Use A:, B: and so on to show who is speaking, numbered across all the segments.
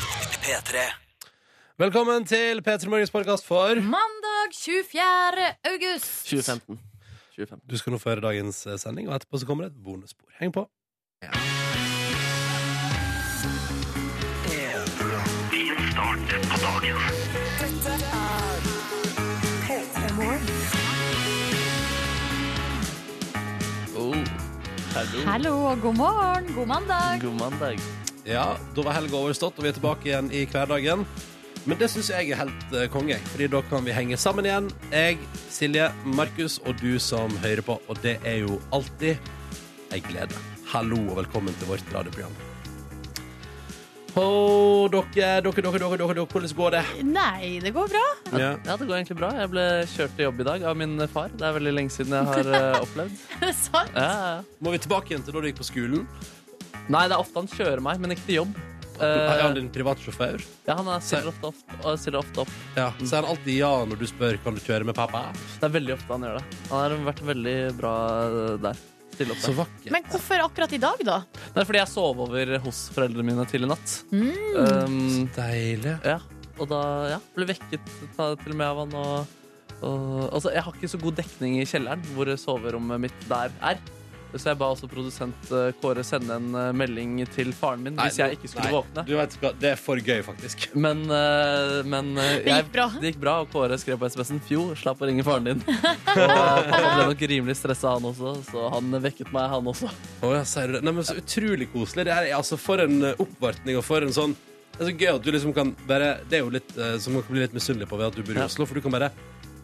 A: P3.
B: Velkommen til P3 Morgens podkast for
C: Mandag 24. august.
D: 2015. 2015.
B: Du skal nå få høre dagens eh, sending, og etterpå så kommer det et bonusspor. Heng på.
D: Oh, hallo.
C: Hallo og god morgen. God mandag.
D: God mandag.
B: Ja, da var helga overstått, og vi er tilbake igjen i hverdagen. Men det syns jeg er helt eh, konge, Fordi da kan vi henge sammen igjen. Jeg, Silje, Markus og du som hører på. Og det er jo alltid ei glede. Hallo og velkommen til vårt radioprogram. Hå, dere, dere, dere, dere, dere, dere, hvordan går det?
C: Nei, det går bra.
B: Ja.
D: Ja, det går egentlig bra. Jeg ble kjørt til jobb i dag av min far. Det er veldig lenge siden jeg har eh, opplevd.
C: Sant?
D: Ja, ja, ja.
B: Må vi tilbake igjen til da du gikk på skolen?
D: Nei, det er ofte han kjører meg, men ikke til jobb. Eh,
B: Er han din privatsjåfør?
D: ja, han er- stiller ofte, opp- og stiller ofte opp.
B: Ja, Så er han alltid ja når du spør kan du kjøre med pappa.
D: Det er veldig ofte han gjør det. Han har vært veldig bra eh, der. Stille opp
B: Så
D: der.
B: vakker.
C: Men hvorfor akkurat i dag, da?
D: Det er fordi jeg sov over hos foreldrene mine til i natt. Um,
B: Deilig.
D: Ja, og da ja, ble vekket ta- til og med av han og, og Altså, jeg har ikke så god dekning i kjelleren hvor soverommet mitt der er. Så jeg ba også produsent eh, Kåre sende en eh, melding til faren min hvis jeg ikke skulle
B: nei,
D: våkne.
B: Du vet hva, Det er for gøy, faktisk.
D: Men, eh, men eh,
C: Det gikk bra.
D: det gikk bra, og Kåre skrev på SMS-en Fjo, slapp å ringe faren din. Og eh, han ble nok rimelig stressa, han også, så han vekket meg, han også.
B: Å, ja, sier du det? Nei, men Så utrolig koselig. Det her er altså For en eh, oppvartning og for en sånn Det er så gøy at du liksom kan bare Det er jo litt eh, som man kan bli litt misunnelig på ved at du bor i
D: Ja.
B: Oslo, for du kan bare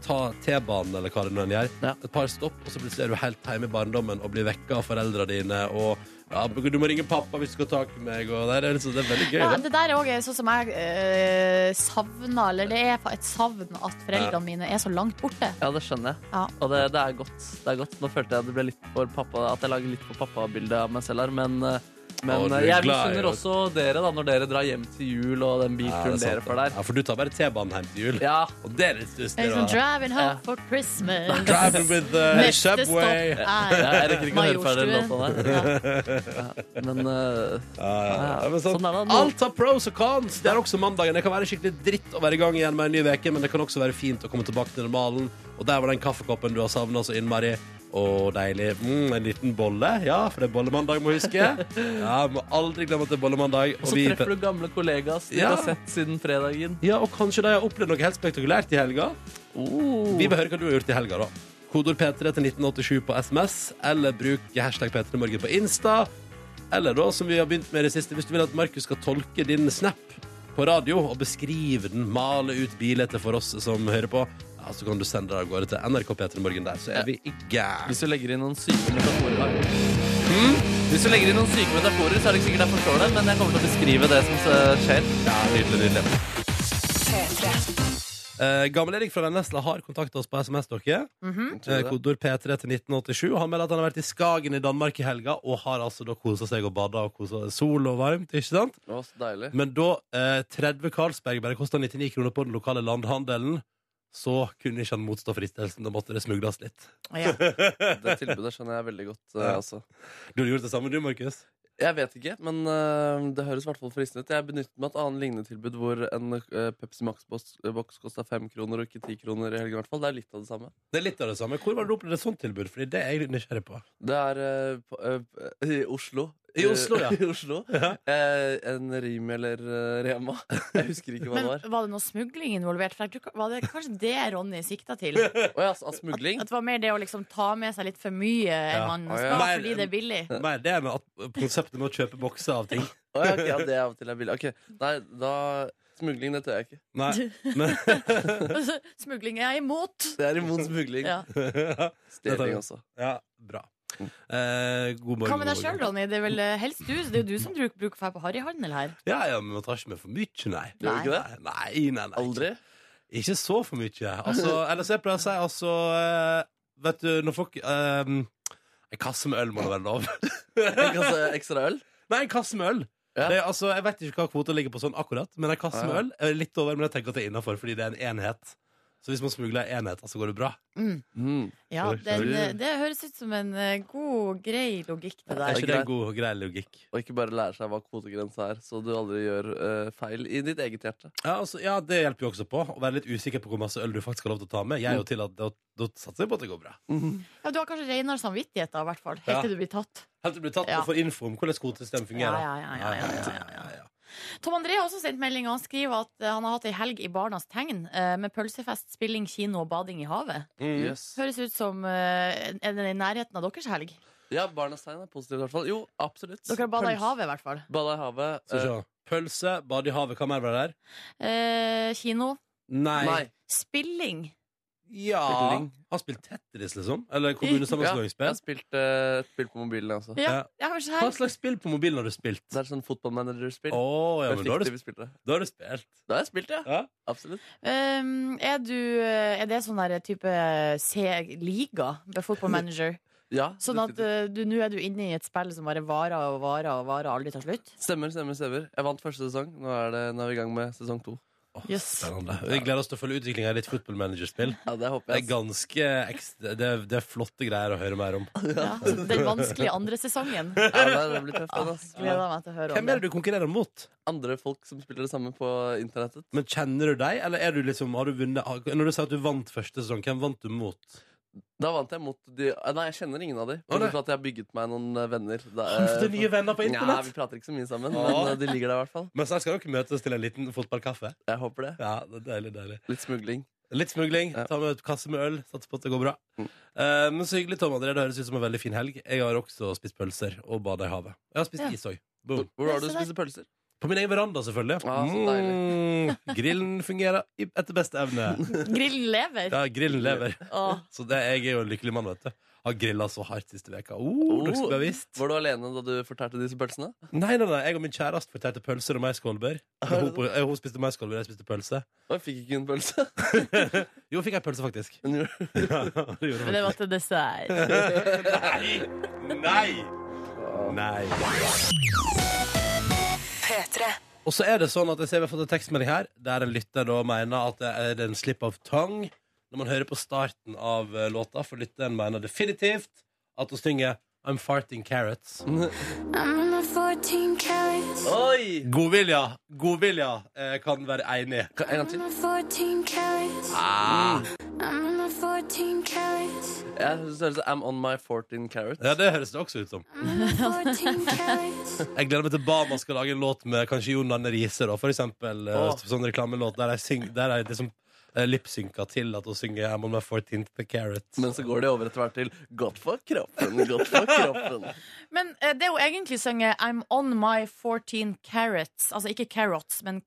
B: ta T-banen eller hva det nå enn gjør,
D: Ja.
B: et par stopp, og så plutselig er du helt hjemme i barndommen og blir vekka av foreldra dine, og ja, du må ringe pappa hvis du skal ha tak i meg, og det er, liksom, det er veldig gøy.
C: Ja,
B: det.
C: det der er òg sånn som jeg eh, savner, eller det er et savn at
B: Ja.
C: foreldrene mine er så langt borte.
D: Ja, det skjønner jeg.
C: Ja.
D: Og det, det, er godt. det er godt. Nå følte jeg det ble litt for pappa, at jeg lager litt for pappa-bildet av meg selv her, men, eh, men
B: Å, du er
D: eh, jeg
B: glad i
D: misunner
B: å-
D: også dere da, når dere drar hjem til jul og den
B: Ja, det er
D: bilturen
B: sant,
D: dere får
B: det.
D: der.
B: Ja, for du tar bare T-banen hjem til jul.
D: Ja,
B: Og det er litt stusslig.
C: Det er sånn
B: da.
C: driving
D: Ja.
C: home for Christmas.
B: Driving with the
C: Neste
B: subway.
C: stopp er
D: jeg rekker ikke å høre ferdig den låta
C: Majorstuen.
D: der.
C: Ja.
D: Men eh,
B: Ja, ja, ja. Men sånn,
D: Sånn er det.
B: alt har pros og cons. Det er også mandagen. Det kan være skikkelig dritt å være i gang igjen med en ny uke, men det kan også være fint å komme tilbake til normalen. Og der var den kaffekoppen du har savna så innmari. Å, deilig. Mm, en liten bolle. Ja, for det er bollemandag, må huske. Ja, Må aldri glemme at det er bollemandag.
D: og så treffer du gamle kollegaer som du
B: Ja.
D: har sett siden fredagen.
B: Ja, og kanskje de har opplevd noe helt spektakulært i helga.
D: Oh.
B: Vi vil høre hva du har gjort i helga, da. Kodord P3 til 1987 på SMS, eller bruk hashtag P3morgen på Insta. Eller da, som vi har begynt med i det siste, hvis du vil at Markus skal tolke din snap på radio og beskrive den, male ut bildet for oss som hører på, ja, så kan du sende det av gårde til NRK P3morgen der, så er vi i gang.
D: Hvis du legger inn noen syke metaforer her.
B: Hmm?
D: Hvis du legger inn noen syke metaforer, så er det ikke sikkert jeg forstår det, men jeg kommer til å beskrive det som eh, skjer.
B: Ja, nydelig, nydelig. Eh, Gammel Erik fra Vennesla har kontakta oss på SMS, dere. Eh, Kodord P3 til 1987. Og han melder at han har vært i Skagen i Danmark i helga og har altså da kosa seg og bada og kosa sol og varmt. ikke sant?
D: Å, så deilig.
B: Men da eh, 30 Carlsberg bare kosta 99 kroner på den lokale landhandelen, så kunne ikke han motstå fristelsen. Da måtte det smugles litt.
C: Ja.
D: Det tilbudet skjønner jeg veldig godt, eh,
B: Ja.
D: altså.
B: Du har gjort det samme, du, Markus?
D: Jeg vet ikke, men øh, det høres i hvert fall fristende ut. Jeg benyttet meg av et annet lignende tilbud hvor en øh, Pepsi Max-boks kosta fem kroner og ikke ti kroner i helgen. i hvert fall. Det er litt av det samme.
B: Det er litt av det samme. Hvor var det du opplevde et sånt tilbud? Fordi det er jeg litt nysgjerrig på.
D: Det er øh, på- øh, i Oslo.
B: I Oslo, ja.
D: I Oslo.
B: Ja.
D: Eh, en Rim eller øh, Rema. Jeg husker ikke hva det
C: Men
D: var.
C: var det noe smugling involvert? For jeg tror, var det kanskje det Ronny sikta til?
D: Å ja, altså, smugling?
C: At det var mer det å liksom ta med seg litt for mye enn
B: Ja.
C: man
D: Ah, ja.
C: skal,
B: Mer-
C: fordi det er billig.
B: Nei, det er med at konseptet med å kjøpe bokser av ting.
D: Å ja, ok, ja, det er av og til jeg vil. Ok, Nei, da Smugling, det tør jeg ikke.
B: Nei, men
C: Smugling er jeg imot!
D: Det er imot smugling.
C: Ja.
D: Stjeling også.
B: Ja, bra. Eh, god morgen.
C: Hva med
B: god
C: deg sjøl,
B: morgen.
C: Ronny? Det er vel eh, helst du Det er jo du som bruk- bruker fær på harryhandel her.
B: Ja, ja, men man tar ikke med for mye, nei.
D: Gjør du ikke det?
B: Nei, nei, nei, nei.
D: Aldri?
B: Ikke så for mye. Altså, ellers jeg pleier å si altså eh, Vet du, når folk eh, En kasse med øl må da være lov.
D: En kasse altså, ekstra øl?
B: Nei, en kasse med øl!
D: Ja.
B: Det, er altså, jeg vet ikke hva kvota ligger på sånn akkurat, men en kasse
D: Ah, ja.
B: med øl er litt over. Men jeg tenker at det er innafor, fordi det er en enhet. Så hvis man smugler enheter, så går det bra.
C: Mm.
D: Mm.
C: Ja,
B: Skjønner,
C: den,
D: skjønner.
C: eh, det høres ut som en eh, god, grei logikk, det
B: Er
C: der.
B: ikke det en god og grei logikk?
D: Og ikke bare lære seg hva kvotegrensa er, så du aldri gjør eh, feil i ditt eget hjerte.
B: Ja, altså, ja, det hjelper jo også på. Å være litt usikker på hvor masse øl du faktisk har lov til å ta med.
C: Mm.
B: Jeg er jo til at Da da satser jeg på at det går bra.
C: Ja, du har kanskje renere samvittighet, da, i hvert fall. Helt
B: Ja.
C: til du blir tatt.
B: Helt til du blir tatt
C: Ja.
B: og får info om hvordan kvotesystemet fungerer.
C: Ja, ja, ja, ja, ja, ja, ja,
B: ja, ja.
C: Tom André har også sendt melding. og Han skriver at eh, han har hatt ei helg i Barnas Tegn eh, med pølsefest, spilling, kino og bading i havet.
B: Mm.
D: Yes.
C: Høres ut som eh, Er det i nærheten av deres helg?
D: Ja, Barnas tegn er positivt i hvert fall. Jo, absolutt.
C: Dere har bada i
D: Pøls-
C: havet, i hvert fall.
D: Bada i havet.
B: Skal vi
D: eh,
B: se. Pølse, bade i havet, hva mer var det der?
C: Eh, kino.
B: Nei.
D: nei.
C: Spilling.
B: Ja.
D: Spilling.
B: Har spilt Tetris, liksom?
D: Ja,
B: Eller
D: jeg har
B: kommunesammenslåingsspill?
D: spilt eh, et spill på mobilen, altså.
C: Ja,
B: Ja.
C: ja kanskje
B: Hva
C: her.
B: slags spill på mobilen har du spilt?
D: Det er sånn fotballmanager-spill.
B: Å, ja, men da har du,
D: Fiktive spillere.
B: da har du spilt.
D: Da har jeg spilt, ja.
B: Ja.
D: Absolutt.
C: Um, er, du, eh, er det sånn der type C-liga? med Football manager?
D: Ja,
C: Sånn at
D: definitivt.
C: eh, du nå er du inne i et spill som bare varer og varer og varer og aldri tar slutt?
D: Stemmer, stemmer, stemmer. Jeg vant første sesong. Nå er, det, nå er vi i gang med sesong to.
B: Åh,
C: Yes.
B: Spennende. Vi gleder oss til å følge utviklinga i ditt fotballmanagerspill.
D: Ja, det
B: Det
D: håper
B: er
D: jeg. ass.
B: ganske ekstra, det, er, det er flotte greier å høre mer om.
C: Ja. Den vanskelige andre sesongen.
D: Ja, det er- det blir tøft, den, ass.
C: Ah, Gleder meg til å høre om
B: Hvem
C: det.
B: er det du konkurrerer mot?
D: Andre folk som spiller det samme på internettet.
B: Men Kjenner du deg, eller er du liksom, har du vunnet har- Når du sier at du vant første sesong, hvem vant du mot?
D: Da vant jeg mot de eh, Nei, jeg kjenner ingen av de.
B: Å, nei.
D: Bortsett fra at jeg har bygget meg noen eh, venner. Da,
B: Har du
D: eh,
B: fått nye venner på
D: Nja, vi
B: internett?
D: prater ikke så mye sammen,
B: Å.
D: men eh, de ligger der i hvert fall.
B: Men så skal dere møtes til en liten fotballkaffe.
D: Jeg håper det.
B: Ja, det er deilig, deilig.
D: Litt smugling.
B: Litt smugling,
D: Ja.
B: ta med et kasse med øl, satser på at det går bra.
D: Mm.
B: Eh, men så hyggelig, Tom André. Det høres ut som en veldig fin helg. Jeg har også spist pølser og bada i havet. Jeg har spist
C: Ja.
B: is òg.
D: Hvor
B: Boom.
D: hvor var det
C: Ja,
D: du
C: se
D: spiste pølser?
B: På min egen veranda, selvfølgelig.
D: Ah, så
B: Mm, grillen fungerer i- etter beste evne.
C: Grillen lever.
B: Ja, grillen lever.
C: Åh.
B: Så det, jeg er jo en lykkelig mann, vet du. Har grilla så hardt siste veka. Oh, dere skulle ha visst.
D: Var du alene da du fortærte disse pølsene?
B: Nei, nei, nei, jeg og min kjæreste fortærte pølser og meiskålbær.
D: det
B: Hun, på- eh, hun spiste meiskålbær, jeg spiste pølse.
D: Og jeg fikk ikke en pølse.
B: Jo, fikk jeg pølse, faktisk.
D: Men jo.
B: Ja, det gjorde jeg
C: Men det var til dessert.
B: Nei! Nei! Nei. Og så er det sånn at jeg ser vi har fått en tekstmelding her der en lytter da mener at det er en slip of tongue når man hører på starten av eh, låta, for lytteren mener definitivt at hun synger I'm farting carrots.
D: Oi!
B: Godvilja, godvilja eh, kan være enig.
D: Ka- En gang til.
B: Ah.
D: Jeg synes det høres ut som I'm on my 14 carrots.
B: Ja, det høres det også ut som. Jeg gleder meg til Bama skal lage en låt med kanskje Jon Arne Riise, da, for eksempel. eh,
D: Åh.
B: Sånn reklamelåt der jeg, syng, der jeg liksom eh, lipsynka til at hun synger I'm on my 14th carrot.
D: Men så går de over etter hvert til godt for kroppen, godt for kroppen.
C: Men eh, det er jo egentlig sunget I'm on my 14 carats. Altså ikke carrots, men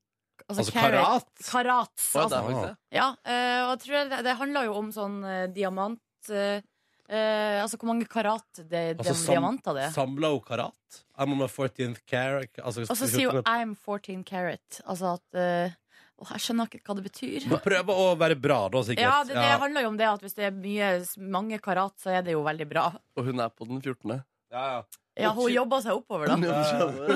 C: altså,
B: Altså
C: carrot-
B: karat?
C: Karats.
D: Oi,
C: Altså,
D: der fikk jeg.
C: ja, eh, og jeg tror det, det handler jo om sånn eh, diamant eh, eh, Altså hvor mange karat det,
B: Altså,
C: de,
B: sam-
C: diamanter det er.
B: Samla hun karat? I'm on my 14th carrot altså,
C: Og så sier jo I'm 14 carat. Altså at eh, Åh, jeg skjønner ikke hva det betyr.
B: Prøve å være bra, da, sikkert.
C: Ja, det, det
B: Ja.
C: handler jo om det at hvis det er mye, mange karat, så er det jo veldig bra.
D: Og hun er på den 14.
B: Ja, ja.
C: Ja, hun jobber seg oppover, da.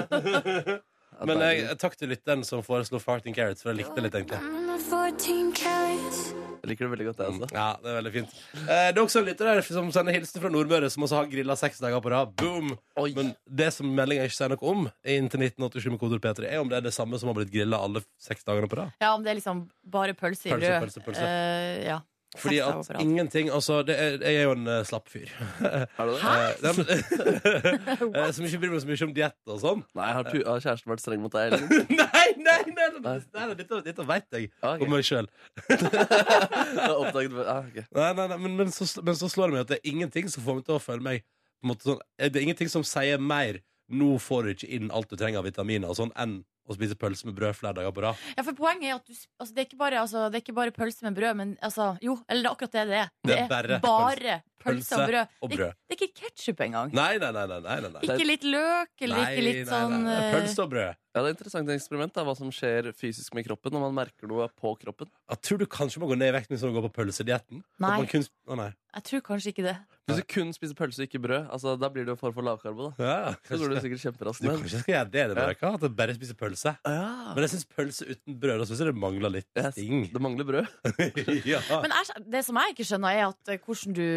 D: Ja,
B: Men
D: deilig.
B: jeg, takk til lytteren som foreslo farting carrots, for jeg likte det litt, egentlig.
D: Jeg liker det veldig godt, jeg også.
B: Ja, det er veldig fint. Eh, det er også en lytter der som sender hilsen fra Nordmøre, som også har grilla seks dager på rad. Boom!
D: Oi.
B: Men det som meldinga ikke sier noe om, inn til 1987 med kodord P3, er om det er det samme som har blitt grilla alle seks dagene på rad.
C: Ja, om det er liksom bare pølse i
B: Pølse,
C: rød.
B: pølse, pølse.
C: Eh, ja.
B: Fordi
C: Seks
B: at
C: dager på rad.
B: ingenting Altså, det er, jeg er jo en eh, slapp fyr.
D: Er du det?
B: Eh, nei, men- eh, som ikke bryr meg så mye om diett og sånn.
D: Nei, har, pu- har kjæresten vært streng mot deg? Eller?
B: Nei, nei, nei! nei,
D: Nei.
B: nei, nei dette, dette veit jeg
D: Ah, ok.
B: om meg sjøl.
D: Jeg har oppdaget ah, ok.
B: Nei, nei, nei, men, men, så, men så slår det meg at det er ingenting som får meg til å føle meg på en måte sånn, eh, Det er ingenting som sier mer 'nå får du ikke inn alt du trenger av vitaminer' og sånn, enn å spise pølse med brød flere dager på rad.
C: Ja, for poenget er at du, altså, det, er ikke bare, altså, det er ikke bare pølse med brød, men altså Jo, eller det er akkurat det det er.
B: Det er bare
C: bare pølse og brød.
B: og
C: Det,
B: brød.
C: det er ikke ketsjup engang.
B: Nei, nei, nei. nei, nei, nei, nei.
C: Ikke litt løk eller
B: Nei,
C: ikke litt
B: nei,
C: sånn
B: nei, nei.
C: eh,
B: Pølse og brød.
D: Ja, det er et interessant eksperiment da, hva som skjer fysisk med kroppen når man merker noe på kroppen.
B: Jeg tror du kanskje må gå ned i vekt hvis du går på pølsedietten. At
C: Nei.
B: man kun- Å, nei.
C: Jeg tror kanskje ikke det.
D: Hvis du kun spiser pølse og ikke brød, altså, da blir det jo form for lavkarbo. da
B: Ja,
D: Så går
B: kanskje
D: du
B: det.
D: sikkert kjemperaskt
B: Du
D: ned.
B: kanskje skal gjøre det,
D: Ja.
B: det der, ikke? At jeg bare spiser pølse.
D: Ja.
B: Men jeg syns pølse uten brød, da syns jeg det mangler litt
D: Yes,
B: sting.
D: det mangler brød.
B: ja.
C: Men jeg, det som jeg ikke skjønner, er at eh, hvordan du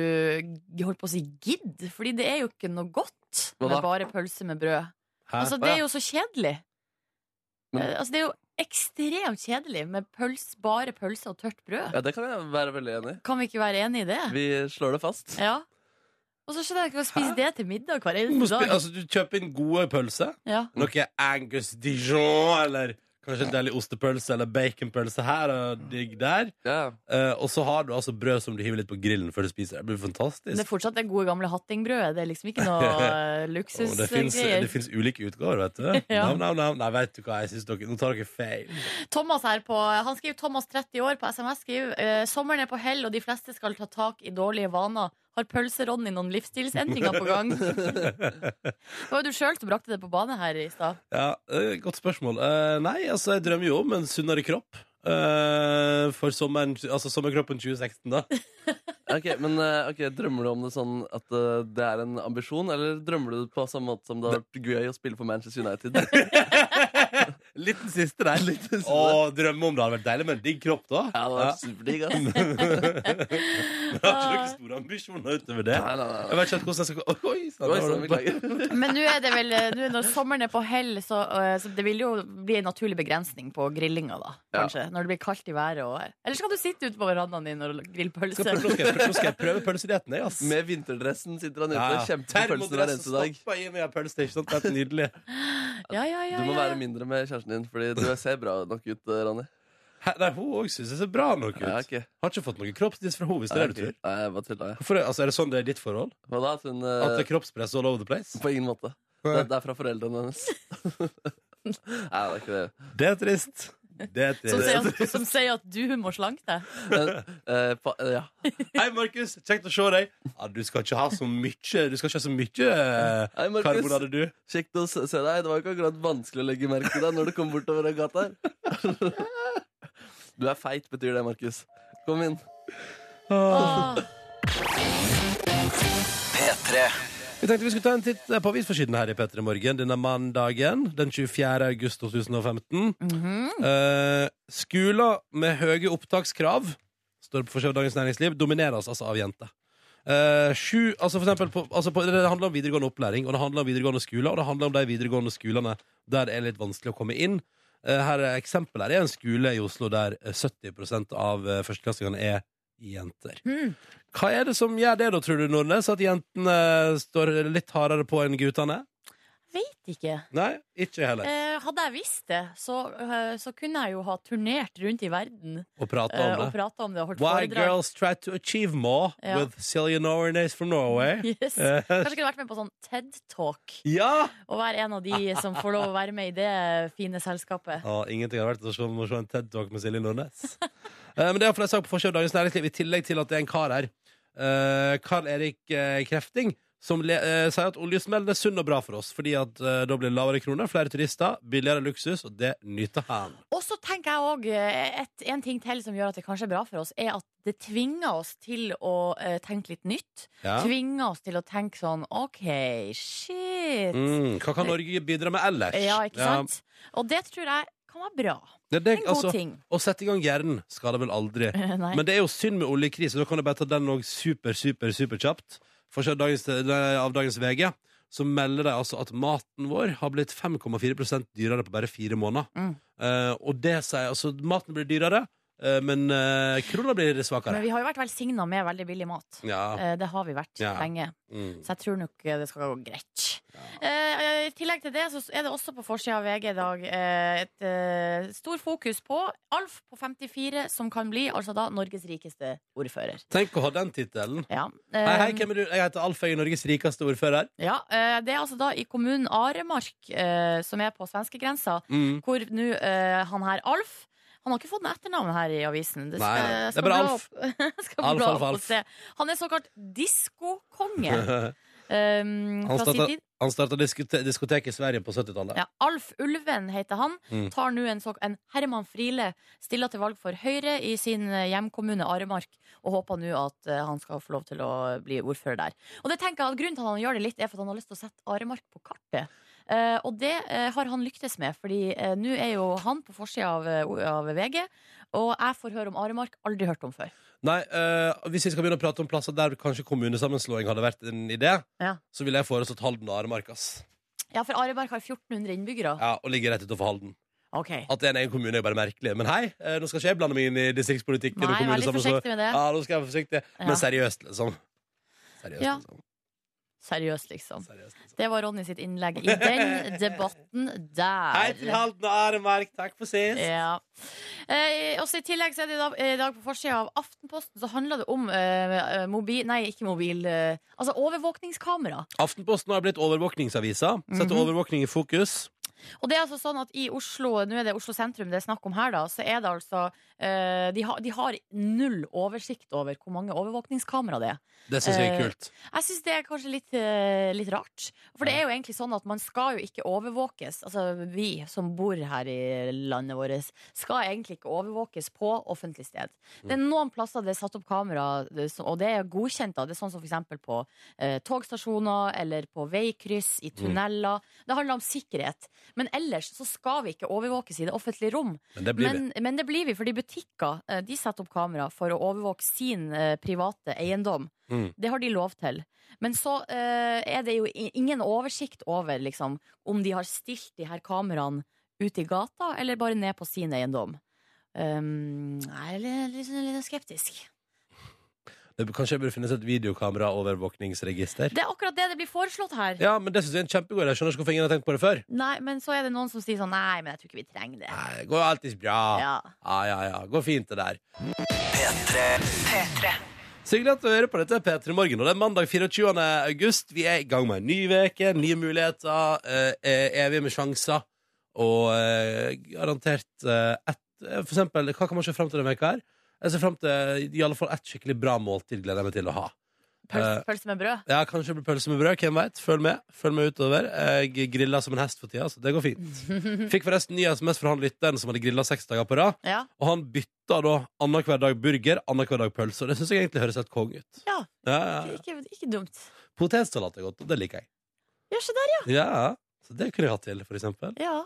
C: g- holdt på å si gidd. Fordi det er jo ikke noe godt
D: Hva
C: med
D: da?
C: bare pølse med brød.
B: Hæ?
C: Altså, det er jo så kjedelig.
D: Men-
C: Eh, Altså, det er jo ekstremt kjedelig med pøls, bare pølse og tørt brød.
D: Ja, det kan jeg være veldig enig i.
C: Kan vi ikke være enige i det?
D: Vi slår det fast.
C: Ja. Og så skjønner jeg ikke å spise
B: Hæ?
C: det til middag hver
B: Du må
C: eneste
B: spi-
C: dag.
B: altså, du kjøper inn gode pølser.
C: Ja.
B: Noe Angus Dijon, eller kanskje en deilig ostepølse eller baconpølse her og digg der.
D: Ja.
B: Eh, og så har du altså brød som du hiver litt på grillen før du spiser. Det blir
C: Men det er
B: fantastisk.
C: fortsatt det gode gamle hattingbrødet. Det er liksom ikke noe eh,
B: Og det fins
C: luksusgreier.
B: det fins ulike utgaver, vet du.
C: Ja.
B: Nam, nam, nam. Nei, vet du hva, jeg synes dere, nå tar dere feil.
C: Thomas her på, han skriver Thomas 30 år på SMS skriver eh, Sommeren er på hell og de fleste skal ta tak i dårlige vaner Har pølseronny noen livsstilsendringer på gang? Det var jo du selv som brakte det på bane her i stad
B: Ja, eh, Godt spørsmål. Eh, nei, altså, jeg drømmer jo om en sunnere kropp. Eh, for sommeren, altså sommerkroppen 2016, da.
D: Ok, men eh, ok, Drømmer du om det sånn at eh, det er en ambisjon, eller drømmer du det på samme måte som det har vært gøy å spille for Manchester United?
B: Litt den siste der.
D: Litt den siste.
B: Å, drømme om det hadde vært deilig med en digg kropp, da.
D: Ja, det var superdigg, ass. Nei,
B: Jeg har ikke noen store ambisjoner utover det.
D: nei, nei.
B: Jeg vet ikke helt hvordan jeg skal Oi, sann,
D: Oi,
B: da var
D: sånn,
B: det-
D: beklager.
C: Men nå er det vel, eh, nå når sommeren er på hell så, eh, så det vil jo bli en naturlig begrensning på grillinga da Kanskje, når det blir kaldt i været og, Eller skal du sitte ute på verandaen din og grille pølse
B: Skal jeg prøve- Nå skal jeg prøve- nå skal jeg prøve pølsedietten, jeg, ass.
D: Med vinterdressen sitter han ute. Kjempepølse hver eneste dag.
B: stappa i meg pølse, ikke sant? Det er nydelig.
C: Ja, ja, ja,
D: Du må
C: ja.
D: være mindre med kjæresten din, Fordi du ser bra nok ut, eh, Ronny.
B: Hæ, Nei, hun òg syns jeg ser bra nok ut.
D: Ja, ok.
B: Har ikke fått noe kroppsdiss fra henne, hvis det er det du tror.
D: Nei, jeg bare tulla, jeg.
B: Hvorfor, er- altså, er det sånn det er i ditt forhold?
D: Hva da? At hun eh,
B: At det er kroppspress all over the place?
D: På ingen måte. Det, det er fra foreldrene hennes. Nei, det er ikke det.
B: Det er trist. Det er
C: som,
B: trist.
C: sier at, som sier at du må slanke deg
D: Eh, pa, eh, ja.
B: Hei, Markus. Kjekt å se deg. Ja, du skal ikke ha så mye Du skal ikke ha så mye eh,
D: Hei, Markus.
B: karbonade, du.
D: Kjekt å se se deg. Det var ikke akkurat vanskelig å legge merke til deg når du kom bortover den gata her. Du er feit, betyr det, Markus. Kom inn.
C: Åh.
B: Vi tenkte vi skulle ta en titt eh, på avisforsiden her i P3 Morgen denne mandagen. Den 24. august 2015. Eh, skoler med høye opptakskrav står på forsiden av Dagens Næringsliv, domineres altså av jenter. Eh, sju, altså for eksempel på, altså på, det handler om videregående opplæring, og det handler om videregående skoler, og det handler om de videregående skolene der det er litt vanskelig å komme inn. Eh, her er eksempel her. Det er en skole i Oslo der eh, 70 av eh, førsteklassingene er jenter.
C: Hmm.
B: Hva er det som gjør det, da, tror du, Nordnes? At jentene eh, står litt hardere på enn guttene?
C: Vet ikke
B: Nei, ikke jeg heller.
C: Eh, hadde jeg visst det, så, eh, så kunne jeg jo ha turnert rundt i verden
B: Å prate
C: eh, og
B: om det.
C: prata om det og holdt
B: Why
C: foredrag.
B: girls try to achieve more
C: Ja.
B: with Silje Nornes from Norway.
C: Yes.
B: Eh,
C: Kanskje jeg kunne vært med på sånn TED Talk
B: ja!
C: og være en av de som får lov å være med i det fine selskapet.
B: Ja, ingenting har vært så som å se en TED Talk med Silje Nordnes. Eh, Men det er iallfall en sak på forsiden av Dagens Næringsliv, i tillegg til at det er en kar her. Eh, Karl Erik eh, Krefting, som le eh, sier at oljesmellen er sunn og bra for oss, fordi at eh, da blir det lavere kroner, flere turister, billigere luksus, og det nyter han.
C: Og så tenker jeg òg en ting til som gjør at det kanskje er bra for oss, er at det tvinger oss til å eh, tenke litt nytt.
B: Ja.
C: Tvinger oss til å tenke sånn OK, shit.
B: Mm, hva kan Norge bidra med ellers?
C: Ja, ikke sant? Og det tror jeg kan være bra.
B: Ja, det,
C: En god
B: altså,
C: ting.
B: å sette i gang hjernen skal det vel aldri.
C: Nei.
B: Men det er jo synd med oljekrise, da kan jeg bare ta den òg super, super, super kjapt. Forskjell dagens, nei, av dagens VG så melder de altså at maten vår har blitt 5,4 dyrere på bare fire måneder.
C: Mm.
B: Eh, og det sier altså Maten blir dyrere, eh, men eh, krona blir svakere.
C: Men vi har jo vært velsigna med veldig billig mat.
B: Ja.
C: Eh, Det har vi vært
B: Ja.
C: lenge,
B: Mm.
C: så jeg tror nok det skal gå greit. Eh, eh, I tillegg til det så er det også på forsida av VG i dag eh, et eh, stor fokus på Alf på 54, som kan bli altså da Norges rikeste ordfører.
B: Tenk å ha den tittelen.
C: Ja.
B: Hei, hei,
C: Eh,
B: hvem er du? Jeg heter Alf, jeg er Norges rikeste ordfører.
C: ja, eh, det er altså da i kommunen Aremark, eh, som er på svenskegrensa,
B: Mm.
C: hvor nå eh, han her Alf han har ikke fått noe etternavn her i avisen. Det
B: Nei,
C: skal,
B: nei. Det er
C: skal
B: bare
C: bla
B: Alf.
C: opp- skal
B: Alf,
C: bla
B: Alf,
C: opp og
B: Alf.
C: se. Han er såkalt diskokonge. Um,
B: Han
C: fra sin
B: starta-
C: tid.
B: Han starta diskote diskotek i Sverige på 70-tallet.
C: Ja, Alf Ulven heter han.
B: Mm.
C: Tar nå en, såk- en Herman Friele, stiller til valg for Høyre i sin eh, hjemkommune Aremark, og håper nå at eh, han skal få lov til å bli ordfører der. Og det tenker jeg at Grunnen til at han gjør det litt, er for at han har lyst til å sette Aremark på kartet. Eh, og det eh, har han lyktes med, fordi eh, nå er jo han på forsida av, eh, o- av VG, og jeg får høre om Aremark, aldri hørt om før.
B: Nei, eh, Hvis vi skal begynne å prate om plasser der kanskje kommunesammenslåing hadde vært en idé,
C: Ja.
B: så ville jeg foreslått Halden og Aremark. ass.
C: Ja, for Aremark har 1400 innbyggere.
B: Ja, og ligger rett utenfor Halden.
C: Ok.
B: At det er en egen kommune er bare merkelig. Men hei, eh, nå skal ikke jeg blande meg inn i distriktspolitikken.
C: Nei,
B: og
C: vær litt
B: kommunesammenslåing.
C: forsiktig med det.
B: Ja, nå skal jeg være forsiktig.
C: Ja.
B: Men seriøst, liksom. Seriøst,
C: Ja.
B: liksom.
C: Seriøst, liksom.
B: Seriøst, liksom.
C: Det var Ronny sitt innlegg i den debatten der.
B: Hei til Halden og Aremark, takk for sist!
C: Ja. Eh, også I tillegg så er det i dag, i dag på forsida av Aftenposten så handler det om eh, mobil Nei, ikke mobil. Eh, altså overvåkningskamera.
B: Aftenposten har blitt overvåkningsavisa. Setter
C: Mhm.
B: overvåkning i fokus.
C: Og det er altså sånn at i Oslo, nå er det Oslo sentrum det er snakk om her, da, så er det altså eh, de, har- de har null oversikt over hvor mange overvåkningskamera det er.
B: Det syns jeg er
C: Eh,
B: kult.
C: Jeg syns det er kanskje litt, eh, litt rart. For det er jo egentlig sånn at man skal jo ikke overvåkes. Altså vi som bor her i landet vårt, skal egentlig ikke overvåkes på offentlig sted. Det er noen plasser det er satt opp kamera, det er så- og det er godkjent. da. Det er sånn som for eksempel på eh, togstasjoner eller på veikryss, i tunneler. Det handler om sikkerhet. Men ellers så skal vi ikke overvåkes i det offentlige rom.
B: Men det blir
C: Men, men det blir vi, fordi butikker eh, de setter opp kamera for å overvåke sin eh, private eiendom.
B: Mm.
C: Det har de lov til. Men så eh, er det jo i- ingen oversikt over liksom, om de har stilt de her kameraene ut i gata, eller bare ned på sin eiendom. Um, jeg er litt, litt, litt skeptisk.
B: det. det. Kanskje det burde finnes et videokameraovervåkningsregister?
C: Det er akkurat det det blir foreslått her.
B: Ja, men det syns jeg er en kjempegod idé. Jeg Skjønner ikke hvorfor ingen har tenkt på det før.
C: Nei, men så er det noen som sier sånn Nei, men jeg tror ikke vi trenger det.
B: Nei, det går jo alltid bra. Ja.
C: Ja.
B: ja, ja, Går fint, det der. P3. Så hyggelig at du hører på dette, P3 Morgen. Og det er mandag 24. august. Vi er i gang med en ny veke, nye muligheter, eh, eh, evig med sjanser. Og eh, garantert eh, ett eh, For eksempel, hva kan man se fram til denne veka her? Jeg ser fram til i alle fall ett skikkelig bra måltid gleder jeg meg til å ha.
C: Pølse,
B: Eh,
C: pølse med brød.
B: Ja, kanskje det blir pølse med brød, hvem vet Følg med, følg med utover Jeg griller som en hest for tida, så det går fint Fikk forresten ny sms fra han lytteren som hadde grillet seks dager på rad
C: Ja.
B: Og han bytta da annen hver dag burger, annen hver dag pølse Og det synes jeg egentlig høres helt kong ut
C: Ja.
B: ja, ja.
C: Ikke, ikke dumt.
B: Potetsalat er godt, og det liker jeg
C: Ja, se der, ja.
B: Ja, så det kunne jeg hatt til, for eksempel
C: ja.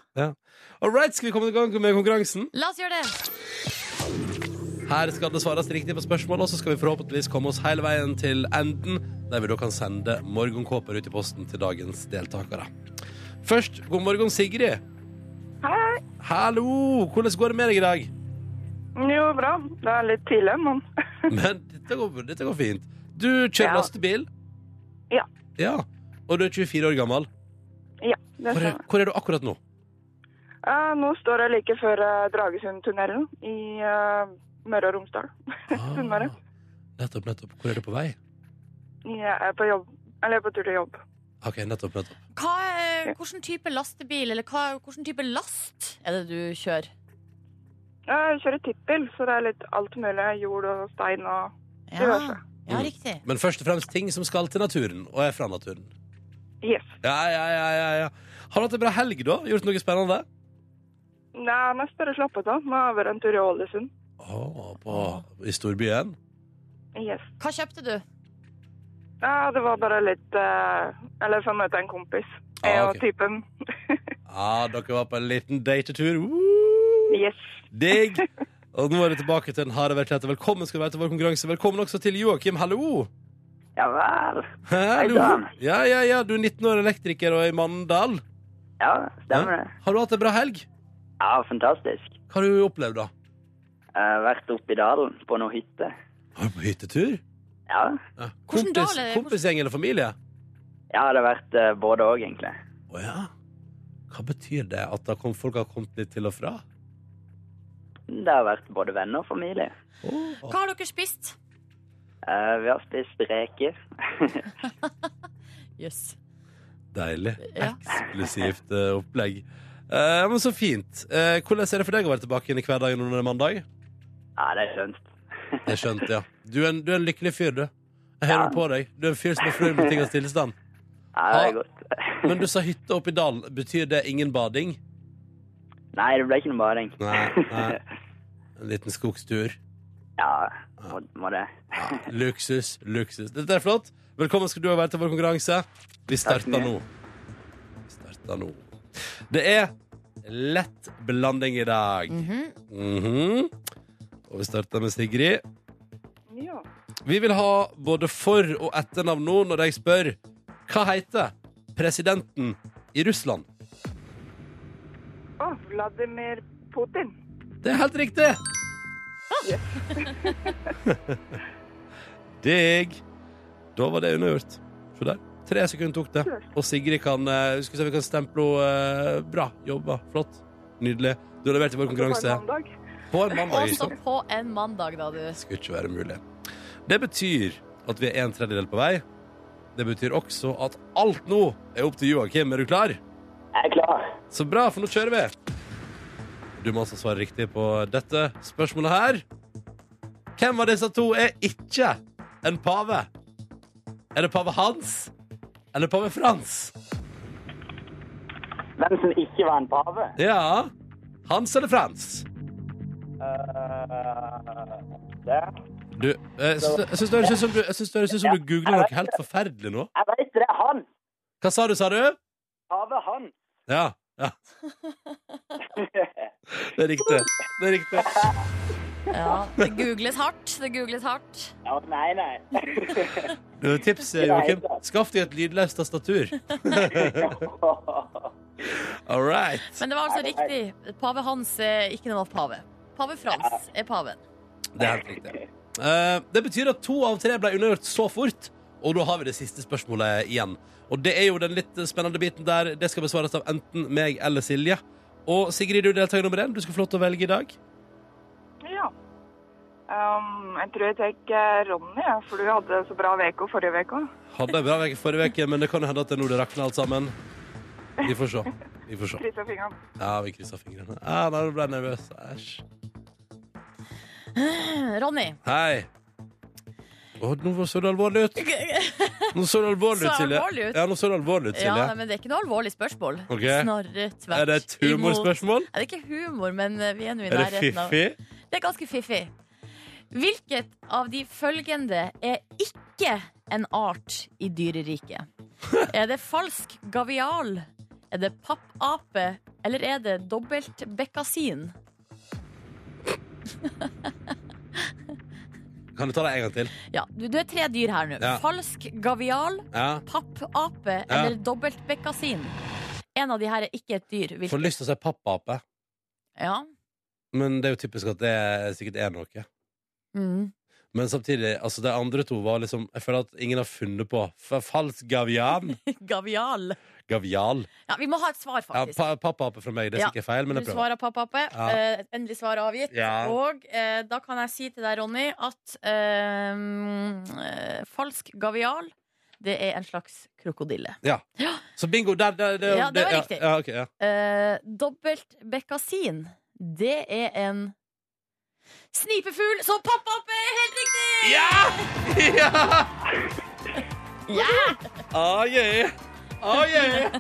B: Alright, skal vi komme i gang med konkurransen?
C: La oss gjøre det.
B: Her skal det svares riktig på spørsmål, og så skal vi forhåpentligvis komme oss hele veien til enden, der vi da kan sende morgenkåper ut i posten til dagens deltakere. Først, god morgen, Sigrid.
A: Hei.
B: Hallo! Hvordan går det med deg i dag?
A: Jo, bra. Det er litt tidlig, men
B: Men dette går, dette går fint. Du kjører
A: Ja.
B: lastebil?
A: Ja.
B: Ja. Og du er 24 år gammel.
A: ja. Det
B: Hvor er,
A: stemmer.
B: hvor er du akkurat nå?
A: Eh, nå står jeg like før eh, Dragesundtunnelen i eh, Møre og Romsdal. Sunnmøre.
B: Ah, nettopp, nettopp. Hvor er du på vei?
A: Jeg er på jobb. Eller jeg er på tur til jobb.
B: OK, nettopp, nettopp.
C: Hva, eh, hvilken type lastebil, eller hva, hvilken type last er det du kjører?
A: Jeg kjører tippel, så det er litt alt mulig. Jord og stein og
C: Ja,
A: Diverse.
C: ja
B: Mm.
C: riktig.
B: Men først og fremst ting som skal til naturen, og er fra naturen.
A: Yes.
B: Ja, ja, ja, ja, ja. Har du hatt en bra helg, da? Gjort noe spennende?
A: Det er mest bare slappet av. Nå har jeg vært en tur i Ålesund.
B: Å, på, I storbyen?
A: Yes.
C: Hva kjøpte du?
A: Ja, det var bare litt eh, Eller for å møte en kompis. Jeg
B: Ah,
A: og
B: ok.
A: typen.
B: Ja, dere var på en liten datetur. Woo!
A: Yes.
B: Digg! Og nå er det tilbake til den harde virkeligheten. Velkommen skal du være til vår konkurranse. Velkommen også til Joakim, hallo!
E: Ja vel.
B: Hallo!
E: Dan.
B: Ja, ja, ja, du er 19 år elektriker og er i Mandal.
E: Ja, stemmer det.
B: Har du hatt en bra helg?
E: Ja, fantastisk.
B: Hva har du opplevd, da?
E: Jeg har vært oppe i dalen på noen hytte.
B: Har du på hyttetur?
E: Ja,
B: Ja.
C: Hvordan
B: Kompis,
C: dal er det?
B: kompisgjeng eller familie?
E: ja det har vært eh, både òg, egentlig.
B: Å ja. Hva betyr det at da kom, folk har kommet litt til og fra?
E: Det har vært både venner og familie.
B: Å.
C: Hva har dere spist?
E: Eh, vi har spist reker.
C: Jøss.
B: Deilig.
C: Ja.
B: Eksklusivt eh, opplegg. Eh, men Så fint. Eh, hvordan er det for deg å være tilbake igjen i hverdagen under en mandag?
E: Ja, det er skjønt.
B: Det skjønte jeg. Du er en, du er en lykkelig fyr, du. Jeg hører
E: Ja.
B: på deg. Du er en fyr som er fornøyd med tingens tilstand.
E: Nei, det
B: Ja.
E: er godt.
B: Men du sa hytte oppi dalen. Betyr det ingen bading?
E: Nei, det ble ikke noe bading.
B: Nei, nei. En liten skogstur.
E: Ja, må, må det.
B: Ja, luksus, luksus. Dette er flott. Velkommen skal du ha vært til vår konkurranse. Vi
E: Takk
B: starter
E: mye.
B: nå. Vi starter nå. Det er lett blanding i dag.
C: Mhm.
B: Mhm. Og vi starter med Sigrid.
A: Ja.
B: Vi vil ha både for- og etternavn nå når jeg spør hva heter presidenten i Russland?
A: Å, Vladimir Putin.
B: Det er helt riktig! Digg. Da var det unnagjort. Se der. Tre sekunder tok det. Og Sigrid kan eh, Skal vi se, vi kan stemple henne. eh, Bra jobba. Flott. Nydelig. Du har levert i vår konkurranse
A: På en mandag.
B: på en mandag. ikke
C: Også
B: sant?
C: på en mandag, da, du.
B: skulle ikke være mulig. Det betyr at vi er en tredjedel på vei. Det betyr også at alt nå er opp til Joakim. Er du klar?
E: Jeg er klar.
B: Så bra, for nå kjører vi. Du må altså svare riktig på dette spørsmålet her. Hvem av disse to er ikke en pave? Er det pave Hans eller pave Frans?
E: Hvem som ikke var en pave?
B: Ja. Hans eller Frans?
E: Eh, det.
B: Du, eh, jeg syns- jeg syns det høres ut som du, jeg syns det høres ut som du googler noe helt forferdelig nå.
E: Jeg vet det, er han.
B: Hva sa du, sa du?
E: Pave han.
B: Ja. ja. Det er riktig. Det er riktig.
C: Ja, det googles hardt. Det googles hardt.
E: Å, nei, nei.
B: Du har et tips, Joakim. Skaff deg et lydløst tastatur. All right.
C: Men det var altså riktig. Pave Hans er ikke noe pave. Pave Frans er paven.
B: Det er helt riktig. Eh, det betyr at to av tre ble undergjort så fort, og da har vi det siste spørsmålet igjen. Og det er jo den litt spennende biten der det skal besvares av enten meg eller Silje. Og Sigrid, du er deltaker nummer én. Du skal få lov til å velge i dag.
A: Ja. Um, jeg tror jeg tar eh, Ronny, ja, for du hadde så bra veko forrige veke.
B: Hadde en bra uke forrige uke, men det kan jo hende at det er nå det rakner alt sammen. Vi får se. Vi får se.
A: Krysset fingrene.
B: Ja, vi krysser fingrene. Ah, nei, nå ble jeg nervøs. Æsj.
C: Ronny.
B: Hei. Å, nå så det alvorlig ut. Nå så det alvorlig ut,
C: Så
B: Silje.
C: alvorlig ut.
B: Ja, nå så det alvorlig ut,
C: Ja,
B: Silje.
C: nei, men det er ikke noe alvorlig spørsmål.
B: Ok.
C: Snarere tvert
B: er det et humorspørsmål?
C: Nei, Det er ikke humor, men eh, vi er nå i
B: Er det
C: nærheten av
B: fiffig?
C: Det er ganske fiffig. Hvilket av de følgende er ikke en art i dyreriket? Er det falsk gavial? Er det pappape? Eller er det dobbelt bekkasin?
B: Kan du ta det en gang til?
C: Ja, du, du er tre dyr her nå.
B: Ja.
C: Falsk gavial,
B: Ja.
C: pappape
B: Ja.
C: eller dobbelt bekkasin. En av de her er ikke et dyr. Hvilket?
B: Får lyst til å si pappape,
C: Ja.
B: men det er jo typisk at det er- sikkert er noe.
C: Mm.
B: Men samtidig, altså de andre to var liksom Jeg føler at ingen har funnet på F- Falsk gavian.
C: Gavial.
B: Gavial.
C: Ja, vi må ha et svar,
B: Ja,
C: faktisk.
B: pa pappape fra meg, det
C: Ja.
B: er sikkert feil, men
C: Du
B: jeg prøver.
C: svarer pappape.
B: Ja.
C: Eh, et endelig svar avgitt.
B: Ja.
C: Og eh, da kan jeg si til deg, Ronny, at eh, eh, falsk gavial, det er en slags krokodille.
B: Så bingo, der, der, der
C: Ja, det var riktig.
B: Ja, ja, ok, ja.
C: Eh, dobbelt bekkasin, det er en snipefugl, så pappape er eh, helt riktig!
B: Ja! Ja! Ah, yeah. Ah, yeah.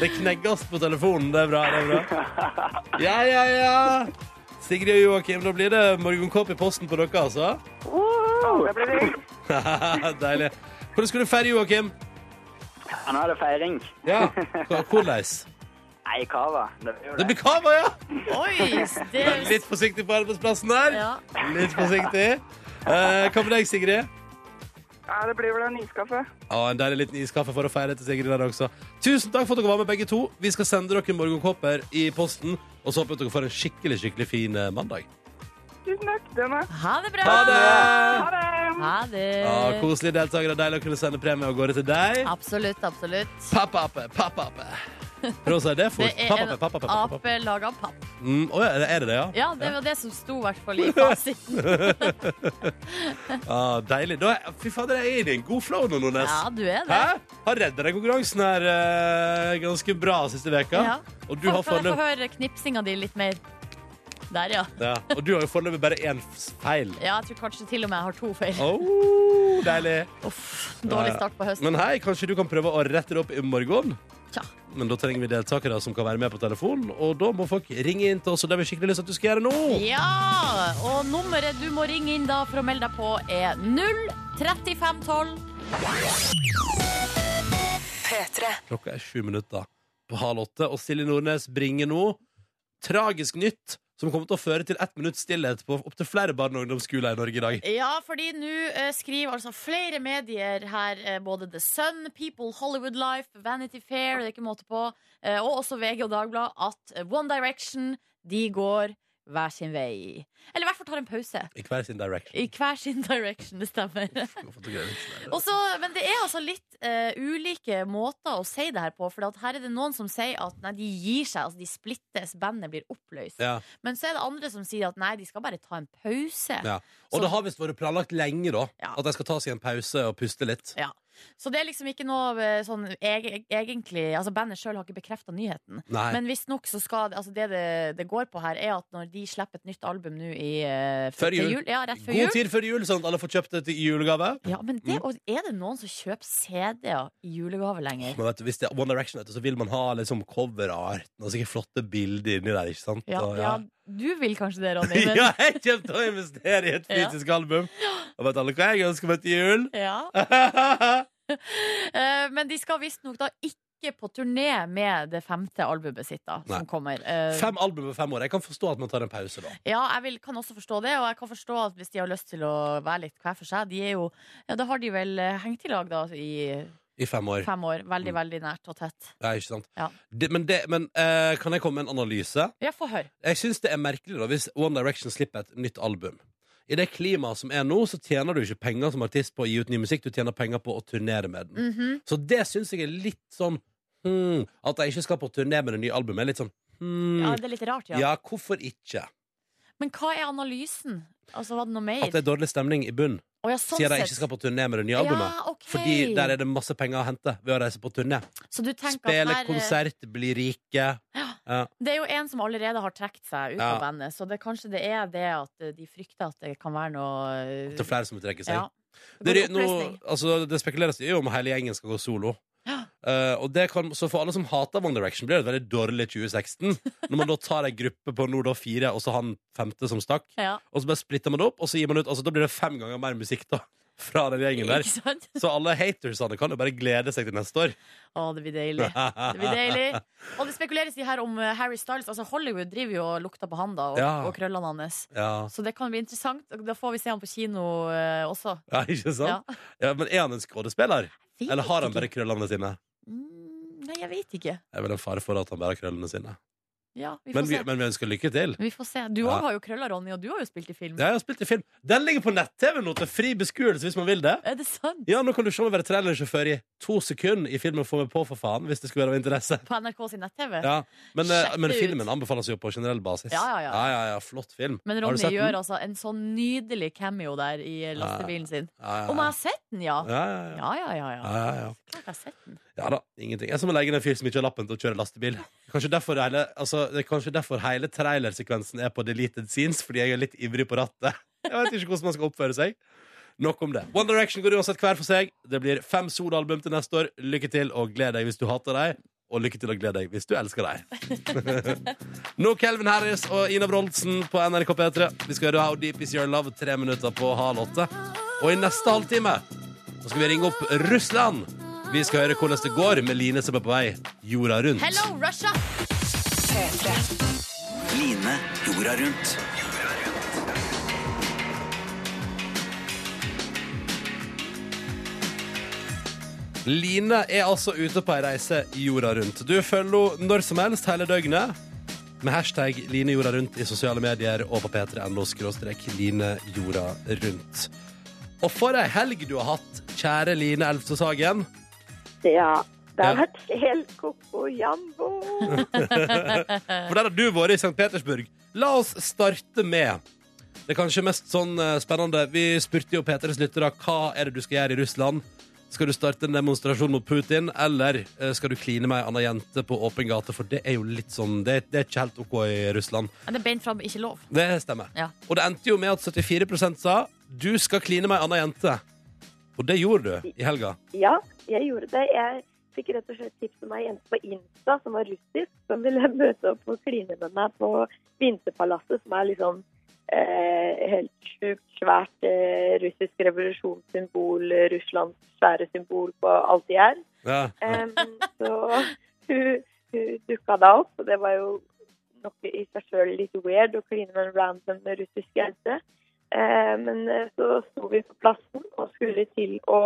B: Det knegges på telefonen. Det er bra. det er bra Ja, ja, ja. Sigrid og Joakim, da blir det morgenkåp i posten på dere, altså.
A: Det blir digg.
B: Deilig. Hvordan skal du feire, Joakim?
E: Han hadde feiring.
B: Ja. Hvordan?
E: Nei, kava. Det blir jo
B: Det
E: det.
B: blir kava, ja!
C: Oi, det
B: Litt forsiktig på arbeidsplassen der.
C: ja.
B: Litt forsiktig. Eh, hva med deg, Sigrid?
A: Ja, det blir vel en iskaffe.
B: Ja, en deilig liten iskaffe for å feire til Sigrid der også. Tusen takk for at dere var med, begge to. Vi skal sende dere morgenkåper i posten, og så håper jeg at dere får en skikkelig skikkelig fin eh, mandag.
A: Tusen takk. Den er.
C: Ha det bra!
B: Ha det!
A: Ha det!
C: Ha det.
B: Ja, koselige deltakere. Deilig å kunne sende premie av gårde til deg.
C: Absolutt, absolutt.
B: Pappape, pappape. Prøv å si det
C: Det
B: fort.
C: er en
B: Pappape, pappape, pappape.
C: ape laga av papp.
B: Mm, å, ja, er det det, ja?
C: Ja, det var det som sto i hvert fall i fasiten.
B: Ja, deilig. Da, er- fy fader, jeg er i en god flow nå, Nordnes.
C: Ja, du er det.
B: Hæ? Har redda deg konkurransen her eh, ganske bra siste veka.
C: Ja.
B: Og du
C: Kan kan jeg
B: har
C: få
B: foreløpig
C: høre knipsinga di litt mer? Der, ja.
B: Ja. Og du har jo foreløpig bare én f- feil.
C: ja. Jeg tror kanskje til og med jeg har to feil.
B: Oh, deilig.
C: Uff, dårlig start på høsten.
B: Men hei, kanskje du kan prøve å rette det opp i morgen?
C: Tja.
B: Men da trenger vi deltakere som kan være med på telefon, og da må folk ringe inn til oss, og det har vi skikkelig lyst til at du skal gjøre nå.
C: Ja! Og nummeret du må ringe inn da for å melde deg på, er 03512.
B: Klokka er sju minutter på halv åtte, og Silje Nordnes bringer nå tragisk nytt som kommer til å føre til ett minutts stillhet på opptil flere barne- og ungdomsskoler i Norge i dag.
C: Ja, fordi nå eh, skriver altså flere medier her, eh, både The Sun, People, Hollywood Life, Vanity Fair, det er ikke måte på, eh, og også VG og Dagbladet, at eh, One Direction, de går hver sin vei. Eller i hvert fall tar en pause.
B: I hver sin direction.
C: I hver sin direction, det stemmer.
B: Hvorfor tok jeg det ikke der?
C: Og så- men det er altså litt eh, ulike måter å si det her på. For at her er det noen som sier at nei, de gir seg, altså de splittes, bandet blir oppløst.
B: Ja.
C: Men så er det andre som sier at nei, de skal bare ta en pause.
B: Ja. Og det har visst vært planlagt lenge, da.
C: Ja.
B: At de skal ta seg en pause og puste litt.
C: Ja. Så det er liksom ikke noe eh, sånn eg- egentlig Altså bandet sjøl har ikke bekrefta nyheten.
B: Nei.
C: Men visstnok så skal det- altså det, det det går på her, er at når de slipper et nytt album nå i eh,
B: Før
C: til
B: jul.
C: Ja, rett før
B: God
C: jul.
B: tid før jul, sånn at alle får kjøpt det til julegave.
C: Ja, men det, og er det noen som kjøper CD-er i julegave lenger?
B: Men vet du, hvis det er One Direction, vet du, så vil man ha liksom coverart og sikkert flotte bilder inni der. ikke sant?
C: Ja,
B: og,
C: ja. du vil kanskje det, Ronny. Men,
B: ja, jeg kommer til å investere i et
C: Ja.
B: fysisk album. Og vet alle hva jeg ønsker meg til jul?
C: ja. Eh, men de skal visstnok da ikke på turné med det femte albumet sitt, da, som
B: Nei.
C: kommer. Eh,
B: fem album på fem år. Jeg kan forstå at man tar en pause da.
C: Ja, jeg vil, kan også forstå det, og jeg kan forstå at hvis de har lyst til å være litt hver for seg De er jo, ja, Da har de vel eh, hengt i lag da i
B: I fem år.
C: fem år.
B: Mm.
C: Veldig, veldig nært og tett.
B: Ja, ikke sant?
C: Ja.
B: Det, men det, men eh, kan jeg komme med en analyse?
C: Ja, få høre.
B: Jeg syns det er merkelig da hvis One Direction slipper et nytt album. I det klimaet som er nå, så tjener du ikke penger som artist på å gi ut ny musikk, du tjener penger på å turnere med den.
C: Mhm.
B: Så det syns jeg er litt sånn hmm, At jeg ikke skal på turné med det nye albumet, er litt sånn hmm,
C: Ja,
B: ja,
C: Det er litt rart, ja.
B: hvorfor ikke?
C: Men hva er analysen? Altså, Var det noe mer?
B: At det er dårlig stemning i bunnen,
C: Å, ja, sånn
B: sier jeg
C: sett.
B: ikke skal på turné med det nye albumet.
C: Ja, ok.
B: Fordi der er det masse penger å hente ved å reise på turné.
C: Så du tenker at
B: Spille
C: her, eh,
B: konsert, bli rike.
C: Det er jo en som allerede har trukket seg ut
B: Ja.
C: av bandet, så det, kanskje det er det at eh, de frykter at det kan være noe eh,
B: Til flere som vil trekke seg.
C: ja.
B: Det,
C: Går
B: er- nå,
C: oppløsning.
B: altså, det spekuleres jo om hele gjengen skal gå solo. Eh, og det kan, så for alle som hater One Direction, blir det et veldig dårlig 2016. Når man da tar ei gruppe på nå da fire, og så han femte som stakk.
C: Ja.
B: Og så bare splitter man det opp, og så gir man ut altså, Da blir det fem ganger mer musikk da fra den gjengen der.
C: Ikke sant?
B: Så alle hatersene kan jo bare glede seg til neste år.
C: Å, det blir deilig. Det blir deilig. Og det spekuleres i her om eh, Harry Styles. Altså Hollywood driver jo og lukter på han da, og,
B: Ja.
C: og krøllene hans.
B: Ja.
C: Så det kan bli interessant. og Da får vi se han på kino eh, også.
B: ja, ikke sant?
C: Ja.
B: Ja, men er han en skådespiller?
C: Vet
B: Eller har han
C: ikke.
B: bare krøllene sine?
C: Mm, Nei, jeg vet ikke.
B: Det er vel en fare for at han bare har krøllene sine.
C: Ja, vi får
B: Men vi,
C: se.
B: men vi ønsker lykke til.
C: Vi får se. Du òg
B: Ja.
C: har jo krøller, Ronny, og du har jo spilt i film.
B: Ja, jeg har spilt i film. Den ligger på nett-TV nå til fri beskuelse hvis man vil det.
C: Er det sant?
B: Ja, nå kan du se meg være trailersjåfør i to sekunder i filmen Få meg på, for faen, hvis det skulle være av interesse.
C: På NRK sin nett-TV?
B: Ja, men, eh,
C: Sjekk
B: men
C: det ut.
B: filmen anbefales jo på generell basis.
C: Ja, ja, ja.
B: ja, ja, ja flott film.
C: Men
B: Har du
C: Ronny
B: sett den?
C: gjør altså en sånn nydelig cameo der i eh, lastebilen sin.
B: Ja, ja,
C: Om jeg har sett den, ja?
B: ja. Ja, ja, ja.
C: Ja, ja, ja. ja.
B: Ja, ja, ja.
C: Klart jeg har sett den.
B: ja da, ingenting. Jeg er som å legge inn en fyr som ikke har lappen til å kjøre lastebil. Kanskje derfor hele, altså, det er kanskje derfor hele trailersekvensen er på deleted scenes, fordi jeg er litt ivrig på rattet. Jeg vet ikke hvordan man skal oppføre seg. Nok om det. One Direction går uansett hver for seg. Det blir fem soloalbum til neste år. Lykke til og gled deg hvis du hater deg. Og lykke til og gled deg hvis du elsker deg. Nå Kelvin Harris og Ina Broldsen på NRK P3. Vi skal høre How Deep Is Your Love tre minutter på halv åtte. Og i neste halvtime så skal vi ringe opp Russland. Vi skal høre hvordan det går med Line som er på vei jorda rundt.
C: Hello, Russia!
F: Line jorda rundt.
B: Line er altså ute på ei reise jorda rundt. Du følger henne når som helst hele døgnet med hashtag Line jorda rundt i sosiale medier og på p3.no skråstrek Line jorda rundt. Og for ei helg du har hatt, kjære Line Elvstås Hagen.
G: Ja. Det har
B: Ja.
G: vært helt koko jambo.
B: For der har du vært i St. Petersburg. La oss starte med det kanskje mest sånn eh, spennende. Vi spurte jo Peters lyttere hva er det du skal gjøre i Russland. Skal du starte en demonstrasjon mot Putin, eller eh, skal du kline med ei anna jente på åpen gate? For det er jo litt sånn Det, det er ikke helt OK i Russland.
C: Men det er beint fram, ikke lov.
B: Det stemmer.
C: Ja.
B: Og det endte jo med at 74 sa du skal kline med ei anna jente. Og det gjorde du i helga.
G: Ja, jeg gjorde det. Jeg fikk rett og slett tips om ei jente på Insta som var russisk, som ville møte opp og kline med meg på Vinterpalasset, som er liksom eh, helt sjukt svært eh, russisk revolusjonssymbol, eh, Russlands svære symbol på alt de er.
B: Ja.
G: Em, så hun, hun dukka da opp, og det var jo noe i seg sjøl litt weird å kline med en random russisk jente. Eh, men eh, så sto vi på plassen og skulle til å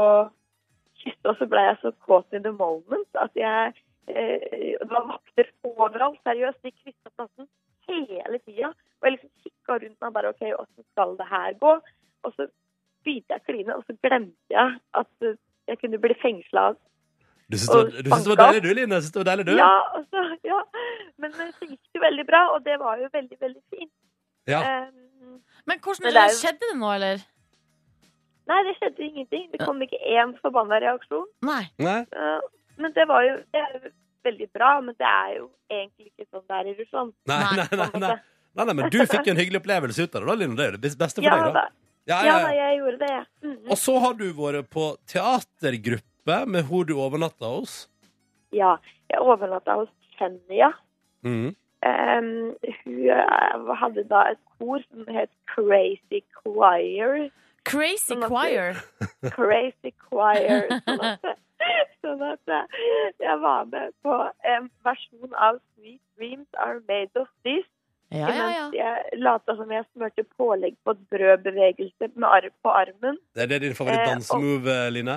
G: kysse, og så ble jeg så caught in the moment at jeg eh, Det var vakter overalt, seriøst. De kryssa plassen hele tida. Og jeg liksom kikka rundt meg bare OK, åssen skal det her gå? Og så begynte jeg å kline, og så glemte jeg at eh, jeg kunne bli fengsla av
B: Du syns det, var- du syns det var deilig, du, Line? Syns det var deilig, du?
G: ja, altså, ja. Men eh, så gikk det veldig bra, og det var jo veldig, veldig fint. Ehm,
B: Ja.
G: Em,
C: Men hvordan
G: Men det er jo-
C: skjedde det nå, eller?
G: nei, det skjedde ingenting. Det kom ikke én forbanna reaksjon.
C: Nei.
B: Nei?
G: Eh, men det var jo det er jo veldig bra, men det er jo egentlig ikke sånn det er i Russland.
B: Nei,
C: Nei,
B: nei,
G: på en
B: nei, nei.
G: måte.
B: nei, nei men du fikk jo en hyggelig opplevelse ut av det, da, Line. Det er jo det beste for
G: Ja
B: deg,
G: da,
B: da.
G: ja,
B: Ja, ja,
G: da,
B: ja.
G: jeg gjorde det. jeg. Mhm.
B: Og så har du vært på teatergruppe med hun du overnatta hos.
G: Ja, jeg overnatta hos Kenya. Em, hun eh, hadde da et kor som het Crazy Choir.
C: Crazy
G: Sånn at-
C: choir.
G: crazy choir. Sånn at, sånn at jeg, jeg var med på en versjon av Sweet Dreams Are Made of This.
C: Ja, ja, ja.
G: Mens jeg lata som jeg smurte pålegg på et brødbevegelse med ar på armen.
B: Det er det din
G: Eh, og-
B: favorittdansemove, Line?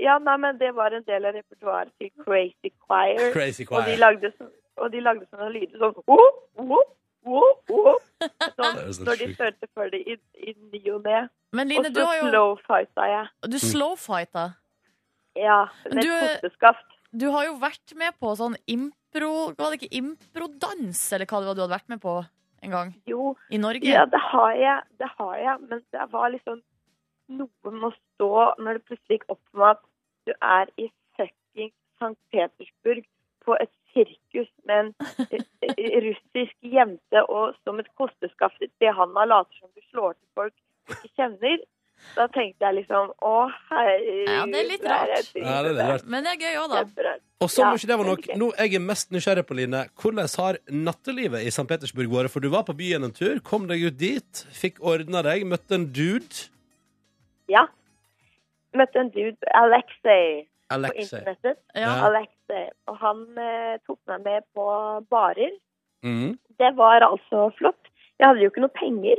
G: Ja, nei, men det var en del av repertoaret til Crazy Choir.
B: Crazy
G: Og de
B: choir.
G: lagde, så, og de lagde sånne lyder sånn whoop, whoop, whoop, whoop. Sånn,
B: Det er jo så
G: når de
B: sjukt.
G: størte for det i, i ny og ne. Og
C: Men Line, du
G: så
C: har jo
G: slow-fighta jeg.
C: Du
B: Mm.
C: slowfighta.
G: Ja.
C: Men
G: Med
C: du- eh,
G: kosteskaft.
C: Du har jo vært med på sånn impro... Var det ikke improdans, eller hva det var du hadde vært med på en gang?
G: Jo.
C: I Norge?
G: Ja, det har jeg. Det har jeg. Men det var liksom noe med å stå når det plutselig gikk opp for meg at du er i fucking St. Petersburg på et sirkus med en eh, eh, russisk jente og som et kosteskaft det han har later som du slår til folk du ikke kjenner. Da tenkte jeg liksom Å, herregud.
C: Ja, det er litt
G: her
C: rart.
G: driver
B: Ja, det er litt
G: med.
B: rart.
C: Men det er gøy òg, da.
G: Kjemperart.
B: Og som om
G: Ja,
B: ikke det var nok,
G: veldig gøy.
B: nå er jeg mest nysgjerrig på, Line, hvordan har nattelivet i St. Petersburg vært? For du var på byen en tur, kom deg ut dit, fikk ordna deg, møtte en dude.
G: Ja. Møtte en dude, Alexei, på
B: Alexei.
G: internettet.
C: Ja.
B: Ja.
G: Alexei. Og han eh, tok meg med på barer.
B: Mm.
G: Det var altså flott. Jeg hadde jo ikke noe penger,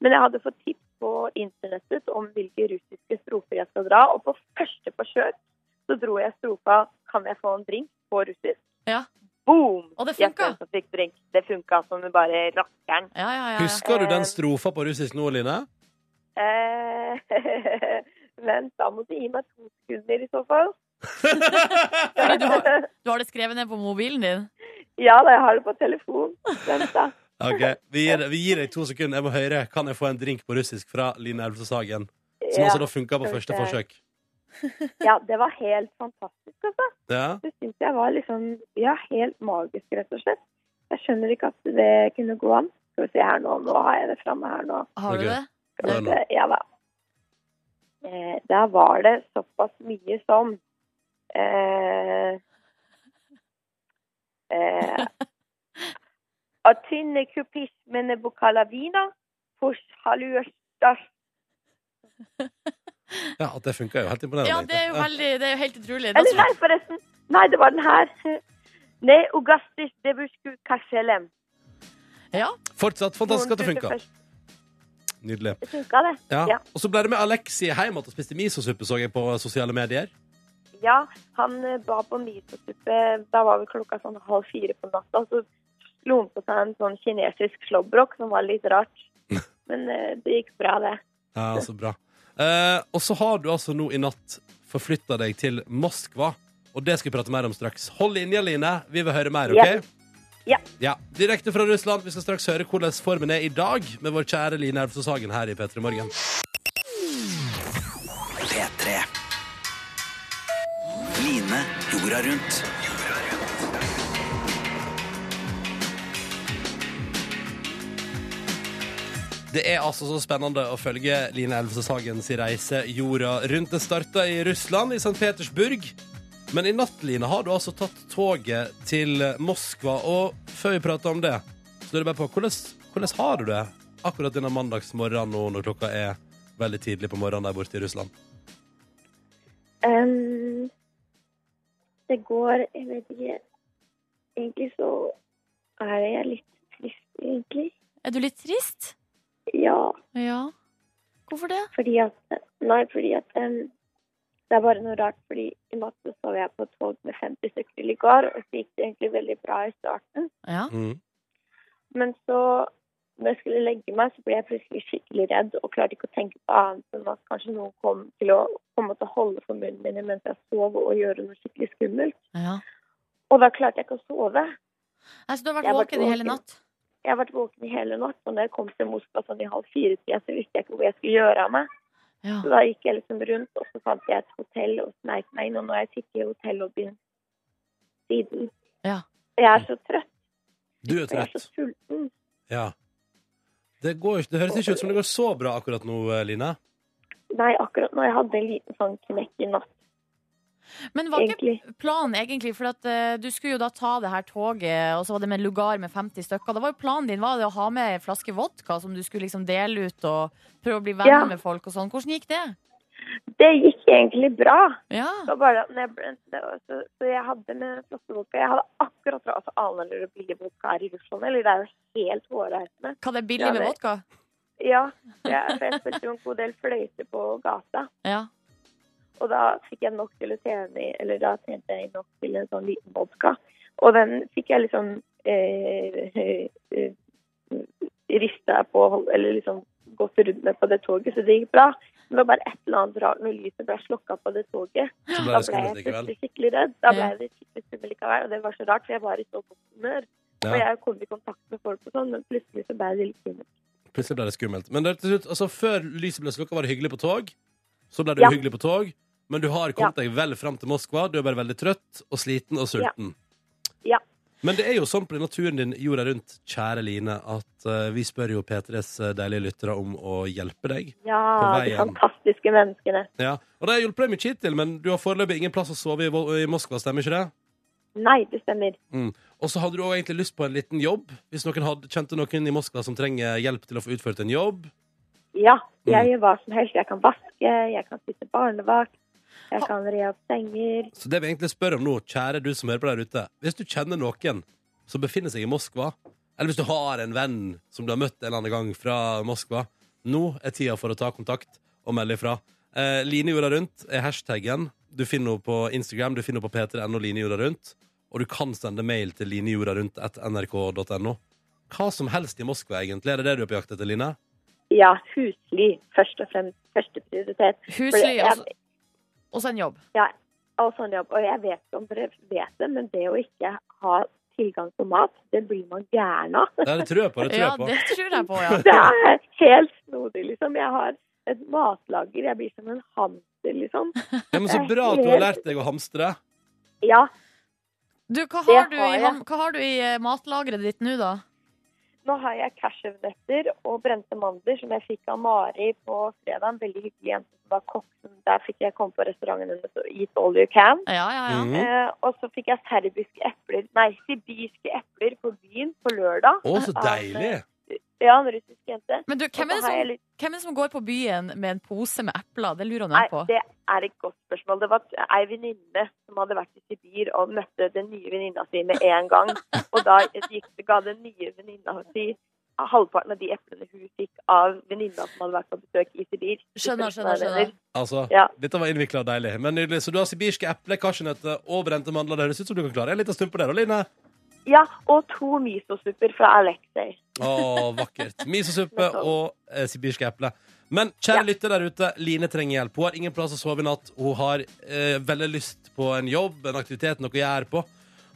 G: men jeg hadde fått tips på internettet om hvilke russiske strofer jeg skal dra. Og på første forsøk så dro jeg strofa 'Kan jeg få en drink?' på russisk.
C: Ja.
G: Boom!
C: Og det
G: Gjett
C: funka.
G: hvem som fikk drink. Det funka som bare rakkeren.
C: Ja, ja, ja, ja.
B: Husker du den
G: Eh,
B: strofa på russisk nå, Line?
G: Eh, men da må du gi meg to sekunder i så fall.
C: Fordi du har, du har det skrevet ned på mobilen din?
G: Ja da, jeg har det på telefon. Vent, da.
B: Ok, vi gir, vi gir deg to sekunder. Jeg må høre. Kan jeg få en drink på russisk fra Line Elvsås Hagen? Som
G: Ja.
B: også da funka
G: Skal
B: på
G: vi
B: første
G: se.
B: forsøk.
G: ja, det var helt fantastisk, altså.
B: Ja.
G: det syns jeg var liksom Ja, helt magisk, rett og slett. Jeg skjønner ikke at det kunne gå an. Skal vi se her nå. Nå har jeg det framme her nå.
C: Har du
B: Ok.
C: det?
G: Skal vi
B: Ja,
G: se. Ja da. Eh, der var det såpass mye som eh, eh, Atynne kupismene bukalavina, push haluerstas
B: ja, At det funka, er jo helt imponerende.
C: Ja, det er jo
B: egentlig.
C: veldig Det er jo helt utrolig. Da
G: Eller nei, forresten. Nei, det var den her. Ne ugastis debusku kasjelem.
B: Ja. Fortsatt fantastisk at det funka. Nydelig.
G: Funka det?
B: Ja.
G: Ja.
B: Og så ble det med Alexi hjem igjen og spiste misosuppe, så jeg på sosiale medier.
G: Ja, han eh, ba på misosuppe. Da var vel klokka sånn halv fire på natta. Så slo han på seg en sånn kinesisk slåbrok, som var litt rart. Men eh, det gikk bra, det.
B: Ja, så bra. Eh, og så har du altså nå i natt forflytta deg til Moskva, og det skal vi prate mer om straks. Hold linja, Line. Vi vil høre mer, OK?
G: Ja. Ja.
B: ja. Direkte fra Russland. Vi skal straks høre hvordan formen er i dag med vår kjære Line Elvsås Hagen her i P3 Morgen.
F: P3. Jorda rundt.
B: Det er altså så spennende å følge Line Elvsåshagens reise jorda rundt. Den starta i Russland, i St. Petersburg. Men i natt, Line, har du altså tatt toget til Moskva. Og før vi prater om det, så lurer jeg bare på hvordan, hvordan har du det akkurat denne mandagsmorgenen nå når klokka er veldig tidlig på morgenen der borte i Russland?
G: Ehm, det går Jeg vet ikke. Egentlig så er jeg litt trist, egentlig.
C: Er du litt trist?
G: Ja,
C: Ja. Hvorfor det?
G: fordi at Nei, fordi at ehm, Det er bare noe rart, fordi i natt så sov jeg på et tog med 50 stykker i går, og så gikk det egentlig veldig bra i starten.
C: Ja.
B: Mm.
G: Men så, når jeg skulle legge meg, så ble jeg plutselig skikkelig redd og klarte ikke å tenke på annet enn at kanskje noen kom til å komme til å holde for munnen min mens jeg sov og gjøre noe skikkelig skummelt.
C: ja.
G: Og da klarte jeg ikke å sove.
C: Altså, du
G: Jeg
C: har vært
G: har vært
C: våken i hele
G: våken.
C: natt?
G: Jeg har vært våken i hele natt, og når jeg kom til Moskva sånn i halv fire-tida, så visste jeg ikke hvor jeg skulle gjøre av meg.
C: Ja.
G: Så da gikk jeg liksom rundt, og så fant jeg et hotell og sneik meg inn, og nå har jeg sittet i hotellobbyen siden.
C: Ja.
G: Og Jeg er så trøtt,
B: Du er
G: og jeg er så
B: trøtt.
G: sulten.
B: Ja. Det, går, ikke- det høres ikke ut som det går så bra akkurat nå, eh, Line.
G: Nei, akkurat nå. Jeg hadde en liten sånn knekk i natt,
C: Men var ikke
G: egentlig.
C: planen egentlig, for at eh, du skulle jo da ta det her toget, og så var det med lugar med 50 stykker. Da var jo planen din var det å ha med en flaske vodka som du skulle liksom dele ut og prøve å bli venner
G: Ja.
C: med folk og sånn. Hvordan gikk det?
G: Det gikk egentlig bra.
C: Ja.
G: Det var bare at når jeg, ble- det var, så, så jeg hadde med flotte vodka. Jeg hadde akkurat råd til aner og billig vodka her i Russland. Eller det er jo helt hårreisende.
C: Hva det er billig
G: Ja,
C: med
G: det-
C: vodka?
G: Ja, for jeg, for jeg spilte jo en god del fløyte på gata.
C: Ja.
G: Og da fikk jeg nok til å tjene i- Eller da tjente jeg nok til en sånn liten vodka. Og den fikk jeg liksom eh, eh, eh, rista på hold- Eller liksom gått rundt med på det toget, så det gikk bra. Men det var bare et eller annet rart når lyset ble slukka på det toget. Da
B: Så ble det
G: ble jeg
B: skummelt likevel.
G: plutselig skikkelig redd. Da ble
C: Ja.
G: jeg litt skikkelig skummel likevel, og det var så rart, for jeg var i så godt humør.
B: Ja.
G: Og jeg kom i kontakt med folk og sånn, men plutselig så ble jeg litt skummel.
B: Plutselig ble det skummelt. Men det, til slutt, altså, før lyset ble slukka, var det hyggelig på tog. Så ble det
G: Ja.
B: uhyggelig på tog. Men du har kommet deg vel fram til Moskva. Du er bare veldig trøtt og sliten og sulten.
G: Ja.
B: Men det er jo sånn på den naturen din jorda rundt, kjære Line, at eh, vi spør jo P3s deilige lyttere om å hjelpe deg.
G: Ja,
B: På
G: de
B: veien.
G: fantastiske menneskene.
B: Ja. Og det har hjulpet deg mye hittil, men du har foreløpig ingen plass å sove i, Vo- i Moskva, stemmer ikke det?
G: Nei, det stemmer.
B: Og så hadde du også egentlig lyst på en liten jobb, hvis noen hadde, kjente noen i Moskva som trenger hjelp til å få utført en jobb.
G: Ja,
B: Mm.
G: jeg gjør hva som helst. Jeg kan vaske, jeg kan sitte barnevakt, jeg
C: Ha-
G: kan re opp senger.
B: Så det vi egentlig spør om nå, kjære du som hører på der ute Hvis du kjenner noen som befinner seg i Moskva Eller hvis du har en venn som du har møtt en eller annen gang fra Moskva Nå er tida for å ta kontakt og melde ifra eh, Line jorda rundt er hashtaggen Du finner henne på Instagram, du finner henne på p3.no Line jorda rundt Og du kan sende mail til linejorda rundt nrk.no Hva som helst i Moskva egentlig Er det det du er på jakt etter, Line?
G: Ja, husly, først og fremst. Første prioritet. For
C: Husly altså.
G: jeg-
C: og så- og så en jobb.
G: og sånn jobb. Og jeg vet ikke om dere vet det, men det å ikke ha tilgang på mat, det blir man gæren av.
B: Ja, det tror jeg på, det tror
C: Ja,
B: jeg på
C: det tror jeg på, ja.
G: Det er helt snodig, liksom. Jeg har et matlager. Jeg blir som en hamster, liksom.
B: ja, Men så bra at du har lært deg å hamstre
G: Ja,
C: Du, hva
G: Det
C: har du
G: har
C: i,
G: jeg.
C: ham- hva har du i eh, matlageret ditt nå, da?
G: nå har jeg cashewnøtter og brente mandler som jeg fikk av Mari på fredag. En veldig hyggelig jente som var kokk. som- Der fikk jeg komme på restauranten hennes og eat all you can.
C: Ja, ja, ja.
B: Mhm.
G: Eh, og så fikk jeg serbiske epler, nei, sibirske epler på byen på lørdag. eh,
B: Å, så deilig
G: Ja, en russisk jente.
C: Men du,
G: Og
C: hvem er,
G: så
C: det
G: har jeg
C: som,
G: litt-
C: hvem er det som går på byen med en pose med epler? Det lurer
G: Nei,
C: han på.
G: det er et godt spørsmål. Det var ei venninne som hadde vært i Sibir og møtte den nye venninna si med en gang. Og da gikk, ga den nye venninna si halvparten av de eplene hun fikk av venninna som hadde vært på besøk i Sibir.
C: Skjønner, skjønner, skjønner.
B: Altså,
G: Ja.
B: Dette var innvikla og deilig. Men nydelig, Så du har sibirske eple, cashewnøtter og brente mandler. Det høres ut som du kan klare en liten stund på det. da, Line.
G: Ja, og to misosupper fra Alexei.
B: Å, vakkert. Misosuppe og eh, sibirske eple. Men kjære lytter der ute, Line trenger hjelp. Hun har ingen plass å sove i natt. Hun har eh, veldig lyst på en jobb, en aktivitet, noe å gjøre på.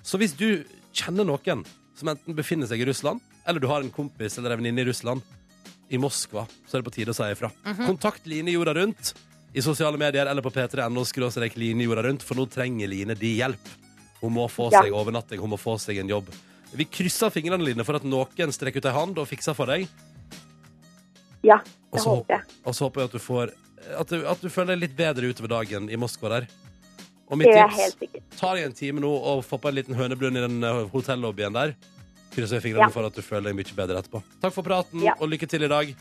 B: Så hvis du kjenner noen som enten befinner seg i Russland, eller du har en kompis eller en venninne i Russland, i Moskva, så er det på tide å si ifra. Kontakt Line jorda rundt. i sosiale medier eller på p3.no skråstrek Line jorda rundt, for nå trenger Line de hjelp. Hun må få
G: Ja.
B: seg overnatting, hun må få seg en jobb. Vi krysser fingrene, Line, for at noen strekker ut ei hand og fikser for deg.
G: Ja,
B: Og
G: det
B: så
G: håper jeg.
B: Og så håper jeg at du får At du, at du føler deg litt bedre utover dagen i Moskva der. Og mitt
G: Det er
B: tips
G: helt sikkert.
B: ta deg en time nå og få på en liten høneblund i den eh, hotellobbyen der. Krysser jeg fingrene
G: Ja.
B: for at du føler deg mye bedre etterpå. Takk for praten,
G: Ja.
B: og lykke til i dag.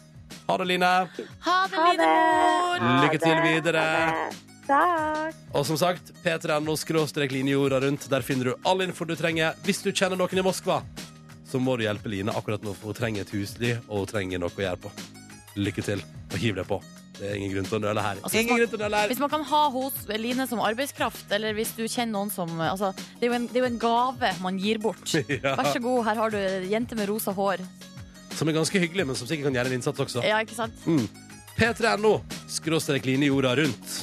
B: Ha det, Line.
C: Ha det,
G: Ha det!
C: Lydemor!
G: Ha
B: Lykke til
G: det.
B: videre.
G: Ha det. Takk.
B: Og som sagt, p3.no skråstrek linjejorda rundt. Der finner du all info du trenger. Hvis du kjenner noen i Moskva, så må du hjelpe Line akkurat nå, for hun trenger et husly, og hun trenger noe å gjøre på. Lykke til, og hiv deg på. Det er ingen grunn til å nøle her.
C: Altså,
B: ingen
C: smak-
B: grunn til å nøle her.
C: Hvis man kan ha hos Line som arbeidskraft, eller hvis du kjenner noen som altså, det, er jo en, det er jo en gave man gir bort.
B: Ja.
C: Vær så god, her har du ei jente med rosa hår.
B: Som er ganske hyggelig, men som sikkert kan gjøre en innsats også.
C: Ja, ikke sant?
B: Mm. P3.no skråstrek linjejorda rundt.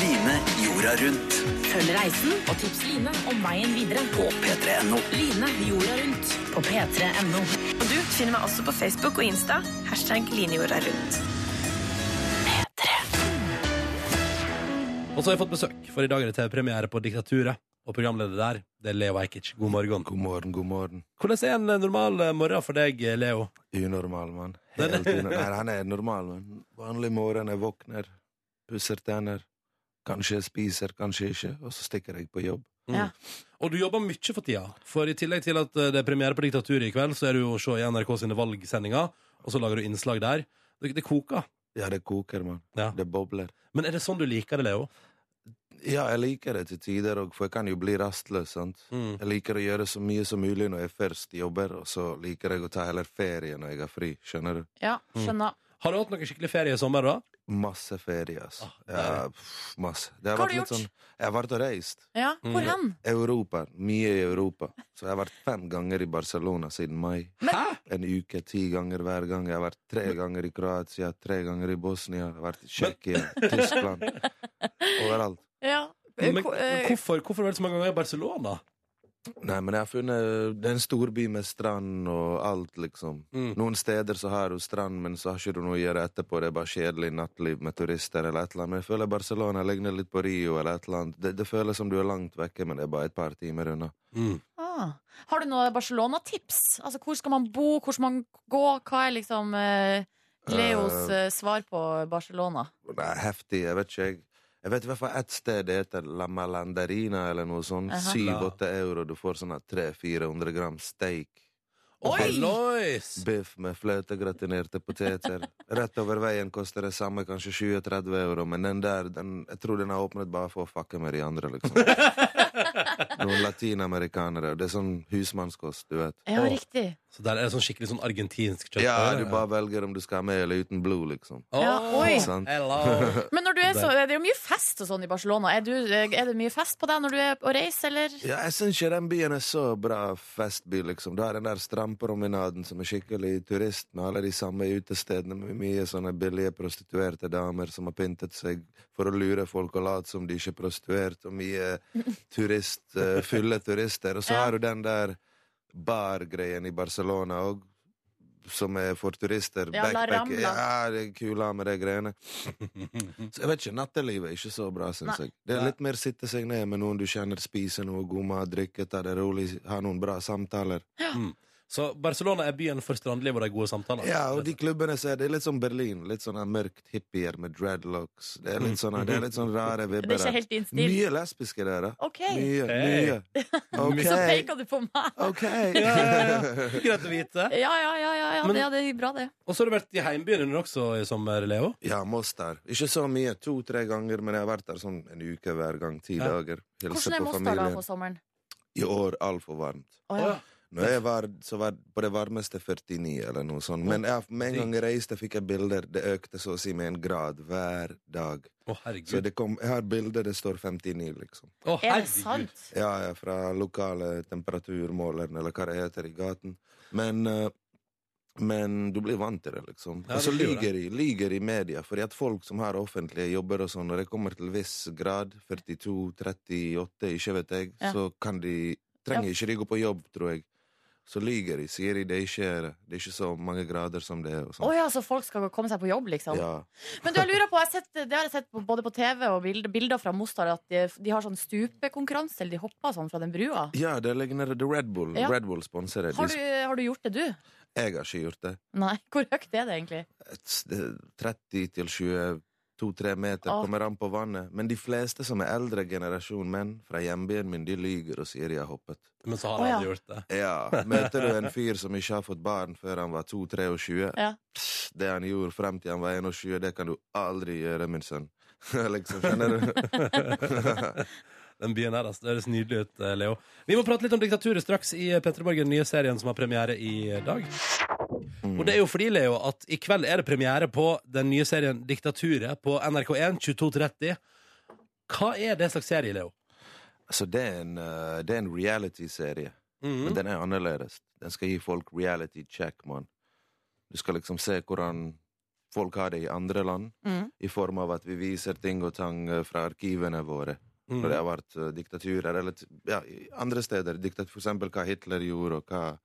F: Line jorda rundt.
H: Følg reisen og tips Line om veien videre på
F: P3.no.
H: Line jorda rundt på p3.no.
I: Og du finner meg også på Facebook og Insta. Hashtag linjorda rundt.
B: Og så har jeg fått besøk, for i dag er det TV-premiere på Diktaturet. Og programleder der, det er Leo Ajkic. God morgen.
J: God morgen, god morgen.
B: Hvordan er en eh, normal eh, morgen for deg, eh, Leo?
J: Unormal, mann. Helt uno- Nei, han er normal, mann. Vanlig morgen, jeg våkner, pusser tenner. Kanskje jeg spiser, kanskje ikke, og så stikker jeg på jobb.
B: Og du jobber mye for tida. For i tillegg til at eh, det er premiere på Diktaturet i kveld, så er du jo å se i NRK sine valgsendinger, og så lager du innslag der. Det, det koker.
J: Ja, det koker, mann.
B: Ja.
J: Det bobler.
B: Men er det sånn du liker det, Leo?
J: Ja, jeg liker det til tider òg, for jeg kan jo bli rastløs, sant.
B: Mm.
J: Jeg liker å gjøre så mye som mulig når jeg først jobber, og så liker jeg å ta heller ferie når jeg har fri, skjønner du.
C: Ja, skjønner.
B: Har du hatt noe skikkelig ferie i sommer, da?
J: Masse ferie, altså.
B: Ah, det er
J: Ja, pff, masse. Det
C: Hva har du
J: vært litt
C: gjort?
J: sånn Jeg har vært og reist.
C: Ja, hvor
B: Mm.
C: hen?
J: Europa. Mye i Europa. Så jeg har vært fem ganger i Barcelona siden mai. En uke, ti ganger hver gang. Jeg har vært tre ganger i Kroatia, tre ganger i Bosnia, jeg har vært i Tsjekkia, Tyskland Overalt.
C: Ja. Eh,
B: Men,
C: ko-
B: men
C: eh,
B: hvorfor, hvorfor har du vært så mange ganger i Barcelona?
J: Nei, men jeg har funnet Det er en storby med strand og alt, liksom.
B: Mm.
J: Noen steder så har du strand, men så har ikke du noe å gjøre etterpå. Det er bare kjedelig nattliv med turister eller et eller annet. Men jeg føler Barcelona ligner litt på Rio eller et eller annet. Det, det føles som du er langt vekke, men det er bare et par timer unna.
B: Mm.
C: ah. Har du noen Barcelona-tips? Altså, hvor skal man bo? Hvor skal man gå? Hva er liksom eh, Leos eh, svar på Barcelona?
J: Nei, heftig, jeg vet ikke jeg. Jeg vet i hvert fall ett sted det heter La Malandarina eller noe sånt.
C: Aha.
J: Syv-åtte euro. Du får sånn 300-400 gram steak.
B: Oi!
J: Oi!
B: Lois!
J: Biff med fløtegratinerte poteter. Rett over veien koster det samme, kanskje 20-30 euro, men den der, den, jeg tror den har åpnet bare for å fucke med de andre, liksom. Noen latinamerikanere. Det er sånn husmannskost, du vet.
C: Ja,
B: Å.
C: riktig.
B: Så der er det sånn skikkelig sånn argentinsk kjøtt.
J: Ja, du bare velger om du skal ha med eller uten blod, liksom.
B: Å,
C: Ja, oi.
J: Sant.
B: Hello!
C: Men når du er så, det er jo mye fest og sånn i Barcelona. Er, du, er det mye fest på deg når du er og reiser, eller?
J: Ja, jeg syns ikke den byen er så bra festby, liksom. Du har den der strandpromenaden som er skikkelig turist, med alle de samme utestedene med mye sånne billige prostituerte damer som har pyntet seg for å lure folk og late som de ikke er prostituert, og mye turist, eh, fulle turister. Og så
C: Ja.
J: har du den der bargreien i Barcelona òg. Som er for turister.
C: Ja, La
J: backpack-
C: Rambla.
J: Ja, det er kula med de greiene. Så jeg vet ikke, Nattelivet er ikke så bra, syns
C: Nei.
J: jeg. Det er
B: Nei.
J: litt mer sitte seg ned med noen du kjenner, spise noe god mat, drikke, ta det rolig, ha noen bra samtaler.
B: Så Barcelona er byen for strandliv og de gode samtalene.
J: Ja, og de klubbene som er, det er litt sånn Berlin. Litt sånn her mørkt hippier med dreadlocks. Det er litt sånn, det er litt sånn rare
C: Det er
J: vibber.
C: ikke
J: her.
C: helt din stil.
J: Mye lesbiske der, da.
C: OK.
J: Mye,
B: Hey.
J: mye.
C: Så
J: OK.
C: peker du på meg.
J: OK.
B: Ja, ja, ja. Greit å vite.
C: Ja, ja, ja. ja, ja.
B: Men-
C: det, ja det er bra, det.
B: Og så har du vært i heimbyen din også i sommer, Leo.
J: Ja, Moss der. Ikke så mye, to-tre ganger, men jeg har vært der sånn en uke hver gang. Ti
B: Ja.
J: dager. Hilse
C: Hvordan er
J: på
C: Mostar da
J: familien.
C: på sommeren?
J: I år altfor varmt.
C: Å, ja.
J: Når jeg var, så var på det varmeste 49 eller noe sånt. Men jeg, med en gang jeg reiste, fikk jeg bilder. Det økte så å si med en grad hver dag.
C: Mm.
B: Å,
J: Så
B: herregud.
J: det kom, jeg har bilder det står 59, liksom.
B: Å,
C: Er det
B: herregud.
C: sant?
J: Ja, ja, fra lokale temperaturmåleren, eller hva det heter, i gaten. Men, eh, men du blir vant til det, liksom.
B: Ja,
J: og så
B: det blir jo
J: lyger de lyger i media, fordi at folk som har offentlige jobber og sånn, når det kommer til viss grad, 42, 38, ikke vet jeg,
C: Ja.
J: så kan de Trenger ikke de gå på jobb, tror jeg. så lyger de. Sier de det er ikke det er ikke så mange grader som det er. Og
C: Å
J: sånt.
C: ja, så folk skal komme seg på jobb, liksom.
J: ja.
C: Men du, jeg lurer på, jeg har sett, det har jeg sett på- både på TV og bilder, bilder fra Mostar at de, de har sånn stupekonkurranse, eller de hopper sånn fra den brua.
J: ja, det ligger nede. The Red Bull
C: Ja.
J: Red Bull sponsorer.
C: Har du,
J: De-
C: har du gjort det, du?
J: Jeg har ikke gjort det.
C: Nei. Hvor høyt er det egentlig?
J: Et- det- 30 til 22-3 meter
C: Åh.
J: kommer an på vannet. Men de fleste som er eldre generasjon menn fra hjembyen min, de lyger og sier de har hoppet.
B: Men så
C: Å,
B: har han
C: ja.
B: aldri gjort det.
J: Ja, Møter du en fyr som ikke har fått barn før han var 2-23
C: Ja.
J: pss, Det han gjorde frem til han var 21, det kan du aldri gjøre, min sønn. liksom, skjønner du?
B: Den byen her, altså. Det høres nydelig ut, eh, Leo. Vi må prate litt om diktaturet straks i eh, P3 Morgen, nye serien som har premiere i eh, dag. Og det er jo fordi, Leo, at i kveld er det premiere på den nye serien Diktaturet på NRK1 22.30. Hva er det slags serie, Leo?
J: Altså, det er en, eh, det er en reality-serie,
B: Mm.
C: Mm.
J: men den er annerledes. Den skal gi folk reality check, mann. Du skal liksom se hvordan folk har det i andre land,
C: Mm.
J: i form av at vi viser ting og tang eh, fra arkivene våre.
B: Mm.
J: Når det har vært eh, diktaturer, eller t- ja, i andre steder. Diktat, for eksempel hva Hitler gjorde, og hva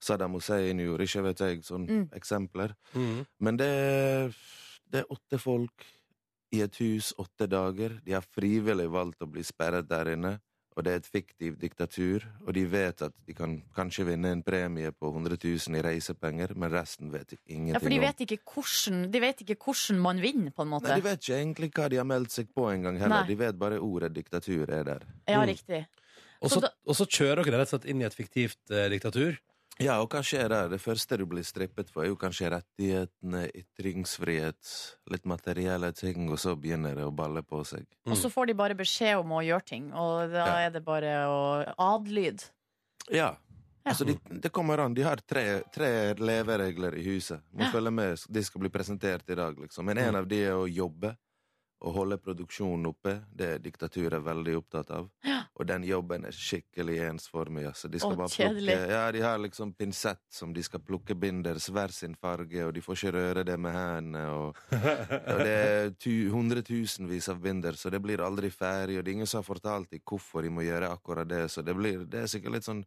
J: Saddam Hussein gjorde. Ikke vet jeg, sånne
C: Mm.
J: eksempler.
B: Mhm.
J: Men det er, det er åtte folk i et hus åtte dager. De har frivillig valgt å bli sperret der inne. Og det er et fiktivt diktatur, og de vet at de kan kanskje vinne en premie på 100 000 i reisepenger, men resten vet de ingenting
C: Ja, for de
J: om.
C: vet ikke hvordan, de vet ikke hvordan man vinner, på en måte.
J: Nei, de vet ikke egentlig hva de har meldt seg på engang heller.
C: Nei.
J: De vet bare ordet diktatur er der.
C: Ja,
B: Mm.
C: riktig.
B: Og
C: Så
B: så,
C: da-
B: og så kjører dere rett og slett inn i et fiktivt eh, diktatur.
J: Ja, og hva skjer der? Det første du blir strippet for, er jo kanskje rettighetene, ytringsfrihet, litt materielle ting, og så begynner det å balle på seg.
C: Og så får de bare beskjed om å gjøre ting, og da
J: Mm. Ja.
C: er det bare å adlyde.
J: Ja. Altså, de, det kommer an. De har tre, tre leveregler i huset. Må
C: Ja. Mm.
J: følge med. De skal bli presentert i dag, liksom. Men en av de er å jobbe. Å holde produksjonen oppe. Det er diktaturet veldig opptatt av. Og den jobben er skikkelig ensformig. Altså. De skal
C: Å,
J: bare plukke
C: kjedelig.
J: Ja, de har liksom pinsett som de skal plukke binders hver sin farge, og de får ikke røre det med hendene, og, og det er tu- hundretusenvis av binder, så det blir aldri ferdig, og det er ingen som har fortalt dem hvorfor de må gjøre akkurat det, så det blir Det er sikkert litt sånn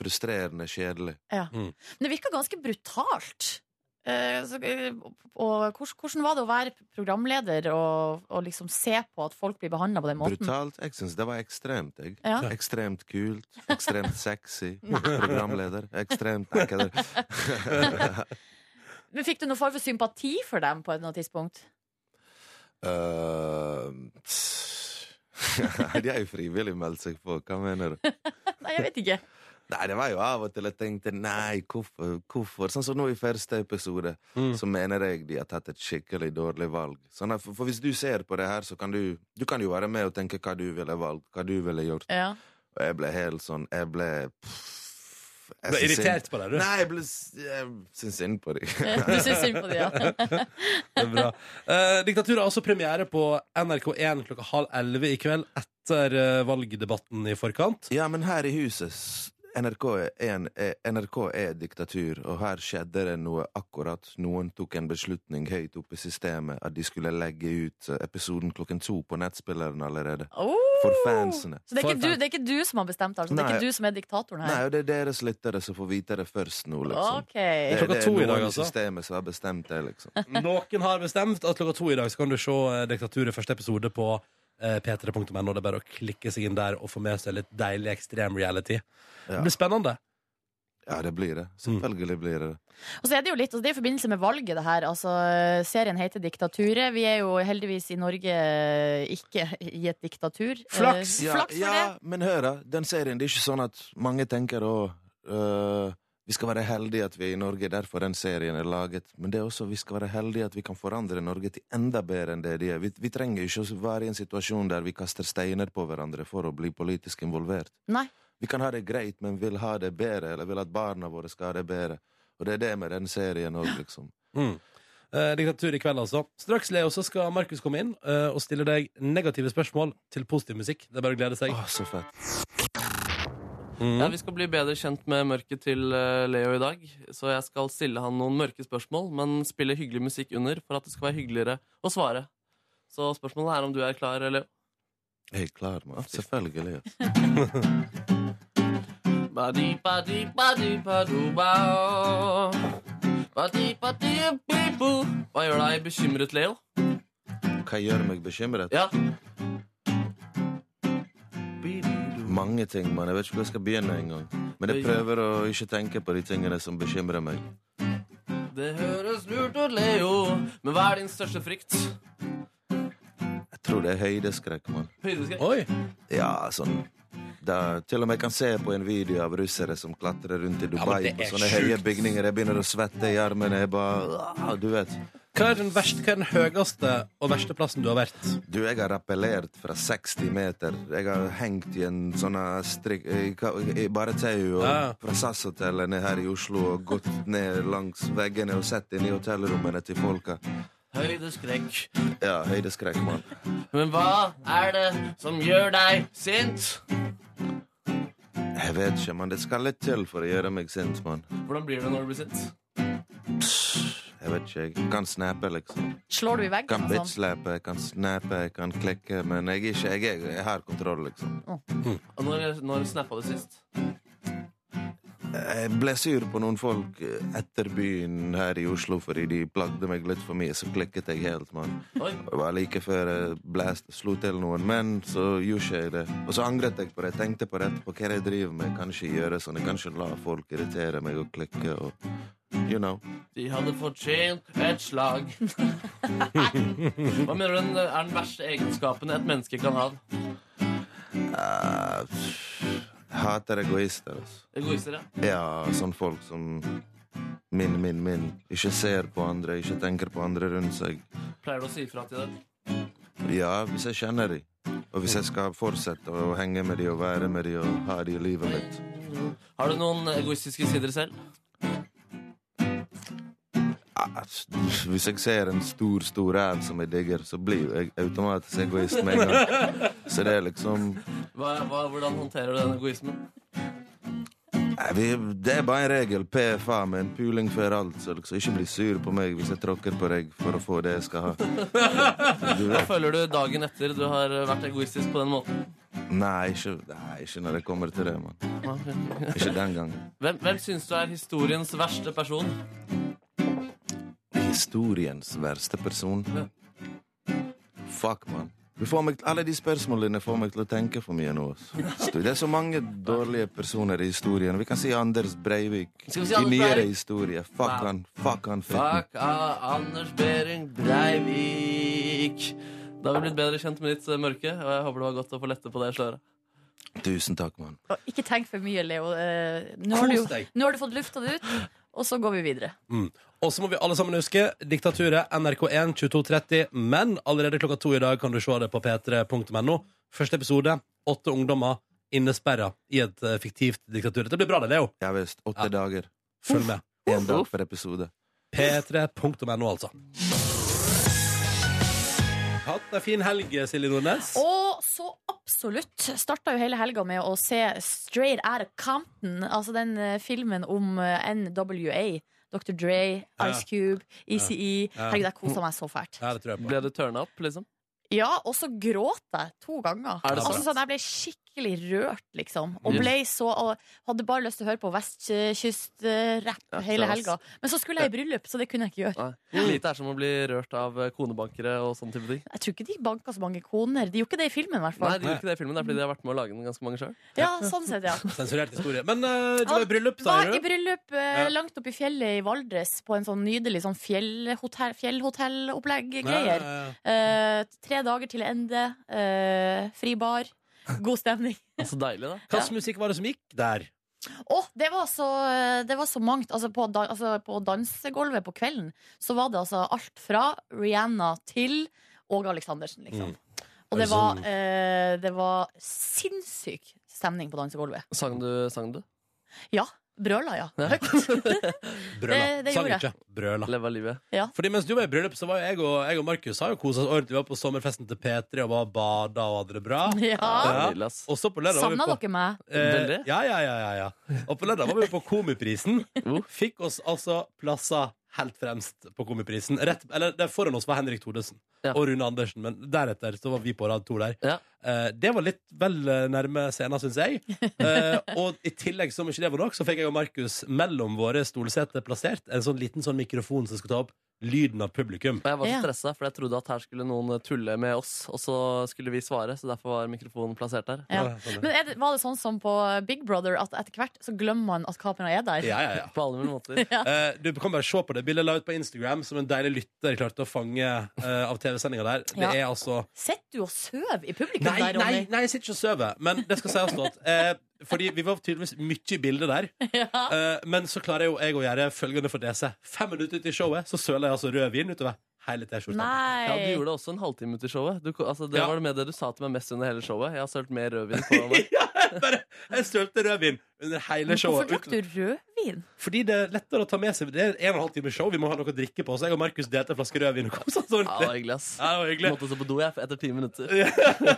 J: frustrerende kjedelig.
C: Ja.
B: Mm.
C: Men det virker ganske brutalt. Eh, så, eh, og hvordan, hvordan var det å være programleder og, og liksom se på at folk blir behandla på den måten?
J: Brutalt. Jeg syns det var ekstremt. Jeg.
C: Ja.
J: Ekstremt kult. Ekstremt sexy. Programleder. Ekstremt Nei, kødder.
C: Men Fikk du noen form for sympati for dem på et eller annet tidspunkt?
J: Øh, De har jo frivillig meldt seg på. Hva mener du?
C: Nei, jeg vet ikke.
J: Nei, det var jo av og til jeg tenkte nei, hvorfor? hvorfor? Sånn som nå i første episode, så mener jeg de har tatt et skikkelig dårlig valg. Sånn at, for, for hvis du ser på det her, så kan du Du kan jo være med og tenke hva du ville valgt, hva du ville gjort.
C: Ja.
J: Og jeg ble helt sånn Jeg ble pff, jeg
B: Ble
J: syns
B: irritert
J: synd-
B: på deg, du?
J: Nei, jeg ble s- Jeg syns synd på dem.
C: Eh, Du syns synd på dem, ja.
B: Det er Bra. Eh, diktaturet har også premiere på NRK1 klokka halv elleve i kveld etter eh, valgdebatten i forkant.
J: Ja, men her i huset s- NRK er, en, er, NRK er diktatur, og her skjedde det noe akkurat. Noen tok en beslutning høyt oppe i systemet at de skulle legge ut eh, episoden klokken to på nettspilleren allerede.
C: Oh!
J: For fansene.
C: Så det er,
B: For
C: ikke du,
B: fans.
C: det er ikke du som har bestemt, altså? Det er
J: Nei.
C: ikke du som er diktatoren
J: Nei,
C: her?
J: og det er deres lyttere som får vite det først nå, liksom.
C: Ok.
J: Det,
B: Klokka
J: det er
B: to i dag,
J: noen i
B: altså.
J: systemet som har bestemt det, liksom.
B: Noen har bestemt at klokka to i dag så kan du se eh, Diktaturet første episode på eh, p3.no. Det er bare å klikke seg inn der og få med seg litt deilig ekstrem reality.
J: Ja.
B: Det blir spennende.
J: Ja, det blir det. Selvfølgelig blir det det.
C: Og så er det jo litt, altså det er i forbindelse med valget det her altså, Serien heter Diktaturet Vi er jo heldigvis i Norge eh, Ikke i et diktatur
B: Flaks!
C: eh,
J: Ja,
C: Flaks for
J: ja men hør da, den serien, det er ikke sånn at mange tenker å øh, Vi skal være heldige at vi er i Norge, derfor den serien er laget. Men det er også vi skal være heldige at vi kan forandre Norge til enda bedre enn det de er. Vi, vi trenger ikke å være i en situasjon der vi kaster steiner på hverandre for å bli politisk involvert.
C: det Nei,
J: Vi kan ha det greit, men vil ha det bedre, eller vil at barna våre skal ha det bedre. Og det er det med den serien òg, liksom.
B: Mm. Eh, diktatur i kveld, altså. Straks, Leo, så skal Markus komme inn eh, og stille deg negative spørsmål til positiv musikk. Det er bare å glede seg.
J: Å, så fett.
B: Mm.
D: Ja, Vi skal bli bedre kjent med mørket til eh, Leo i dag, så jeg skal stille han noen mørke spørsmål, men spille hyggelig musikk under for at det skal være hyggeligere å svare. Så spørsmålet er om du er klar, Leo.
J: Jeg er klar, mann. Selvfølgelig.
D: Ba di ba di ba di ba do ba o. Ba di ba di bi bo. Hva gjør deg bekymret, Leo?
J: Hva gjør meg bekymret?
D: Ja.
J: Mange ting, men jeg vet ikke hvor jeg skal begynne engang. Men jeg prøver å ikke tenke på de tingene som bekymrer meg.
D: Det høres lurt ut, Leo, men hva er din største frykt?
J: Jeg tror det er høydeskrekk, mann.
D: Høydeskrekk?
J: Ja, sånn da, Til og med jeg kan se på en video av russere som klatrer rundt i Dubai
B: men det
J: på
B: er
J: sånne
B: sjukt.
J: høye bygninger. Jeg begynner å svette i armene. Jeg bare ah, Du vet.
B: Hva er den, verst, hva er den høyeste og verste plassen du har vært?
J: Du, jeg har rappellert fra 60 meter. Jeg har hengt i en sånn eh, strikk i, ka- i bare tau og
B: Ja.
J: fra SAS-hotellet ned her i Oslo og gått ned langs veggene og sett inn i hotellrommene til folka.
D: Høydeskrekk.
J: Ja, høydeskrekk, mann.
D: Men hva er det som gjør deg sint?
J: Jeg vet ikke, men det skal litt til for å gjøre meg sint, mann.
D: Hvordan blir det når du blir sint?
J: Jeg vet ikke. Jeg kan snappe, liksom.
C: Slår du i
J: Jeg kan
C: veggen? og sånn?
J: bitch-slappe, jeg kan snappe, jeg kan klikke, men jeg er ikke Jeg, er, jeg har kontroll, liksom.
D: Og når, når snappa du sist?
J: Jeg ble sur på noen folk etter byen her i Oslo fordi de plagde meg litt for mye, så klikket jeg helt, mann.
D: Oi.
J: Det var like før jeg blæst, slo til noen, men så gjorde ikke jeg det. Og så angret jeg på det. Jeg tenkte på det etterpå. Hva er det jeg driver med? Jeg kan ikke gjøre sånn. Jeg kan ikke la folk irritere meg og klikke og You know.
D: De hadde fortjent et slag. Hva mener du den- er den verste egenskapen et menneske kan ha?
J: Eh, Jeg hater egoister, altså.
D: Egoister, ja.
J: Ja, sånn folk som min, min, min. Ikke ser på andre, ikke tenker på andre rundt seg.
D: Pleier du å si ifra til dem?
J: Ja, hvis jeg kjenner de. Og hvis jeg skal fortsette å henge med de og være med de og ha de i livet mitt.
D: Har du noen egoistiske sider selv?
J: Ah, Hvis jeg ser en stor, stor ræv som jeg digger, så blir jeg automatisk egoist med en gang. Så det er liksom
D: Hva, hva, hvordan håndterer du den egoismen?
J: Nei, vi, det er bare en regel. PFA med en puling før alt. Så liksom ikke bli sur på meg hvis jeg tråkker på deg for å få det jeg skal ha. Du
D: Hva
J: vet.
D: føler du dagen etter du har vært egoistisk på den måten?
J: Nei, ikke, nei, ikke når det kommer til det, mann. Ikke den gangen.
D: Hvem, hvem syns du er historiens verste person?
J: Historiens verste person. Fuck, mann. Du får meg, alle de spørsmålene dine får meg til å tenke for mye nå. ass. Det er så mange dårlige personer i historien. Vi kan si Anders Breivik.
D: Skal vi si Anders
J: I nyere
D: Breivik?
J: historie. Fuck
D: Nei.
J: han. Fuck han, fitten.
D: Fuck av Anders Behring Breivik. Da har vi blitt bedre kjent med ditt eh, mørke, og jeg håper det var godt å få lette på det sløret.
J: Tusen takk, mann.
C: Og Ikke tenk for mye, Leo. Eh, Nå har,
B: Kos
C: du,
B: deg.
C: nå har du fått lufta det ut, og så går vi videre.
B: Mm. Og så må vi alle sammen huske Diktaturet NRK1 2230. Men allerede klokka to i dag kan du se det på p3.no. Første episode. Åtte ungdommer innesperra i et eh, fiktivt diktatur. Det blir bra, det, Leo.
J: Ja visst. Åtte dager.
B: Følg med.
J: Én dag per episode.
B: P3.no, altså. Hatt ei en fin helg, Silje Nordnes.
C: Og så absolutt starta jo hele helga med å se Straight Out of Compton, altså den eh, filmen om eh, NWA. Dr. Dre, Ice Cube, ECE.
B: Ja.
C: Herregud, jeg kosa meg så fælt.
B: Ja, det tror jeg på.
D: Ble du tørna opp, liksom?
C: Ja, og så gråt jeg to ganger.
D: Er det
C: Altså
D: sant?
C: sånn, Jeg ble skikkelig rørt, liksom. Og
D: Yes.
C: ble så og Hadde bare lyst til å høre på
D: Ja,
C: vestkystrapp
D: det
C: hele
D: var-
C: helga. Men så skulle jeg i bryllup, så det kunne jeg ikke gjøre.
D: Nei. Lite er som å bli rørt av eh, konebankere og sånne type ting.
C: Jeg tror ikke de banka så mange koner. De gjorde ikke det i filmen, i hvert
D: Nei,
C: fall.
D: de gjør ikke det i filmen, det er fordi de har vært med å lage den ganske mange sjøl.
C: Ja, sånn sett, ja.
B: Sensurert historie. Men eh, du var i bryllup, sa
C: Var i
B: du?
C: bryllup eh,
B: Ja.
C: langt oppe i fjellet i Valdres, på en sånn nydelig sånn fjellhotell, fjellhotellopplegg-greier.
B: Ja, ja, ja.
C: Eh, tre dager til ende, eh, fri bar, god stemning.
D: Så deilig, da.
B: Hvilken musikk var det som gikk der?
C: Å, det var så, eh, det var så mangt. Altså på, da, altså på dansegulvet på kvelden så var det altså alt fra Rihanna til Åge Aleksandersen, liksom.
B: Mm.
C: Og det
B: Er det
C: var,
B: sånn-
C: eh, det var sinnssyk stemning på dansegulvet.
D: Sang du? Sang du?
C: Ja. Brøla, ja.
D: Ja.
B: Brøla.
C: Det- det
B: Sang
C: gjorde
B: ikke. Brøla.
D: Leve av livet.
B: Fordi mens du var i bryllup, så var jo jeg og, jeg og Markus har jo koset oss ordentlig. Vi var på sommerfesten til P3 og bare bada og hadde det bra.
D: Det
C: Ah. ja.
D: er
B: Ja.
D: nydelig, ass.
B: Og så på lørdag
C: Savna
B: var vi
C: dere
B: på
C: meg?
B: eh,
D: Veldig.
B: ja, ja, ja, ja, ja. Og på lørdag var vi på Komiprisen.
D: Oh.
B: Fikk oss altså plasser helt fremst på Komiprisen. Rett, eller der foran oss var Henrik Thodesen
D: Ja.
B: og Rune Andersen, men deretter så var vi på rad to der.
D: Ja.
B: Eh, det var litt vel eh, nærme scenen, syns jeg. Eh, og i tillegg, som ikke det var nok, så fikk jeg og Markus mellom våre stolseter plassert en sånn liten sånn mikrofon som skulle ta opp lyden av publikum.
D: Og jeg var så stressa, for jeg trodde at her skulle noen tulle med oss, og så skulle vi svare, så derfor var mikrofonen plassert der.
C: Ja. Men er det, var det sånn som på Big Brother at etter hvert så glemmer man at kameraet er der?
B: Ja, ja, ja.
D: På alle mulige måter.
C: Ja.
B: Eh, du kan bare se på det. Bildet la ut på Instagram som en deilig lytter klarte å fange eh, av TV-sendinga der. Det
C: Ja.
B: er altså
C: Sitter du og sover i publikum
B: Nei,
C: der,
B: nei,
C: Ronny?
B: nei, jeg sitter ikke og sover. Men det skal sies nå at eh, Fordi vi var tydeligvis mye i bildet der. Eh, men så klarer jo jeg å gjøre følgende for DC. Fem minutter ut i showet så søler jeg altså rød vin utover hele T-skjorta.
D: Ja, du gjorde det også en halvtime til showet. Du, altså, det
B: Ja.
D: var det med det du sa til meg mest under hele showet. Jeg har sølt mer rødvin på meg.
B: Jeg sølte rødvin under hele
C: Men Hvorfor
B: showet.
C: drakk du
B: ut-
C: rødvin?
B: Fordi det er lettere å ta med seg. Det er en og en halv time show, vi må ha noe å drikke på. Så jeg og Markus delte en flaske rødvin og kosa oss
D: Ja, det var
B: ordentlig.
D: hyggelig, ass.
B: Ja, det var hyggelig.
D: Måtte stå på do jeg etter ti minutter.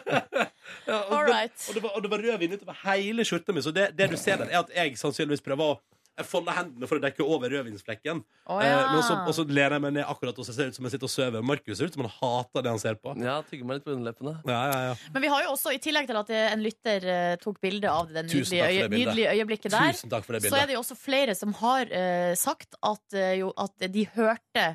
B: Ja, og,
C: All
B: det-
C: right.
B: og, det var, og det var rødvin utover hele skjorta mi, så det, det du ser der, er at jeg sannsynligvis prøver å jeg folder hendene for å dekke over rødvinsflekken.
C: Å,
B: Eh,
C: ja.
B: men også, og så lener jeg meg ned akkurat og så ser det ut som jeg sitter og sover. Markus ser ut som han hater det han ser på.
D: Ja, tygge meg litt på underleppene.
B: Ja, ja, ja.
C: Men vi har jo også, i tillegg til at eh, en lytter eh, tok bilde av det nydelige,
B: Tusen takk for
C: øye,
B: det bildet.
C: nydelige øyeblikket der,
B: Tusen takk for det
C: så er
B: bildet.
C: det jo også flere som har eh, sagt at, eh, jo, at de hørte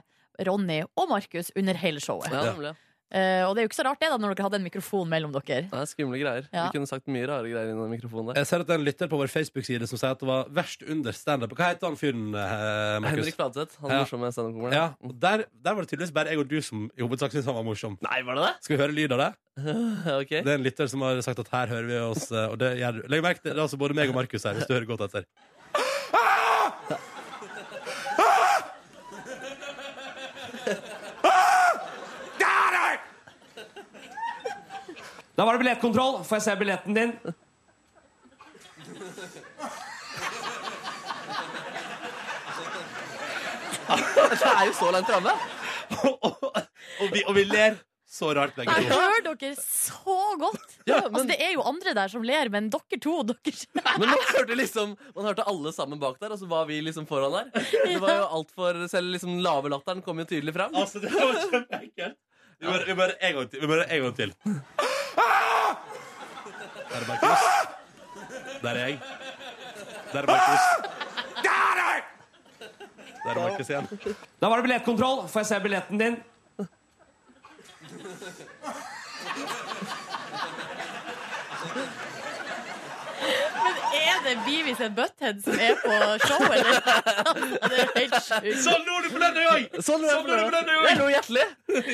C: Ronny og Markus under hele showet.
D: Ja, nemlig.
C: Eh, og det er jo ikke så rart det, da, når dere hadde en mikrofon mellom dere.
D: Det er skumle greier.
C: Ja.
D: Vi kunne sagt mye rare greier inni den mikrofonen der.
B: Jeg ser at det er en lytter på vår Facebook-side som sier at det var verst under standup. Hva heter han fyren, eh, Markus?
D: Henrik Fladseth, han
B: Ja.
D: morsomme standup-komikeren.
B: Ja, og der, der var det tydeligvis bare jeg og du som i hovedsak syntes han var morsom.
D: Nei, var det det?
B: Skal vi høre lyd av det?
D: ok.
B: Det er en lytter som har sagt at her hører vi oss, eh, og det gjør du. Legg merke til det er altså både meg og Markus her, hvis du hører godt etter.
K: Da var det billettkontroll. Får jeg se billetten din?
D: Det er jo så langt framme.
B: Og vi, og vi ler så rart begge
C: Jeg
B: to.
C: hører dere så godt! altså, det er jo andre der som ler, men dere to, dere
D: Men man hørte liksom Man hørte alle sammen bak der, og så var vi liksom foran der. Det var jo alt for Selv liksom lave latteren kom jo tydelig fram.
B: Altså, det var kjempeekkelt. Vi må- Vi må høre en gang til. Vi må høre en gang til. Der er Markus. Der er jeg. Der er Markus. Der er Markus igjen.
K: Da var det billettkontroll. Får jeg se billetten din?
C: Men er det Beavis and Butthead som er på show, eller? Det er helt sjukt.
B: Sånn lo du på den øya!
D: Sånn lå jeg
B: Sånn
D: på
B: lå du på
D: det.
B: den øya!
D: Jeg lo hjertelig.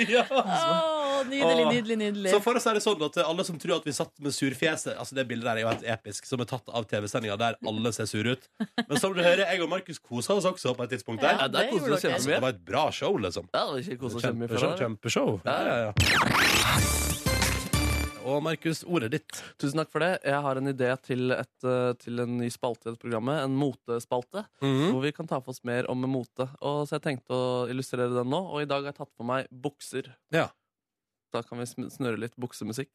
B: Ja.
C: Å, nydelig,
B: Åh.
C: nydelig, nydelig.
B: Så for å si det sånn at alle som tror at vi satt med surfjeset Altså det bildet der er jo helt episk Som er tatt av TV-sendinga der alle ser sur ut Men som du hører, jeg og Markus kosa oss også på et tidspunkt der
C: Ja,
D: Ja,
C: det
D: der koste vi oss
C: gjorde dere.
B: Så det
D: kjempemye.
B: var et bra show liksom
D: Ja, det var ikke kos oss kjempemye
B: Kjempeshow,
D: foran der.
B: kjempeshow ja, ja, ja. Og Markus, ordet ditt
D: Tusen takk for det. Jeg har en idé til, et, eh, til en ny spalte i dette programmet. En motespalte.
B: Mhm. Mm.
D: Hvor vi kan ta for oss mer om mote. Og Så jeg tenkte å illustrere den nå. Og i dag har jeg tatt på meg bukser.
B: Ja.
D: Da kan vi sm- snurre litt buksemusikk.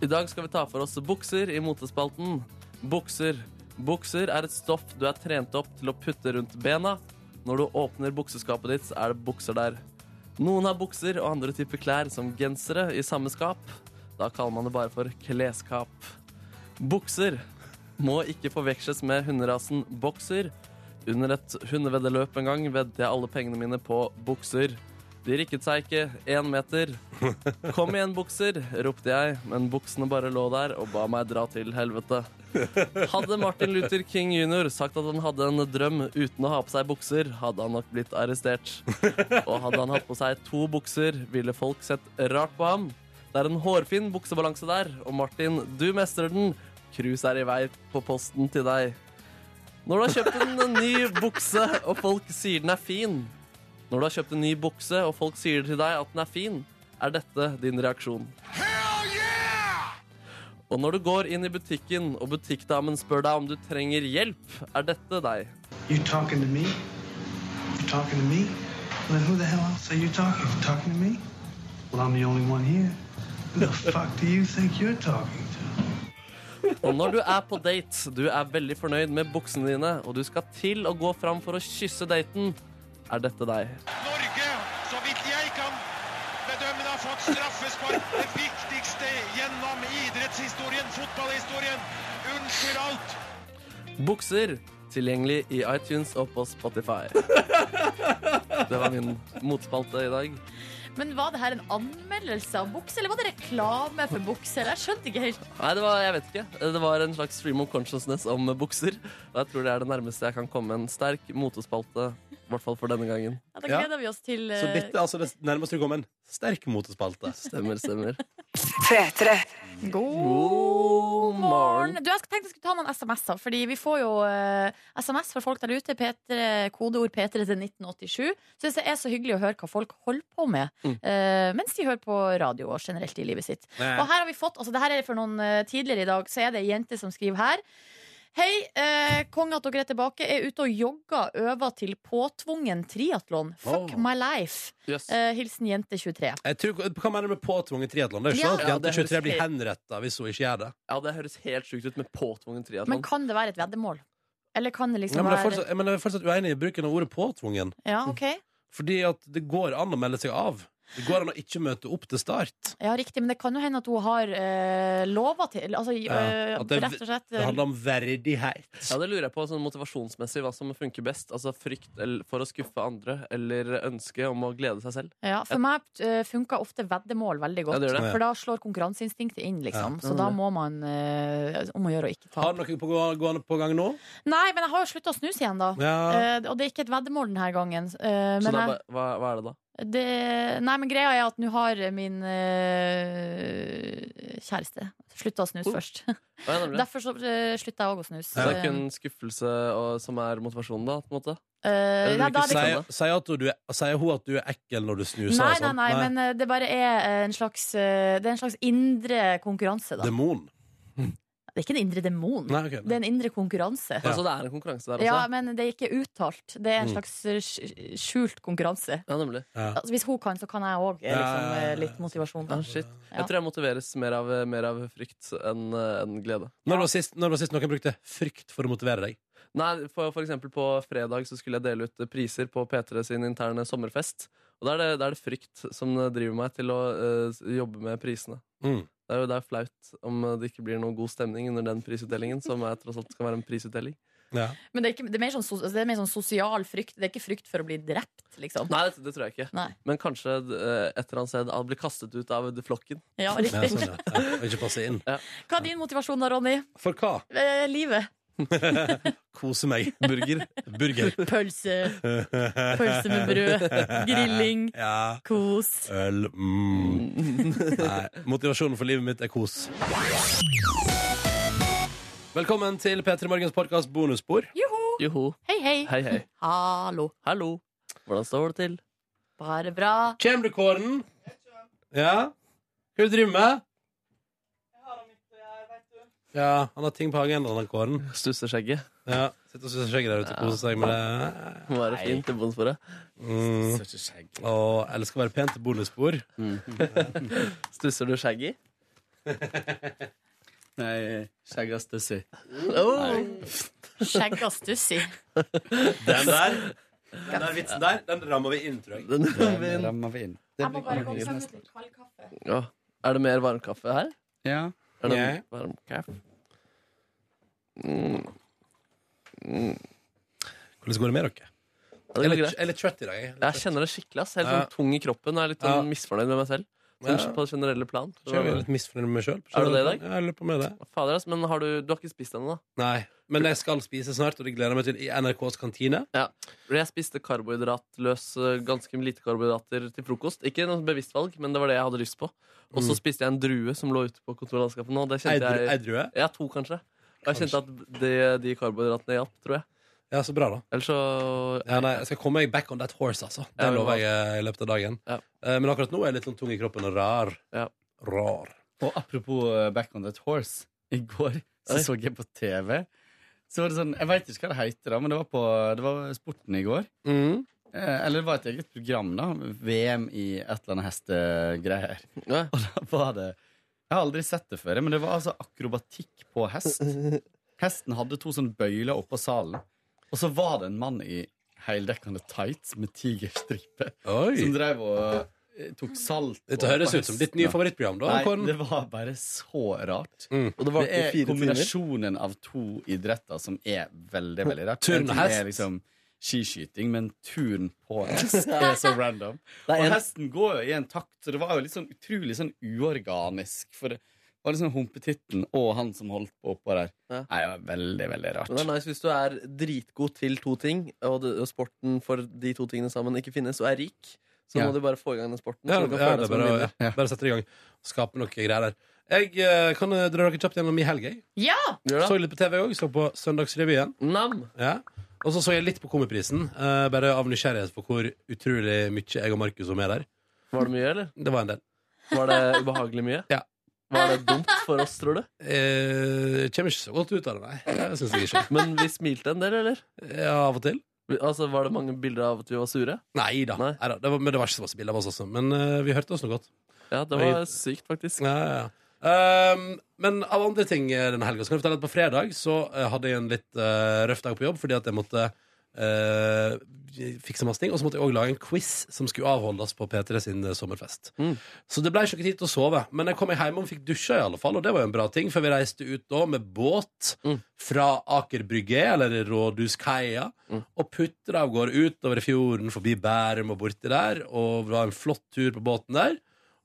D: I dag skal vi ta for oss bukser i motespalten. Bukser. Bukser er et stoff du er trent opp til å putte rundt bena. Når du åpner bukseskapet ditt, så er det bukser der. Noen har bukser og andre typer klær, som gensere, i samme skap. Da kaller man det bare for klesskap. Bukser må ikke forveksles med hunderasen bokser. Under et hundeveddeløp en gang veddet jeg alle pengene mine på bukser. De rikket seg ikke én meter. Kom igjen, bukser, ropte jeg, men buksene bare lå der og ba meg dra til helvete. Hadde Martin Luther King jr. sagt at han hadde en drøm uten å ha på seg bukser, hadde han nok blitt arrestert. Og hadde han hatt på seg to bukser, ville folk sett rart på ham. Det er en hårfin buksebalanse der, og Martin, du mestrer den. Krus er i vei på posten til deg. Når du har kjøpt en ny bukse, og folk sier den er fin Når du har kjøpt en ny bukse, og folk sier til deg at den er fin, er dette din reaksjon. Og når du går inn i butikken, og butikkdamen spør deg om du trenger hjelp, er dette deg.
L: You talking to me? You talking to me? Well, then who the hell else are you talking? You talking to me? Well, I'm the only one here. Who the fuck do you think you're talking to?
D: Og når du er på date, du er veldig fornøyd med buksene dine, og du skal til å gå fram for å kysse daten, er dette deg.
M: Norge, så vidt jeg kan bedømme, har fått straffespark. Det viktigste gjennom idrettshistorien, fotballhistorien. Unnskyld alt.
D: Bukser tilgjengelig i iTunes og på Spotify. Det var min motspalte i dag.
C: Men var det her en anmeldelse av bukse, eller var det reklame for bukser? Jeg skjønte ikke helt.
D: Nei, det var, jeg vet ikke. Det var en slags stream of consciousness om bukser. Og jeg tror det er det nærmeste jeg kan komme en sterk motespalte. I hvert fall for denne gangen.
C: Ja, da gleder vi oss til
B: Så
C: eh,
B: dette er altså det nærmeste du kommer en sterk motespalte.
D: Stemmer, stemmer.
C: God morgen. Du, jeg tenkte jeg skulle ta noen SMS-er, fordi vi får jo eh, SMS fra folk der ute. P3, kodeord P3 til 1987. Syns det er så hyggelig å høre hva folk holder på med
B: Mm.
C: eh, mens de hører på radio og generelt i livet sitt.
N: Nei.
C: Og her har vi fått, altså det her er for noen eh, tidligere i dag, så er det ei jente som skriver her. Hei, eh, konge at dere er tilbake. Er ute og jogger, øver til påtvungen triatlon. Fuck
B: Oh.
C: my life.
B: Yes.
C: Eh, hilsen jente 23.
B: Jeg tror, hva mener du med påtvunget triatlon? Det er jo
C: Ja.
B: sånn at
C: Ja,
B: jente
D: det høres
B: 23 blir
D: helt-
B: henretta hvis hun ikke gjør det.
D: Ja, det høres helt sjukt ut med påtvungen
C: Men
D: triatlon.
C: kan det være et veddemål? Eller kan det
B: sånn. Ja,
C: liksom
B: men, jeg er
C: være
B: fortsatt, men jeg er fortsatt uenig i bruken av ordet påtvungen.
C: Ja, ok
B: Fordi at det går an å melde seg av. Det går an å ikke møte opp til start.
C: Ja, riktig, men det kan jo hende at hun har eh, lova til Altså, eh,
B: At det,
C: rett og slett
B: det handler om verdighet.
D: Ja, det lurer jeg på sånn motivasjonsmessig hva som funker best. Altså Frykt el- for å skuffe andre eller ønske om å glede seg selv.
C: ja, For meg uh, funka ofte veddemål veldig
D: Ja,
C: godt.
D: det gjør det.
C: For da slår konkurranseinstinktet inn, liksom.
B: Ja.
C: Så da må man eh, om å gjøre å ikke
B: Har du noe på, gå- gående på gang nå?
C: Nei, men jeg har jo slutta å snuse igjen, da.
B: Ja.
C: Eh, og det er ikke et veddemål denne gangen. eh,
D: Så
C: men
D: da,
C: jeg,
D: ba- hva, hva er det da?
C: det, nei, men greia er at nå har min eh, kjæreste slutta å snuse
B: Oh.
C: først.
D: Hva er det nemlig?
C: Derfor så, eh, slutta jeg òg å snuse.
D: Så det er ikke en skuffelse og, som er motivasjonen, da? på en måte?
C: Eh,
D: Eller
C: nei, da er
D: ikke
C: det-
B: Sier, sier, at du, er- sier hun at du er ekkel når du snuser?
C: Nei,
B: og
C: nei,
B: sånn?
C: nei, men eh, det bare er eh, en slags eh, Det er en slags indre konkurranse, da.
B: Demon.
C: Det er ikke en indre demon.
B: Nei, ok, nei.
C: Det er en indre konkurranse.
D: Altså, det er en konkurranse der også?
C: Ja, men det er ikke uttalt. Det er en
D: Mm.
C: slags eh, sk- skjult konkurranse.
D: Ja, nemlig.
C: Altså, hvis hun kan, så kan jeg òg. Liksom, eh, litt motivasjon. Da. Ja.
D: Ah, Jeg tror jeg motiveres mer av, mer av frykt enn eh, enn glede.
B: Når var sist, når var sist noen brukte frykt for å motivere deg?
D: Nei, for, for eksempel på fredag så skulle jeg dele ut priser på P3 sin interne sommerfest. Og da er det, da er det frykt som driver meg til å eh, jobbe med prisene.
B: Mm.
D: Det er jo det er flaut om det ikke blir noe god stemning under den prisutdelingen, som er, tross alt skal være en prisutdeling.
C: Men det er, ikke, det, er mer sånn, sos- det er mer sånn sosial frykt. Det er ikke frykt for å bli drept, liksom.
D: Nei, det, det tror jeg ikke.
C: Nei.
D: Men kanskje eh, et eller annet sted han blir kastet ut av flokken.
C: Ja, riktig. Ja, sånn, ja.
B: Og ikke passe inn.
C: Hva er din motivasjon da, Ronny?
B: For hva?
C: Eh, livet.
B: Kose meg. Burger. Burger.
C: Pølse. Pølse med brød. Grilling.
B: Ja.
C: Kos.
B: Øl. Mm. Nei. Motivasjonen for livet mitt er kos. Velkommen til P3 Morgens podkast bonusspor.
C: Joho!
D: Joho.
C: Hei, hei.
D: Hei, hei.
C: Hallo.
D: Hallo. Hvordan står det til?
C: Bare bra.
B: Kjem du, Kåren? Ja? Hva er det du driver med? Ja, han har ting på agendaen, han Kåren.
D: Stusseskjegget.
B: Ja, Sitter og susser skjegget der ute og koser seg med det.
D: Må være fint til bonusbordet.
B: Mm. Og elsker å være pent til bonusspor.
D: Stusser du skjegget?
O: Nei, skjegg og stussi.
D: Oh.
C: Skjegg og stussi.
B: Den der, den der vitsen der, den rammer vi inn, tror jeg.
D: Den
O: Den rammer vi inn. Det
C: Jeg må
O: blir
C: bare gå og
O: kongen.
C: samle litt kald kaffe.
D: Ja. Er det mer varm kaffe her?
O: Ja.
D: Er det
O: Ja.
D: varm kaffe? Mm. Mm.
B: Hvordan går det med dere?
D: Ja, det
B: Jeg
D: går
B: er litt-
D: greit.
B: jeg er litt trøtt i dag. jeg.
D: Jeg kjenner det skikkelig. ass. Jeg er
B: Ja.
D: Helt sånn tung i kroppen. Jeg er litt
B: Ja.
D: sånn misfornøyd med meg selv. Sånn
B: Ja.
D: På det generelle plan.
B: Kjenner jeg er litt misfornøyd med meg sjøl.
D: Er du det i dag?
B: Jeg lurer på meg det.
D: Fader, ass, men har du, du har ikke spist ennå, da?
B: Nei, men jeg skal spise snart, og det gleder jeg meg til i NRKs kantine.
D: Ja. Fordi Jeg spiste karbohydratløs, eh, ganske lite karbohydrater til frokost. Ikke noe bevisst valg, men det var det jeg hadde lyst på. Og så
B: Mm.
D: spiste jeg en drue som lå ute på kontorlandskapet nå. og Det
B: Ei
D: kjente
B: dru-
D: jeg,
B: ei drue?
D: Ja, to, kanskje. Og jeg kjente at de, de karbohydratene hjalp, tror jeg.
B: Ja, så bra, da.
D: Ellers så
B: Ja, nei, jeg skal komme meg back on that horse, altså. Det
D: Ja, vi må
B: lover jeg eh, i løpet av dagen. Eh, Men akkurat nå er jeg litt sånn tung i kroppen og rar. Rar.
O: Og apropos eh, Back on that horse. I går så,
B: Oi.
O: så jeg på TV. Så var det sånn, Jeg veit ikke hva det heter, da, men det var på det var Sporten i går.
D: Mm.
O: Eh, eller det var et eget program. da VM i et eller annet hestegreier.
D: Og
O: da var det Jeg har aldri sett det før, men det var altså akrobatikk på hest. Hesten hadde to sånne bøyler oppå salen, og så var det en mann i heldekkende tights med tigerstripe
B: Oi.
O: som drev og eh, tok salt
B: Dette høres ut som ditt nye favorittprogram, da, Kåren.
O: Nei, det var bare så rart.
B: Mm. Og det varte i
O: er
B: fire timer.
O: kombinasjonen av to idretter som er veldig, veldig rart.
B: Turn og
O: En ting
B: hest.
O: Er liksom skiskyting, men turn på hest er så random.
N: Det er en-
O: Og hesten går jo i en takt, så det var jo litt sånn utrolig sånn uorganisk. For det var liksom humpetitten og han som holdt på oppå der. Nei, det var veldig, veldig rart.
N: Men det er nice hvis du er dritgod til to ting, og, det, og sporten for de to tingene sammen ikke finnes, og er rik. Så
B: Ja.
N: må du bare få i gang den sporten.
B: Ja,
N: så
B: ja,
N: du kan
B: det
N: føle
B: er
N: deg som en
B: bare,
N: vinner.
B: ja, bare sette det i gang. Skape noe greier der. Jeg eh, kan eh, dra dere kjapt gjennom min helg. jeg.
C: Ja!
B: Så litt på TV òg. Så på Søndagsrevyen. Ja. Og så så jeg litt på Komiprisen. eh, bare av nysgjerrighet på hvor utrolig mye jeg og Markus som er der.
N: Var det mye, eller?
B: Det var en del.
N: Var det ubehagelig mye?
B: Ja.
N: Var det dumt for oss, tror du?
B: Eh, kommer ikke så godt ut av det, nei. Det synes jeg ikke.
N: Men vi smilte en del, eller?
B: Ja, av og til.
N: Altså, Var det mange bilder av at vi var sure?
B: Nei da. Neida, det var, men det var ikke så masse bilder av oss også. Men eh, vi hørte oss noe godt.
N: Ja, det var sykt, faktisk.
B: Ja, ja, ja. Ehm, men av andre ting eh, denne helga Så kan jeg fortelle at på fredag så eh, hadde jeg en litt eh, røff dag på jobb fordi at jeg måtte eh, fikse masse ting. Og så måtte jeg òg lage en quiz som skulle avholdes på P3 sin eh, sommerfest. Så det ble ikke noe tid til å sove. Men jeg kom meg hjem og fikk dusja, i alle fall, og det var jo en bra ting. For vi reiste ut da med båt fra Aker Brygge, eller Rådhuskaia, og putra av gårde utover i fjorden, forbi Bærum og borti der. Og det var en flott tur på båten der.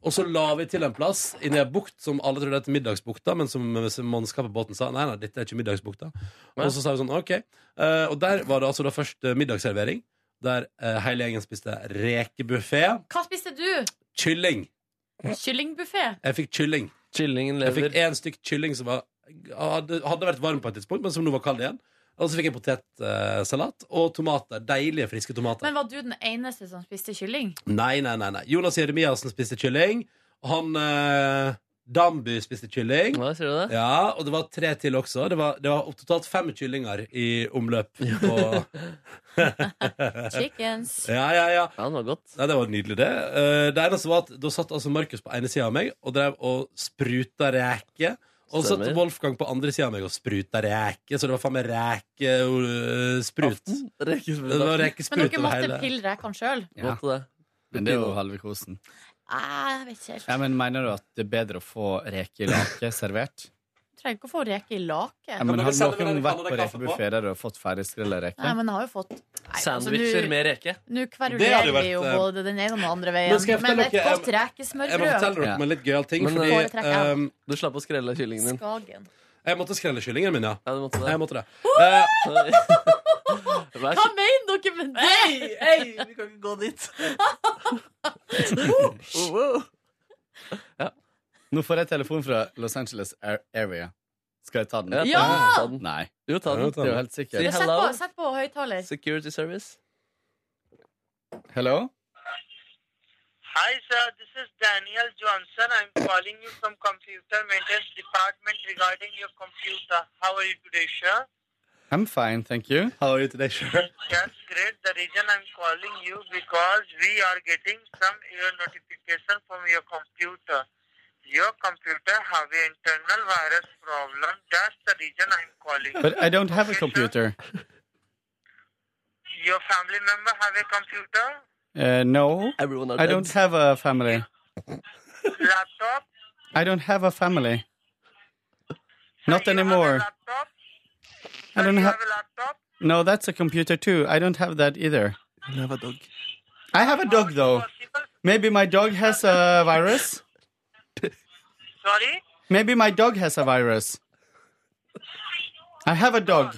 B: Og så la vi til en plass inni ei bukt som alle trodde het Middagsbukta, men som som mannskapet på båten sa nei, nei, dette er ikke Middagsbukta. Og så sa vi sånn, OK. Eh, og der var det altså da først eh, middagsservering, der eh, hele gjengen spiste rekebuffé.
C: Hva spiste du?
B: Kylling.
C: Kyllingbuffé?
B: Jeg fikk kylling. Jeg fikk én stykk kylling som var, hadde, hadde vært varm på et tidspunkt, men som nå var kald igjen. Og så fikk jeg potetsalat eh, og tomater. Deilige, friske tomater.
C: Men var du den eneste som spiste kylling?
B: Nei, nei, nei, nei. Jonas Jeremiassen spiste kylling. Han eh, Damby spiste kylling.
N: Hva, sier du det?
B: Ja, Og det var tre til også. Det var, det var totalt fem kyllinger i omløp. Og...
C: Chickens.
B: Ja, ja, ja.
N: det var godt.
B: Nei, det var nydelig, det. Eh, det eneste var at Da satt altså Markus på ene sida av meg og drev og spruta reker. Og så satt
N: Stemmer.
B: Wolfgang på andre sida av meg og spruta reker, så det var faen meg rekesprut.
N: Rekesprut.
B: Det var
C: Men
B: rekesprut
C: dere
B: over
C: måtte
B: hele
C: pille rekene sjøl?
O: Ja. Men det er jo halve kosen.
C: Ah, Jeg vet ikke helt.
O: Ja, men Mener du at det er bedre å få reke i lake servert?
C: Trenger ikke å få reke i lake.
O: Ja, men Har noen vært på rekebuffé der du har fått ferdigskrella
C: Nei,
O: reke?
C: men jeg har jo fått Nei, altså,
N: altså,
O: Sandwicher
C: nå-
O: med reke.
C: Nå
O: Det
C: kverulerer
O: hadde
C: vi
O: vært,
C: jo
B: eh,
C: både den ene og den andre
B: Men
C: veien.
B: skal jeg
C: Men,
B: fortelle
C: et
B: dere-
C: godt
B: Jeg må fortelle
C: rekesmørbrød.
B: dere om en litt gøyal ting.
C: Men, eh,
B: fordi
C: Foretrekker jeg.
B: ehm,
N: Du slapp å skrelle kyllingen din.
C: Skagen.
B: Jeg måtte skrelle kyllingen min, ja. Jeg måtte det.
C: Hva mener dere med det?! Hei,
N: vi kan ikke gå dit.
O: Nå får jeg telefon fra Los Angeles Air Area. Skal jeg ta den?
N: Ja, ta Ja! den, ta den.
O: Nei.
N: Jo, ta den.
O: Det er jo helt
N: Si
O: sikkert.
C: Sett på, sett på høyttaler.
N: Security Service.
O: Hello?
P: Hi, sir. This is Daniel Johnson. I'm calling you from Computer Maintenance Department regarding your computer. How are you today, sir?
O: I'm fine, thank you. How are you today, sir?
P: That's great. The reason I'm calling you because we are getting some error notification from your computer. Your computer have an internal virus problem. That's the reason I'm calling.
O: But I don't have a computer.
P: Your family member have a computer,
O: Uh, no,
N: Everyone are
O: I don't have a family.
P: laptop,
O: I don't have a family. Not anymore. I don't have a
P: laptop.
O: No, that's a computer too. I don't have that either.
N: You have a dog.
O: I have a dog though. Maybe my dog has a virus.
P: Sorry?
O: Maybe my dog has a virus. I have a dog.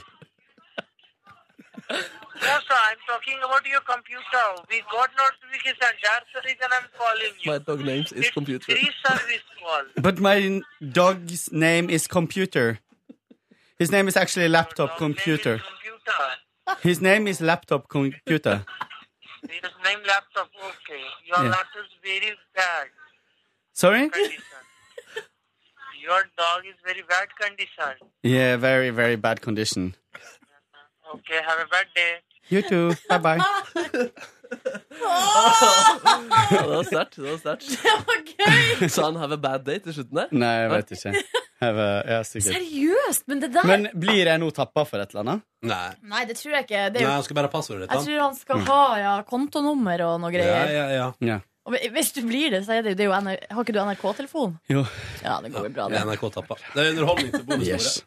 P: No, sir, I'm talking about your computer. We got notification. That's the reason I'm calling you.
N: My dog names is computer.
P: Free service call.
O: But my n- dog's name is computer. His name is actually laptop computer.
P: Computer.
O: His name is laptop computer.
P: His name laptop. Okay. Your
O: Yeah.
P: laptop is very bad
O: Sorry?
P: condition. your dog is very bad condition.
O: Yeah, very, very bad condition.
P: Okay. Have a bad day.
O: You too. Bye bye.
N: Ja, det var sterkt. Det var sterkt. Så han have a bad day til slutten der?
O: Nei, jeg vet ikke. Jeg var- ja, sikkert.
C: Seriøst, men det der
O: Men blir jeg nå tappa for et eller annet?
B: Nei.
C: Nei, det tror jeg ikke. Det er jo...
B: skal bare ha passordet
C: Jeg tror han skal ha ja, kontonummer og noe
B: Ja,
C: greier.
B: ja, ja.
C: Og Hvis du blir det, så er det, det er jo NR Har ikke du NRK-telefon?
B: Jo.
C: Ja, det går jo bra,
B: det. NRK-tappa. Det er underholdning til bonusbordet. Eh,
D: Yes.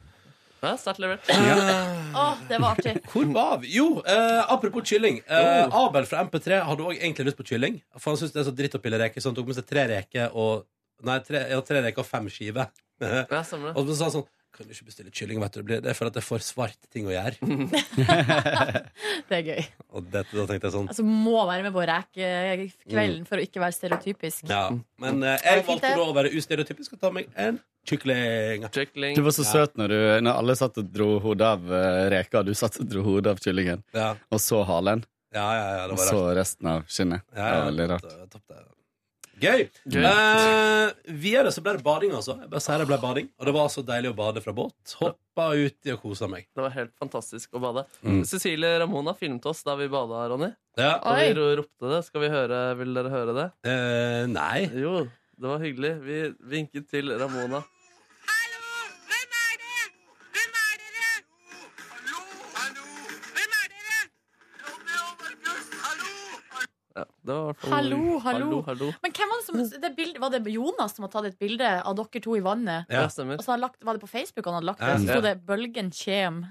D: Ja, Sterkt levert.
C: Å, det var artig.
B: Hvor var vi? Jo, eh, apropos kylling. Eh, Abel fra MP3 hadde òg egentlig lyst på kylling. For han syntes det er så dritt å pille reker, så han tok med seg tre reker og Nei, tre, ja, tre reker og fem skiver.
D: Ja, stemmer det.
B: og så sa han sånn Kan du ikke bestille kylling? Vet du, det blir- det er for at det er for svarte ting å gjøre.
C: Det er gøy.
B: og det, da tenkte jeg sånn
C: Altså, må være med på rekekvelden for å ikke være stereotypisk.
B: Ja. Men eh,
C: Har du
B: jeg
C: fint
B: valgte
C: det?
B: da å være ustereotypisk og ta meg en kykling.
O: Du var så
B: Ja.
O: søt når, du, når alle satt og dro hodet av eh, reka, du satt og dro hodet av kyllingen.
B: Ja.
O: Og så halen.
B: Ja, ja, ja, det
O: og
B: var
O: så resten av skinnet.
B: Ja,
O: det
B: ja,
O: var veldig rart.
B: Gøy!
O: Gøy.
B: Eh, videre så ble det bading, altså. Jeg bare sier det ble bading Og det var så deilig å bade fra båt. Hoppa uti og kosa meg.
D: Det var helt fantastisk å bade.
B: Mm.
D: Cecilie Ramona filmet oss da vi bada, Ronny.
B: Ja.
D: Og vi ro- ropte det. Skal vi høre Vil dere høre det?
B: Eh, nei.
D: Jo, det var hyggelig. Vi vinket til Ramona. Ja, det var i hvert fall-
C: Hallo, hallo.
D: hallo, hallo.
C: Men hvem var det som det bildet, Var det Jonas som hadde tatt et bilde av dere to i vannet?
D: Ja, stemmer.
C: Og så hadde han lagt, Var det på Facebook han hadde lagt det?
D: Ja.
C: Så sto det 'Bølgen kjem'.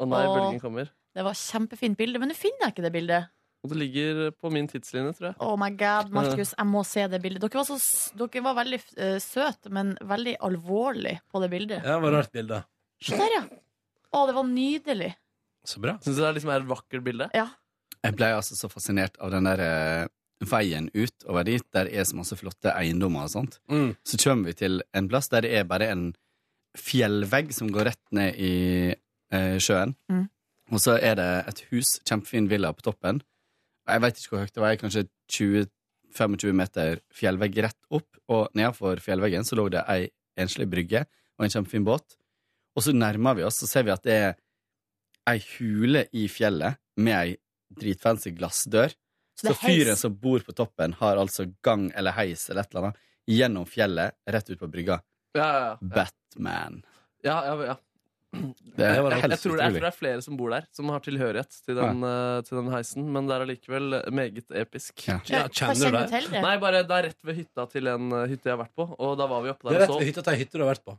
D: Og nei,
C: Åh.
D: bølgen kommer.
C: Det var kjempefint bilde, men nå finner jeg ikke det bildet.
D: Og det ligger på min tidslinje, tror jeg.
C: Oh my god, Markus, jeg må se det bildet. Dere var, så, s- dere var veldig uh, søte, men veldig alvorlig på det bildet.
B: Ja, det var et rart bilde.
C: Se der, ja! Å, det var nydelig.
B: Så bra.
D: Syns du det er liksom er et vakkert bilde?
C: Ja.
O: Jeg ble altså så fascinert av den der eh, veien ut over dit, der det er så masse flotte eiendommer og sånt.
B: Mm.
O: Så kommer vi til en plass der det er bare en fjellvegg som går rett ned i eh, sjøen.
C: Mm.
O: Og så er det et hus, kjempefin villa på toppen. Jeg veit ikke hvor høyt det var, kanskje 20-25 meter fjellvegg rett opp, og nedenfor fjellveggen så lå det ei enslig brygge og en kjempefin båt. Og så nærmer vi oss, så ser vi at det er ei hule i fjellet med ei dritfancy glassdør.
C: Så
O: Så
C: det er heis.
O: fyren som bor på toppen, har altså gang eller heis eller et eller annet gjennom fjellet, rett ut på brygga.
D: Ja, ja, ja.
O: Batman.
D: Ja, ja, ja.
O: Det er
D: jeg, jeg, tror det,
O: helt
D: jeg
O: utrolig.
D: tror det er flere som bor der, som har tilhørighet til den, eh, til den heisen. Men det er allikevel meget episk.
B: Ja. Ja, kjenner Hva kjenner du du til det? det?
D: Nei, bare Det er rett ved hytta til en eh, hytte jeg har vært på. Og da var vi oppe
B: Det
D: der og
B: er rett
D: så.
B: ved hytta til ei hytte du har vært på.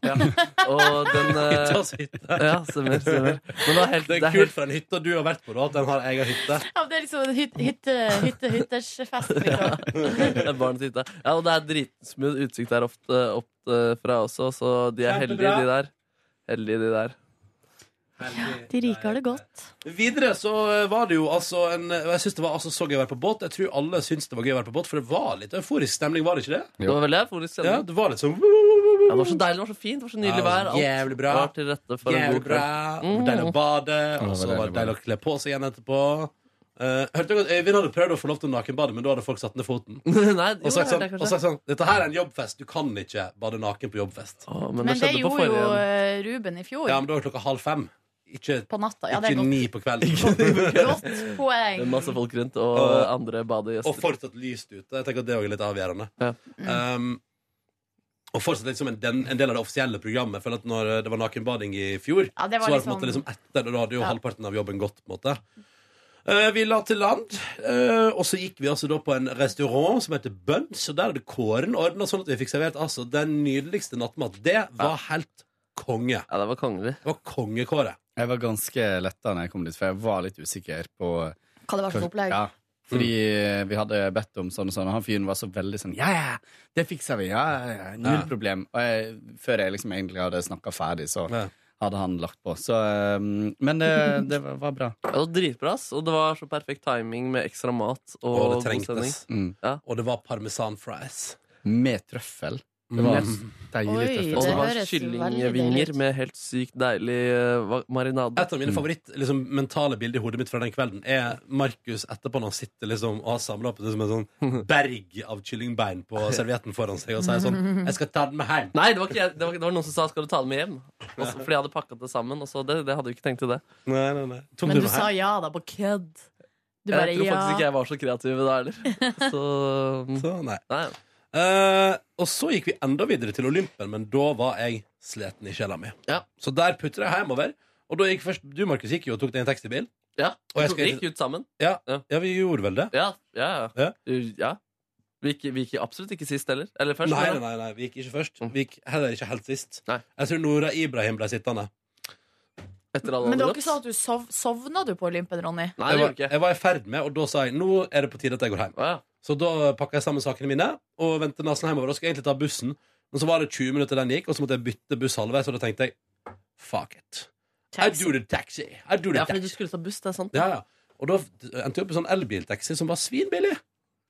D: Og den eh,
B: Hytta til hytte.
D: Ja, stemmer. stemmer. Men det er helt,
B: det er kult for en hytte du har vært på, da, at den har egen hytte.
C: Ja, men det er liksom en hyt, hytte, hytte, hyttersfest. Liksom.
D: det er barnets hytte. Ja, og det er dritsmooth utsikt der ofte opp eh, fra også, så de er heldige,
B: Kjempebra.
D: de der. Heldige, de der.
C: De rike har det godt.
B: Videre så eh, var det jo altså en Jeg syns det var altså så gøy å være på båt. Jeg tror alle syns det var gøy å være på båt, for det var litt euforisk stemning, var det ikke det?
D: Det var veldig euforisk stemning.
B: Ja, det var litt sånn
D: Ja, det var så deilig, det var så fint, det var så nydelig
B: Ja,
D: vær. Alt
B: jævlig bra.
D: var til rette for en
B: Jævlig
D: god
B: bra.
D: kveld.
B: Det var Deilig å bade,
D: Ja,
B: og
D: det
B: så
D: var
B: var det
D: deilig å
B: deilig å kle på seg igjen etterpå. Eh, hørte dere at Øyvind hadde prøvd å få lov til å nakenbade, men da hadde folk satt ned foten.
D: Nei, jo, det er
B: og, sagt sånn,
D: det kanskje.
B: og sagt sånn Dette her er en jobbfest, du kan ikke bade naken på jobbfest.
D: men
C: Men det gjorde jo eh, Ruben i fjor.
B: Ja, men da var det klokka halv fem. Ikke,
C: På natta. Ja, det er
B: ikke
C: godt.
B: ni på kvelden.
C: Godt
D: Det
C: poeng.
D: er masse folk rundt, og
B: Og-
D: andre badegjester.
B: og fortsatt lyst ute. Jeg tenker at det er også litt avgjørende. Um, og fortsatt liksom en, den, en del av det offisielle programmet. For at når eh, det var nakenbading i fjor,
C: Ja, det var
B: så var det på en
C: liksom-
B: måte liksom etter, og da hadde jo
C: Ja.
B: halvparten av jobben gått. på en måte Eh, vi la til land, eh, og så gikk vi altså da på en restaurant som heter Bunch. Og der hadde Kåren ordna sånn at vi fikk servert altså den nydeligste nattmat. Det var helt konge.
D: Ja, det var kongelig.
B: Det var kongekåret.
O: Jeg var ganske letta når jeg kom dit, for jeg var litt usikker på
C: Hva det var slags opplegg.
O: Ja, fordi
B: Mm.
O: vi hadde bedt om sånn og sånn, og han fyren var så veldig sånn Ja, ja, det fikser vi. Ja, ja, ja. Null
B: Ja.
O: problem. Og jeg, før jeg liksom egentlig hadde snakka ferdig, så hadde han lagt på. Så um, Men det, det var var bra.
D: Ja, det var dritbra, ass. Og det var så perfekt timing med ekstra mat og, god
B: Og det trengtes.
D: stemning.
O: Mm.
D: Ja.
B: Og det var parmesan fries.
O: Med trøffel. Det var
B: Mm.
O: deilig
B: Oi,
O: trøffel.
B: det
D: Og det var
B: høres veldig
D: kyllingvinger
B: deilig ut.
D: med helt sykt deilig eh, va- marinade.
B: Et av mine favoritt liksom, mentale bilder i hodet mitt fra den kvelden er Markus etterpå når han sitter liksom, og har samla opp liksom, en sånn berg av kyllingbein på servietten foran seg og sier sånn 'Jeg skal ta den med hjem'.
D: Nei, det var, ikke jeg, det, var, det var noen som sa 'skal du ta det med hjem'? Og så- fordi jeg hadde pakket det sammen. Og så det, det hadde vi ikke tenkt til det.
B: Nei, nei, nei. Tok
C: Men
B: det
C: du
B: med
C: sa
B: hjem?
C: ja da, på kødd. Du
D: jeg
C: bare
D: tror faktisk ikke
C: ja.
D: jeg var så kreativ da heller. Så, mm,
B: Så nei.
D: nei.
B: Eh, og så gikk vi enda videre til Olympen, men da var jeg sliten i sjela mi. Så der putter jeg hjemover. Og da gikk først du, Markus, gikk jo og tok deg en taxibil.
D: Ja,
B: Og jeg
D: vi
B: skal-
D: gikk ut sammen.
B: Ja, ja. vi gjorde vel det.
D: Ja, ja, ja. ja. Vi gikk, vi gikk absolutt ikke sist heller. Eller først.
B: Nei,
D: men-
B: nei, nei, vi gikk ikke først. Vi gikk heller ikke helt sist. Jeg tror Nora Ibrahim ble sittende.
D: Etter
C: Men det var ikke sånn at du sov, sovna du på Olympen, Ronny?
B: jeg, var, jeg var i ferd med, og da sa jeg nå er det på tide at jeg går hjem. Så da pakka jeg sammen sakene mine og vendte nesen hjemover. Og skulle egentlig ta bussen, men så var det 20 minutter den gikk, og så måtte jeg bytte buss halvveis, og da tenkte jeg fuck it. I do the taxi. I do the
N: Ja,
B: taxi.
N: fordi du skulle ta buss, det er sant.
B: Ja, ja. Og da endte jeg opp i sånn elbiltaxi som var svinbillig.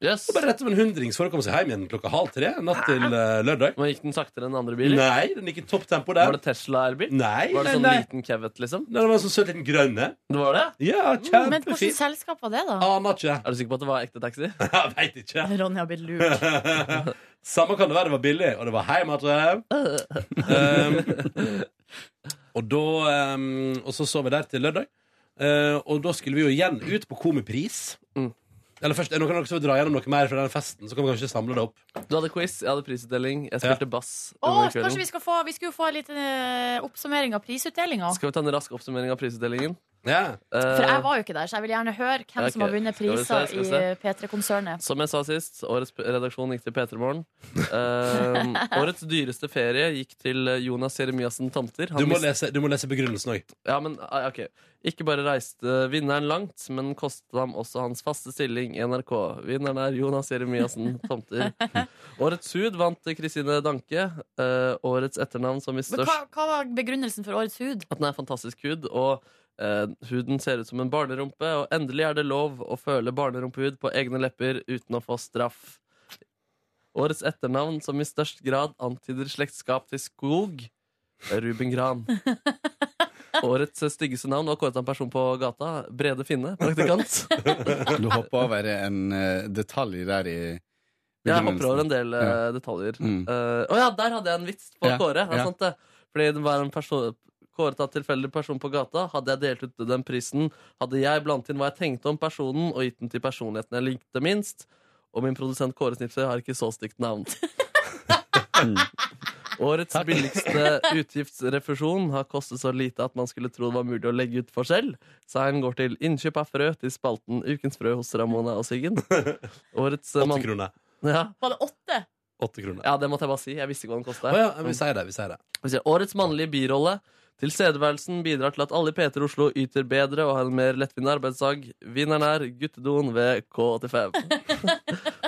D: Yes.
B: Bare rett om en hundrings for å komme seg hjem igjen klokka halv tre natt til eh, lørdag.
D: Men Gikk den saktere enn andre biler?
B: Nei, den gikk i topptempo der.
D: Var det Tesla-elbil?
B: Nei,
D: Var det
B: nei,
D: sånn
B: nei.
D: liten Kevet, liksom?
B: Nei, det var en sånn søt liten grønne.
D: Det var det?
B: Ja,
C: Men hvilket
B: kjempefint. Ah.
C: selskap var det, da?
B: Aner ikke.
D: Er du sikker på at det var ekte taxi?
B: Jeg veit ikke.
C: Ronny har blitt lurt.
B: Samme kan det være, det var billig, og det var hjem igjen. Um, og da um, Og så sov vi der til lørdag. Eh, og da skulle vi jo igjen ut på Komipris.
D: Mm.
B: Eller først, er det noen av dere som vil dra gjennom noe mer fra den festen? Så kan vi kanskje samle det opp.
D: Du hadde quiz, jeg hadde prisutdeling, jeg spilte bass.
C: Å,
D: under
C: kanskje
D: kvelden.
C: vi skal få Vi skulle jo få en liten eh, oppsummering av prisutdelinga.
D: Skal vi ta en rask oppsummering av prisutdelingen? Eh,
C: For jeg var jo ikke der, så jeg vil gjerne høre hvem
D: ok.
C: som har vunnet
D: Skal vi se,
C: priser
D: skal vi se.
C: i P3-konsernet.
D: Som jeg sa sist, årets p- redaksjon gikk til P3 Morgen. Eh, årets dyreste ferie gikk til eh, Jonas Jeremiassen Tomter.
B: Du må lese, du må lese begrunnelsen òg.
D: Ja, men, ah, ok. Ikke bare reiste vinneren langt, men kostet ham også hans faste stilling i NRK. Vinneren er Jonas Jeremiassen Tomter. Årets hud vant Kristine Danke. Eh, årets etternavn som i
C: Men
D: størst
C: hva, hva var begrunnelsen for årets hud?
D: at den er fantastisk hud, og eh, huden ser ut som en barnerumpe, og endelig er det lov å føle barnerumpehud på egne lepper uten å få straff. Årets etternavn, som i størst grad antyder slektskap til skog, er Ruben Gran. Årets eh, styggeste navn var kåret av en person på gata. Brede Finne, praktikant.
O: Du hopper over en eh, detalj der i
D: Jeg hopper over en del eh,
O: Ja.
D: detaljer. Eh, Å
O: Mm.
D: ja, der hadde jeg en vits på
O: Ja,
D: Kåre. Det er
O: ja.
D: sant, det. Fordi det var en person Kåret av tilfeldig person på gata. Hadde jeg delt ut den prisen, hadde jeg blandet inn hva jeg tenkte om personen, og gitt den til personligheten jeg likte minst. Og min produsent Kåre Snipsøy har ikke så stygt navn.
O: Mm.
D: Årets billigste utgiftsrefusjon har kostet så lite at man skulle tro det var mulig å legge ut for selv. Seieren går til innkjøp av frø til spalten Ukens frø hos Ramona og Siggen. Årets eh, mann-
B: Åtte kroner.
D: Ja.
C: Var det åtte?
B: Åtte kroner.
D: Ja, det måtte jeg bare si. Jeg visste ikke hva den kosta.
B: Å ja, vi sier det. Vi sier det.
D: Vi sier, Årets mannlige birolle. Tilstedeværelsen bidrar til at alle i P3 Oslo yter bedre og har en mer lettvint arbeidsdag. Vinneren er guttedoen ved K85.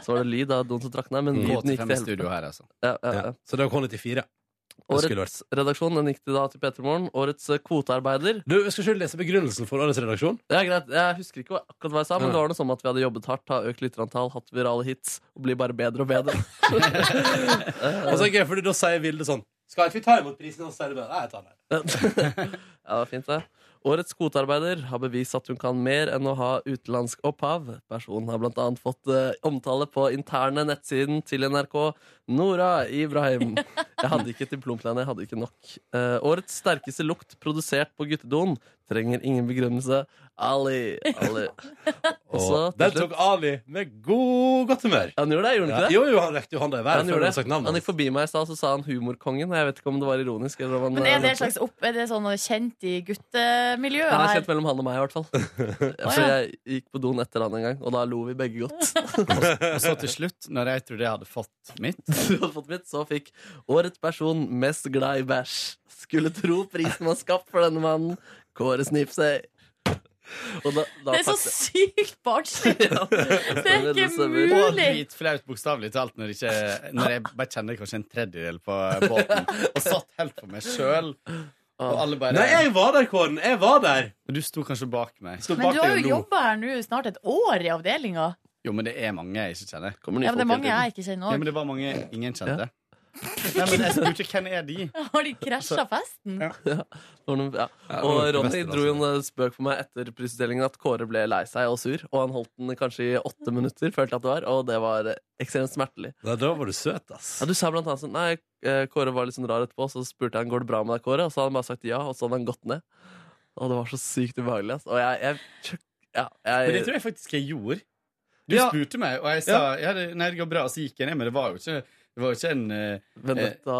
D: Så var det lyd av doen som trakk ned, men
O: Mm.
D: lyden gikk til
O: K85
D: helvete.
O: studio her, altså.
D: Ja, ja, ja.
B: Så det var K94. skulle
D: Årets redaksjon den gikk til da til P3 Morgen. Årets eh, kvotearbeider.
B: Du, skal ikke du lese begrunnelsen for årets redaksjon?
D: Ja, greit. Jeg husker ikke hva- akkurat hva jeg sa, men
B: Nei.
D: det var noe sånn at vi hadde jobbet hardt, har økt lytterantall, hatt virale hits og blir bare bedre og bedre.
B: Og så er det gøy, fordi da sier Vilde sånn Skal ikke vi ta imot prisen hans? Så sier du bare Nei, jeg tar den.
D: ja, det var fint, det. Årets kvotearbeider har bevist at hun kan mer enn å ha utenlandsk opphav. Personen har blant annet fått eh, omtale på interne nettsiden til NRK. Nora Ibrahim. Jeg hadde ikke et diplomplan, jeg hadde ikke nok. Eh, årets sterkeste lukt produsert på guttedoen. Trenger ingen begrunnelse. Ali. Ali. Og så
B: Den tok Ali med god, godt humør.
D: Han gjorde det, gjorde han
B: Ja.
D: ikke det?
B: Jo, jo, han rekte jo hånda i været
D: han,
B: før
D: gjorde
B: han hadde sagt
D: det.
B: navnet
D: han gikk forbi meg i stad, så sa han 'humorkongen'. Jeg vet ikke om det var ironisk. Eller om han, eh,
C: Men er det, en slags opp, er det sånn kjent i guttemiljøet
D: Han er
C: her?
D: kjent mellom han og meg, i hvert fall. For jeg gikk på doen etter han en gang, og da lo vi begge godt.
O: Og så til slutt, når jeg trodde jeg hadde fått mitt
D: Du hadde fått mitt, så fikk årets person mest glad i bæsj. Skulle tro prisen var skapt for denne mannen. Kåre Snipsøy. Og da, da
C: Det er så
D: takket-
C: sykt barnslig! Det er ikke
O: Og
C: mulig!
O: dritflaut, bokstavelig talt, når, ikke, når jeg bare kjenner kanskje en tredjedel på båten. Og satt helt for meg sjøl. Og alle bare
B: Nei, jeg var der, Kåren. Jeg var der.
O: Du sto kanskje bak meg.
C: Men du har jo jobba her nå snart et år i avdelinga.
O: Jo, men det er mange jeg ikke kjenner.
C: Ja, men det er mange jeg ikke kjenner
O: Ja, men
C: òg.
O: det var mange ingen kjente. Nei, men jeg spurte hvem er de?
C: Har de krasja festen?
D: Ja. Det var noen- ja.
O: Ja, det var
D: Og
O: det
D: Ronny
O: beste, altså.
D: dro jo en spøk på meg etter prisutdelingen at Kåre ble lei seg og sur. Og han holdt den kanskje i åtte minutter, følte jeg at det var, og det var ekstremt smertelig.
B: Ja, da var du søt, ass.
D: Ja, du sa blant annet sånn Nei, eh, Kåre var litt sånn rar etterpå, så spurte jeg han går det bra med deg, Kåre, og så hadde han bare sagt ja, og så hadde han gått ned. Og det var så sykt ubehagelig, ass. Og jeg, jeg, ja, jeg
O: Men
Q: Eh,
O: det tror jeg faktisk jeg gjorde. Du
D: Ja.
O: spurte meg, og jeg sa ja, det, nei, det går bra, og så gikk jeg ned. Men det var jo ikke, det var jo ikke en eh,
D: Vendetta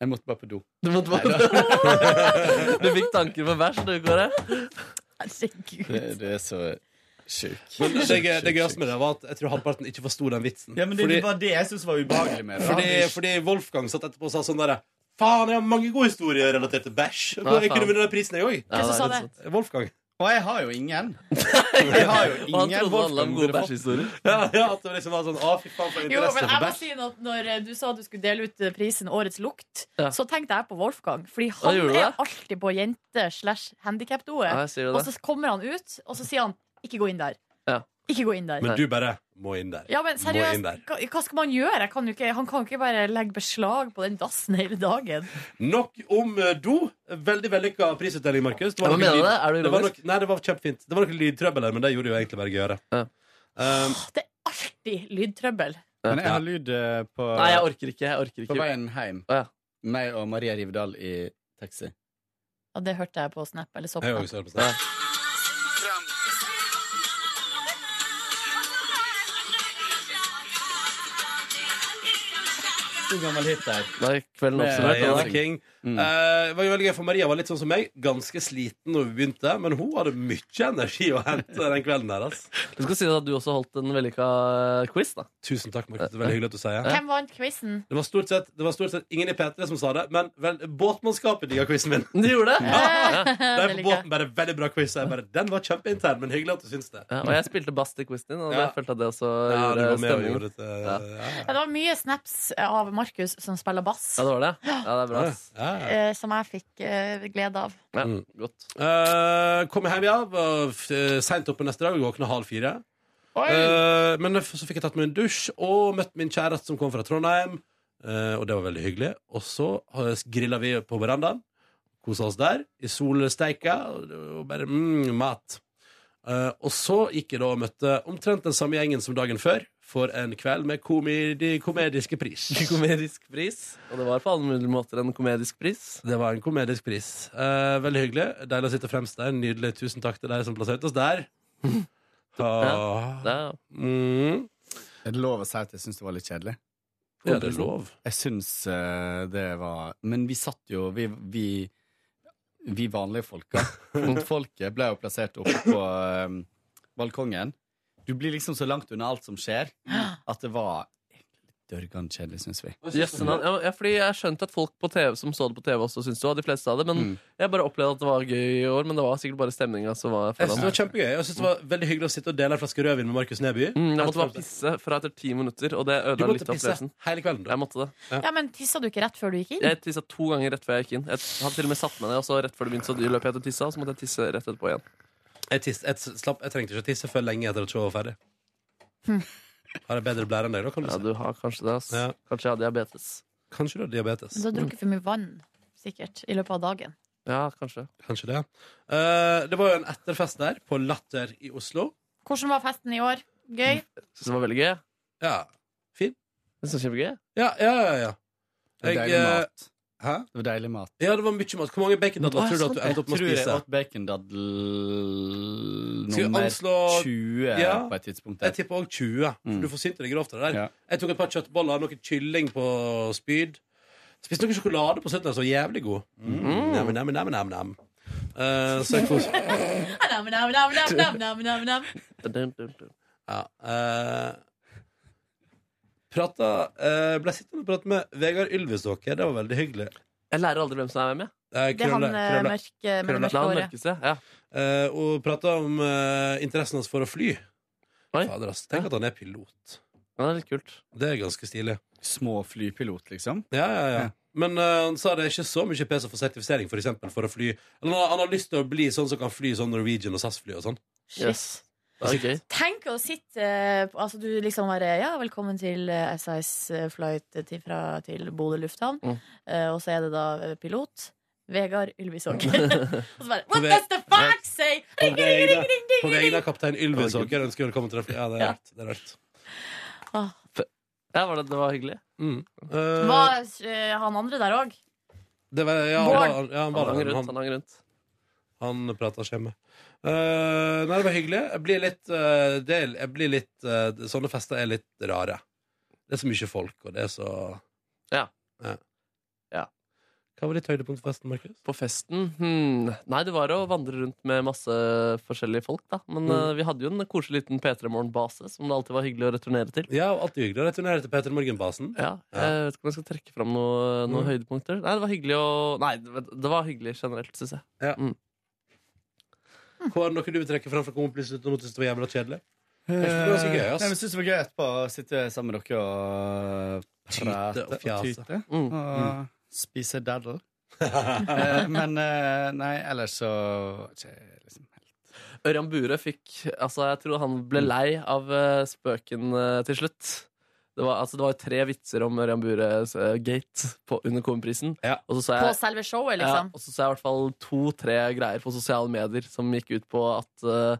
O: Jeg måtte bare på do.
D: Du måtte bare Du fikk tanker på bæsj, du, Kåre.
C: Herregud.
O: Det, det er så
B: Men det, gøy- det gøyeste med det var at jeg tror halvparten ikke forsto den vitsen.
Q: Ja, men det,
B: fordi,
Q: det var det jeg syntes var ubehagelig med det.
B: fordi, fordi Wolfgang satt etterpå og sa sånn derre Faen, jeg har mange gode historier relatert til bæsj.
Q: Ja,
B: Jeg kunne
Q: faen.
B: vunnet den prisen, jeg òg.
Q: Hvem som sa det?
D: sånn.
B: Wolfgang.
Q: Og jeg har jo ingen.
B: Jeg
Q: har jo ingen Wolfgang burde fått.
B: Ja, ja, at det liksom var sånn Å, fy faen, for
C: Jo, men
B: interesse
C: jeg
B: for
C: må
B: bæsj.
C: si at Når eh, du sa du skulle dele ut eh, prisen Årets lukt,
B: Ja.
C: så tenkte jeg på Wolfgang. Fordi
D: Ja,
C: han
D: gjorde du
C: er
D: det?
C: alltid på jente-slash-handikap-doet.
D: Ja, jeg sier det.
C: og så kommer han ut, og så sier han 'ikke gå inn der'.
D: Ja.
C: Ikke gå inn der.
B: Men du bare må inn der.
C: ja, men
B: Må inn
C: seriøst,
B: der.
C: hva, hva skal man gjøre? Jeg kan jo ikke, han kan jo ikke bare legge beslag på den dassen hele dagen.
B: Nok om eh, do. Veldig vellykka prisutdeling, Markus.
C: Hva
B: noe
C: mener du?
B: lyd-
C: Er du
B: det var
C: ironisk?
B: nok, Nei, det var kjempefint. Det var noe lydtrøbbel her, men det gjorde jo egentlig bare gøyere. Um,
C: Alltid lydtrøbbel.
O: Men jeg har lyd eh, på
D: Nei, jeg orker ikke. Jeg orker
O: På
D: ikke.
O: veien hjem. Meg og Maria Rivdal i taxi.
C: Ja, det hørte jeg på Snap eller Soppnap.
B: sånn.
Q: Så gammel hit der.
D: Da er kvelden
B: Med
D: oppsummert.
B: Diana
D: da.
B: Eh, King.
D: Mm.
B: Eh, det var jo veldig gøy, for Maria var litt sånn som meg, ganske sliten når vi begynte, men hun hadde mye energi å hente den kvelden der. ass.
D: Det skal sies at du også holdt en vellykka eh, quiz, da.
B: Tusen takk, Markus. Det er veldig hyggelig at du sier
C: Hvem vant quizen?
B: Eh, Det var stort sett, det var stort sett ingen i P3 som sa det, men vel, båtmannskapet digga quizen min.
D: De gjorde det?
B: Ja.
D: Eh,
B: De
D: det
B: på
D: liker jeg.
B: båten bare veldig bra quiz. Jeg bare, den var kjempeintern, men hyggelig at du syns det.
D: Ja, og jeg spilte bass til quizen din, og
B: Ja.
D: jeg følte at det også
B: Ja, du
D: gjorde
B: var med og
D: stemningen.
B: gjorde det,
D: ja.
C: Ja, det var mye snaps eh, av Markus som spiller bass,
D: ja, det var det? Ja, det er bra. ass.
C: eh, som jeg fikk eh, glede av.
D: Ja,
B: Mm.
D: godt.
B: Eh, kom hjem, ja. Var f- eh, Sent oppe neste dag. Våkna halv fire. Eh, men f- så fikk jeg tatt meg en dusj og møtt min kjæreste som kom fra Trondheim. Eh, og det var veldig hyggelig. Og så grilla vi på verandaen. Kosa oss der i solsteika. og det var Bare mm, mat. Eh, og så gikk jeg da og møtte omtrent den samme gjengen som dagen før for en kveld med komedi komediske pris.
D: Komedisk pris. Og det var på alle mulige måter en komedisk pris.
B: Det var en komedisk pris. Eh, veldig hyggelig. Deilig å sitte fremst der. Nydelig. Tusen takk til deg som plasserte oss der. Ah. Mm.
O: Er det lov å si at jeg syns det var litt kjedelig?
B: Ja, det er lov.
O: Jeg syns eh, det var Men vi satt jo Vi, vi, vi vanlige folka, frontfolket, ble jo plassert oppe på eh, balkongen. Du blir liksom så langt unna alt som skjer, at det var egentlig dørgan kjedelig, syns vi.
D: Jøsse navn. Ja, ja, fordi jeg skjønte at folk på TV som så det på TV også syntes det, og de fleste av det. Men
B: Mm.
D: jeg bare opplevde at det var gøy i år, men det var sikkert bare stemninga som var
B: Jeg synes det var kjempegøy. Jeg synes det var veldig hyggelig å sitte og dele en flaske rødvin med Markus Neby.
D: Mm, jeg måtte bare pisse fra etter ti minutter, og det
B: Du
D: ødela
B: måtte
D: litt av
B: pisse
D: opplevelsen.
B: Hele kvelden,
D: Jeg måtte det.
C: Ja, men tissa du ikke rett før du gikk inn?
D: Jeg tissa to ganger rett før jeg gikk inn. Jeg hadde til og med satt meg ned, og så rett før det begynte, så løp jeg ut og tissa, og så måtte jeg tisse rett etterpå igjen.
B: Jeg, tiss, jeg, s- slapp, jeg trengte ikke å tisse før lenge etter at showet var ferdig. Har jeg bedre blære enn deg, da? Kan du
D: Ja, du har kanskje det, ass. Kanskje jeg har diabetes.
B: Kanskje du har diabetes.
C: Du har drukket for mye vann, sikkert, i løpet av dagen.
D: Ja, kanskje.
B: Kanskje det. Eh, det var jo en etterfest der, på Latter i Oslo.
C: Hvordan var festen i år? Gøy?
D: Syns det var veldig gøy.
B: Ja. Fin.
D: Det syns jeg var gøy.
B: Ja, ja, ja. ja.
O: Det var
B: Jeg,
O: deilig
B: eh,
O: mat.
B: Hæ?
O: Det var deilig mat.
B: Ja, det var mye mat. Hvor mange bacondadler tror du at du endte opp med å
O: Jeg sånn, tror
B: spise?
O: jeg åt bacondadel
B: Skal vi
O: nummer
B: anslå-
O: 20
B: Ja.
O: på et tidspunkt.
B: Jeg tipper òg 20. For Du forsynte deg grovt av det der. Jeg tok et par kjøttboller, noe kylling på spyd. Spiste noe sjokolade på slutten, som var jævlig god. Mm. Nam, nam, nam, nam, nam. Eh, så jeg kos
C: Nam, nam, nam, nam, nam, nam, nam, nam.
B: ja, eh, Prata eh, Ble sittende og prate med Vegard Ylvisåker. Det var veldig hyggelig.
D: Jeg lærer aldri hvem som er hvem, jeg.
B: Eh,
C: Det er han,
B: krølle-
C: eh,
B: krølle.
C: mørke- med det
B: Krølle.
C: mørke Han håret.
B: Eh, og prata om eh, interessen hans for å fly. Fader, ass. Tenk at han er pilot.
D: Ja, det er litt kult.
B: Det er ganske stilig.
O: Små flypilot, liksom?
B: Ja, ja, ja. Men eh, han sa det er ikke så mye pes å få sertifisering for, eksempel, for å fly. Eller, han, har- han har lyst til å bli sånn som kan fly sånn Norwegian og SAS-fly og sånn.
C: Shit. Yes. Tenk å sitte eh, på- Altså, du liksom bare Ja, velkommen til eh, SAS flight til, fra, til Bodø lufthavn.
B: Mm.
C: Eh, og så er det da eh, pilot Vegard Ylvisåker. og så bare
B: På
C: What
B: ve-
C: does the fox say?
B: På vegne, på vegne av kaptein Ylvis Åker ønsker jeg velkommen til det. Ja, det er
C: Ja.
B: rart. Det er rart.
D: Ja, var det, det var hyggelig.
B: Mm. Eh,
C: Var eh, han andre der òg?
B: det var, ja, han, var- ja, han, var,
D: Han hang
B: der, men
D: rundt, han hang rundt.
B: Han prata skjemme. Uh, nei, det var hyggelig. Jeg blir litt, eh, det, er- jeg blir litt eh, Sånne fester er litt rare. Det er så mye folk, og det er så
D: Ja.
B: Ja. Hva var ditt høydepunkt på festen, Markus?
D: På festen? Hmm. Nei, det var å vandre rundt med masse forskjellige folk, da. Men
B: Mm.
D: eh, vi hadde jo en koselig liten P3 Morgen-base, som det alltid var hyggelig å returnere til.
B: Ja, og alltid hyggelig å returnere til Peter Morgen-basen.
D: Ja, Jeg vet ikke om jeg skal trekke fram noe- noen
B: Mm.
D: høydepunkter. Nei, det var hyggelig å Nei, det det var hyggelig generelt, syns jeg.
B: Ja. Hva er det noe du vil trekke fram fra kompiser uten å synes det var jævla kjedelig? Jeg synes det var ganske gøy,
Q: Eh, Nei, men
B: ass.
Q: jeg synes det var gøy etterpå å sitte sammen med dere og
B: Tyte
Q: prate
B: og fjase.
Q: tyte,
B: Mm. Mm.
Q: Og spise daddel. Eh, men eh, nei, ellers så ikke liksom helt
D: Ørjan Bure fikk Altså, jeg tror han ble lei av eh, spøken eh, til slutt. Det var, altså, det var jo tre vitser om Ørjan Bures eh, gate på, under Komiprisen. Og så sa
C: På
B: Eh.
D: jeg,
C: selve
D: ja,
C: showet, liksom.
D: og så sa jeg i hvert fall to-tre greier på sosiale medier som gikk ut på at eh,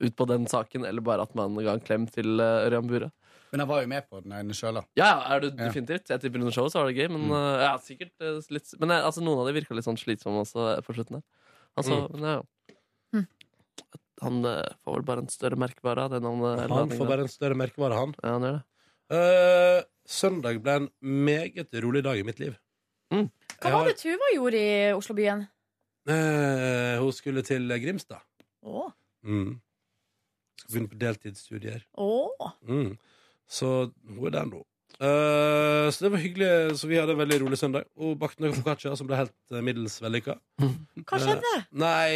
D: ut på den saken, eller bare at man ga en klem til eh, Ørjan Bure.
Q: Men jeg var jo med på den ene sjøl, da.
D: Ja, ja, er du definitivt. Jeg tipper under showet så var det gøy,
B: Mm.
D: men eh, ja, sikkert eh, litt Men eh, altså, noen av de virka litt sånn slitsomme også eh, på slutten der. Altså,
B: Mm.
D: men ja, ja. Han eh, får vel bare en større merkevare av det navnet.
B: Han får bare en større merkevare, han.
D: Ja, han gjør det.
B: Eh, søndag ble en meget rolig dag i mitt liv.
C: Hva var det Tuva gjorde i Oslobyen?
B: Eh, hun skulle til Grimstad.
C: Å.
B: Mm. Skal begynne på deltidsstudier.
C: Å.
B: Mm. Så hun er der nå. Eh, så det var hyggelig. Så vi hadde en veldig rolig søndag. Hun bakte noe foccaccia som ble helt eh, middels vellykka.
C: Hva skjedde?
B: nei,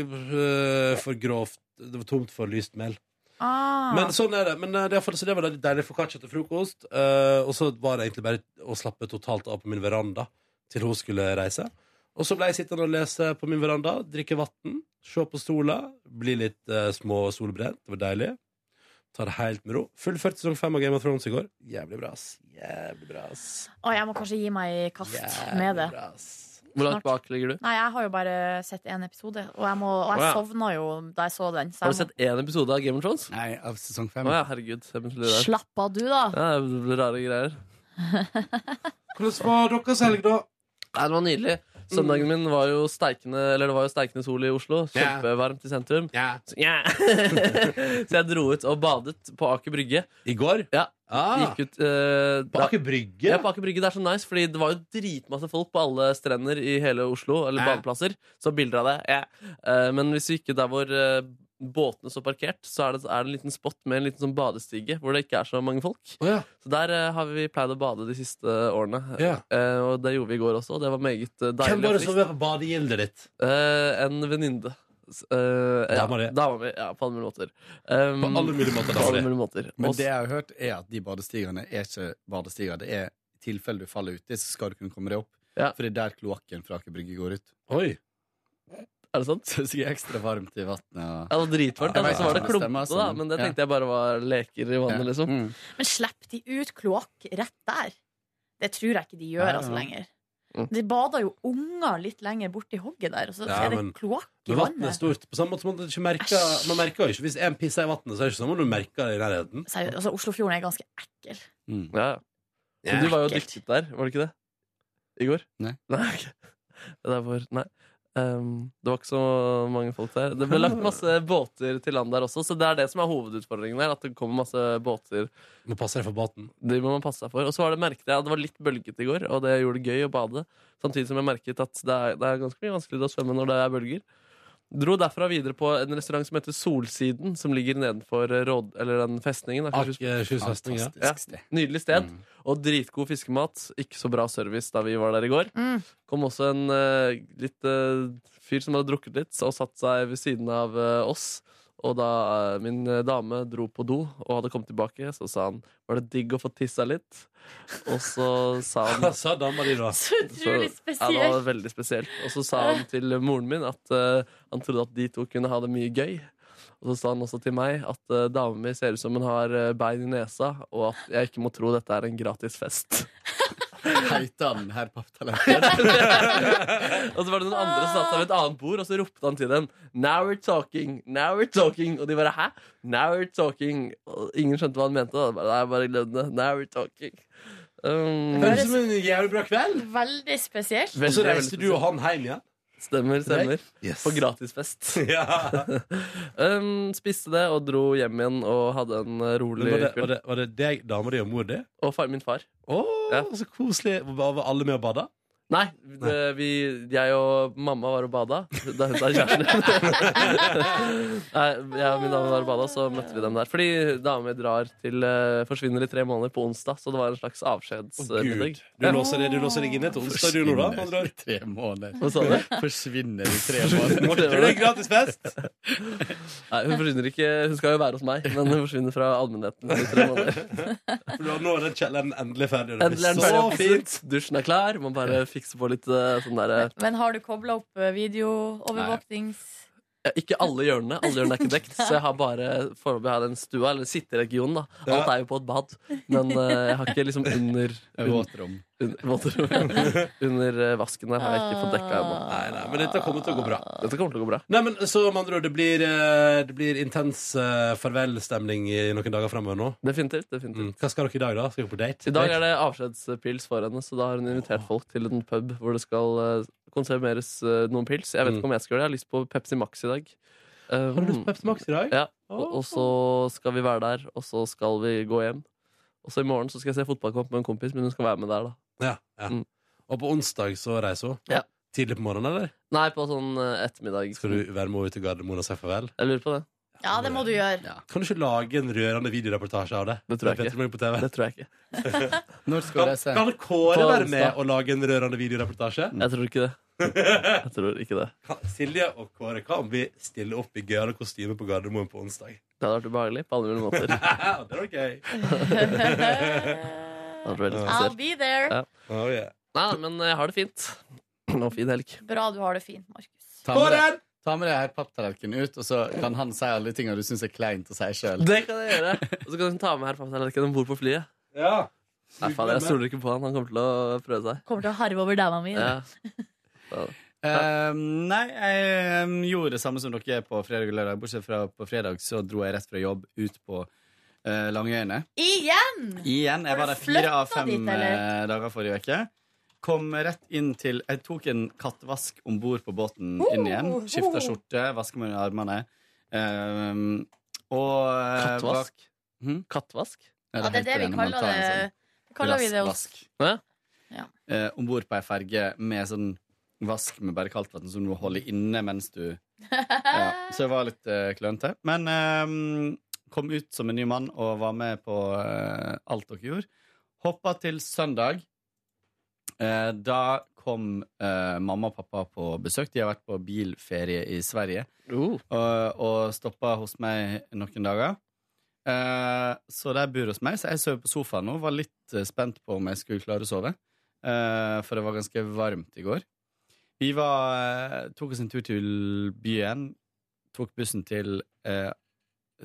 B: eh, for grovt. Det var tomt for lyst mel.
C: Ah.
B: Men sånn er det. Men eh, det, er for- så det var litt deilig foccaccia til frokost. eh, og så var det egentlig bare å slappe totalt av på min veranda til hun skulle reise. Og så ble jeg sittende og lese på min veranda, drikke vann, se på sola, bli litt eh, små solbrent. Det var deilig. Ta det helt med ro. Fullført sesong fem av Game of Thrones i går. Jævlig bra, ass. Jævlig bra, ass.
C: Å, jeg må kanskje gi meg i kast
B: Jævlig
C: med det.
B: bra,
D: Hvor langt bak ligger du?
C: Nei, jeg har jo bare sett én episode, og jeg, må, og jeg
D: Å, ja.
C: sovna jo da jeg så den. Så
D: Har du
C: jeg må...
D: sett én episode av Game of Thrones?
Q: Nei, av sesong fem.
D: Å ja, herregud. jeg begynte å lide der.
C: Slapp av, du, da.
D: Ja, det ble rare greier.
B: Hvordan var deres helg, da?
D: Nei, det var nydelig. Søndagen min var jo steikende Eller det var jo steikende sol i Oslo.
B: Mm. Ja.
D: Kjempevarmt i sentrum. Så, ja. så jeg dro ut og badet på Aker Brygge.
B: I går?
D: Ja.
B: Ah.
D: Gikk ut, eh,
B: På
D: da-
B: Aker Brygge?
D: Ja, på Aker Brygge. Det er så nice, fordi det var jo dritmasse folk på alle strender i hele Oslo. Eller
B: Ja.
D: badeplasser. Så bilder av det. Ja. Eh, men hvis du ikke der hvor eh, båtene står parkert, så er det, er det en liten spot med en liten sånn badestige hvor det ikke er så mange folk. Så der eh, har vi pleid å bade de siste årene.
B: Ja.
D: Eh, og det gjorde vi i går også. og Det var meget eh, deilig.
B: Hvem var
D: og
B: det som
D: trist.
B: var på badegildet ditt?
D: Eh, en venninne. S- eh, ja,
B: Dama di.
D: Dama mi. Ja, på alle mulige måter. Um,
B: På alle mulige måter,
D: på
B: dama
D: alle
B: di.
D: mulige måter.
Q: Men
D: Og
Q: det jeg har hørt, er at de badestigene er ikke badestiger. Det er i tilfelle du faller uti, så skal du kunne komme deg opp. For det er der kloakken fra Aker Brygge går ut.
B: Oi
D: Er det sant?
Q: Så det er ekstra varmt i vannet.
D: Ja, det var dritvarmt.
Q: Ja,
D: altså,
Q: jeg
D: så var det
Q: vet ikke om det
D: klumpete,
Q: stemmer,
D: da.
Q: altså,
D: Men det
Q: men-
D: tenkte jeg bare var leker i vannet, liksom.
Q: Mm.
C: Men slipper de ut kloakk rett der? Det tror jeg ikke de gjør
B: Nei,
C: altså
B: nei.
C: lenger.
D: Mm.
C: De bader jo unger litt lenger borti hogget der, og så
B: Ja,
C: er det
B: men-
C: kloakk i
B: Men vannet er
C: vannet.
B: stort. På samme måte som man ikke merker Man merker jo ikke Hvis en pisser i vannet, så er det ikke sånn om du merker det i nærheten.
C: Seriøst, altså, Oslofjorden er ganske ekkel.
D: Ja. Men du var jo dykket der, var det ikke det? I går?
Q: Nei.
D: ok. Det er hvor Nei. Um, det var ikke så mange folk der. Det ble lagt masse båter til land der også, så det er det som er hovedutfordringen der. At det kommer masse båter.
B: Må passe deg for båten.
D: Det må man passe seg for. Og så var det, merket jeg at det var litt bølgete i går, og det gjorde det gøy å bade. Samtidig som jeg merket at det er, det er ganske mye vanskeligere å svømme når det er bølger. Dro derfra videre på en restaurant som heter Solsiden, som ligger nedenfor eh, råd, eller den festningen. Akershus-
B: Akershus festning, ja.
D: Ja, Nydelig sted. Og dritgod fiskemat. Ikke så bra service da vi var der i går. Kom også en eh, litt eh, fyr som hadde drukket litt, og satt seg ved siden av eh, oss. Og da eh, min eh, dame dro på do og hadde kommet tilbake, så sa han var det digg å få tissa litt. Og så sa han
B: Hva sa dama di da?
C: Så
D: ja, det
C: utrolig
D: var
C: spesielt.
D: veldig spesielt. Og så sa han til moren min at eh, han trodde at de to kunne ha det mye gøy. Og så sa han også til meg at uh, damen min ser ut som hun har eh, bein i nesa, og at jeg ikke må tro dette er en gratis fest.
Q: Heita han herr Papptalenten?
D: og så var det noen andre som satt seg ved et annet bord, og så ropte han til dem Now we're talking, now we're talking. Og de bare hæ? Now we're talking. Og ingen skjønte hva han mente. Da. Bare, Nei, bare glem det. Now we're talking. Um,
B: Det høres ut som en jævlig bra kveld.
C: Veldig spesielt.
B: Og så reiste du og han hjem igjen?
D: Stemmer, stemmer.
B: Yes.
D: På gratisfest.
B: Ja.
D: um, spiste det og dro hjem igjen og hadde en eh, rolig
B: Men var, det, var,
D: kveld.
B: det, var det deg, dama di og mor di?
D: Og far, min far.
B: Å, så koselig. Var var alle med og bada?
D: Nei, det, vi, jeg og mamma var og bada da hun var kjæresten din. Nei, jeg og min dame var og bada, så møtte vi dem der. Fordi damer drar til eh, forsvinner i tre måneder på onsdag, så det var en slags
B: Å, Gud.
D: avskjedsmiddag.
B: Du låser det- du låser deg inne til onsdag, du nå, da, med andre ord?
O: Tre måneder.
D: Hva sa du?
O: Forsvinner i tre måneder.
B: Morten, er det gratis fest?
D: Nei, hun forsvinner ikke Hun skal jo være hos meg, men hun forsvinner fra allmennheten i tre måneder.
B: For da- nå er den kjelleren endelig ferdig. og Det
D: Endelig
B: blir
D: er den
B: så
D: ferdig
B: fint.
D: fint. Dusjen er klar. Man bare fikser på litt eh, sånn derre
C: Men har du kobla opp eh, videoovervåknings...
D: Ja, ikke alle hjørnene. Alle hjørnene er ikke dekt. Så jeg har bare foreløpig har jeg den stua, eller sitteregionen, da. Alt er jo på et bad. Men eh, jeg har ikke liksom under
O: er våtrom.
D: Un, våtrom ja. Under eh, vasken der har jeg ikke fått dekka ennå.
B: Nei, nei, men dette kommer til å gå bra.
D: Dette kommer til å gå bra.
B: Nei, men så med andre ord, det blir, eh, det blir intens eh, farvelstemning i noen dager framover nå?
D: Definitivt. definitivt.
B: Mm. Hva skal dere i dag, da? Skal dere på date?
D: I dag er det avskjedspils for henne, så da har hun invitert folk til en pub hvor det skal eh, konserveres eh, noen pils. Jeg vet ikke om jeg skal gjøre det. Jeg har lyst på Pepsi Max i dag. har
B: Mm. du lyst på Pepsi Max i dag?
D: Ja. Og, og så skal vi være der, og så skal vi gå hjem. Og så i morgen så skal jeg se fotballkamp med en kompis, men hun skal være med der, da.
B: Ja, ja.
D: Mm.
B: Og på onsdag så reiser hun? Tidlig på morgenen, eller?
D: Nei, på sånn eh, ettermiddag.
B: Skal du være med henne ut til Gardermoen og si farvel?
D: Jeg lurer på det.
C: Ja, det må du gjøre.
B: Kan du ikke lage en rørende videoreportasje av det?
D: Det tror jeg
B: Med
D: ikke.
B: Petter Morgen På TV?
D: Det tror jeg ikke.
O: Når
D: skal
B: kan,
D: jeg se?
B: kan Kåre
D: På
B: være med
D: onsdag.
B: og lage en rørende videoreportasje?
D: Jeg tror ikke det. Jeg tror ikke det.
B: Kan, Silje og Kåre, kan vi stille opp i gøyale kostymer på Gardermoen på onsdag?
D: Det hadde vært ubehagelig på alle mulige måter.
B: Ja, det var gøy.
D: Det hadde vært veldig
C: I'll
D: spesielt.
C: be there.
D: Ja. Nei, men eh, jeg har det fint. Og fin helg.
C: Bra du har det fint, Markus.
O: Ta med deg, ta med deg her papptallerkenen ut, og så kan han si alle de tingene du syns er kleint å si sjøl.
D: Det kan jeg gjøre. Og så kan hun ta med herr papptallerkenen om bord på flyet.
B: Ja.
D: Nei, faen, jeg stoler ikke på han. Han kommer til å prøve seg.
C: Kommer til å harve over dama mi.
D: Ja.
O: Eh, nei, jeg eh, gjorde det samme som dere på fredag og lørdag. Bortsett fra på fredag så dro jeg rett fra jobb ut på eh, Langøyene.
C: Igjen!
O: Igjen. Jeg
C: Har
O: var
C: du
O: der fire av
C: flyttet
O: fem
C: dit, eller?
O: eh, dager forrige uke. Kom rett inn til Jeg tok en kattevask om bord på båten
C: Oh,
O: inn igjen. Skifta skjorte, vaska meg under armene. Eh, og eh,
D: Kattevask?
O: bak- Hm?
D: Kattevask?
C: Ja, det er det vi kaller det.
O: sånn-
C: Kaller vi det hos
O: Raskvask.
C: Ja.
O: Eh, Om bord på ei ferge med sånn vask med bare kaldtvann som du må holde inne mens du ja. Så jeg var litt uh, klønete. Men eh, kom ut som en ny mann og var med på eh, alt dere gjorde. Hoppa til søndag. Eh, da kom eh, mamma og pappa på besøk. De har vært på bilferie i Sverige.
D: Oh,
O: Og, og stoppa hos meg noen dager. Eh, så de bor hos meg, så jeg sover på sofaen nå. Var litt eh, spent på om jeg skulle klare å sove. eh, for det var ganske varmt i går. Vi var, eh, tok oss en tur til byen. Tok bussen til, eh,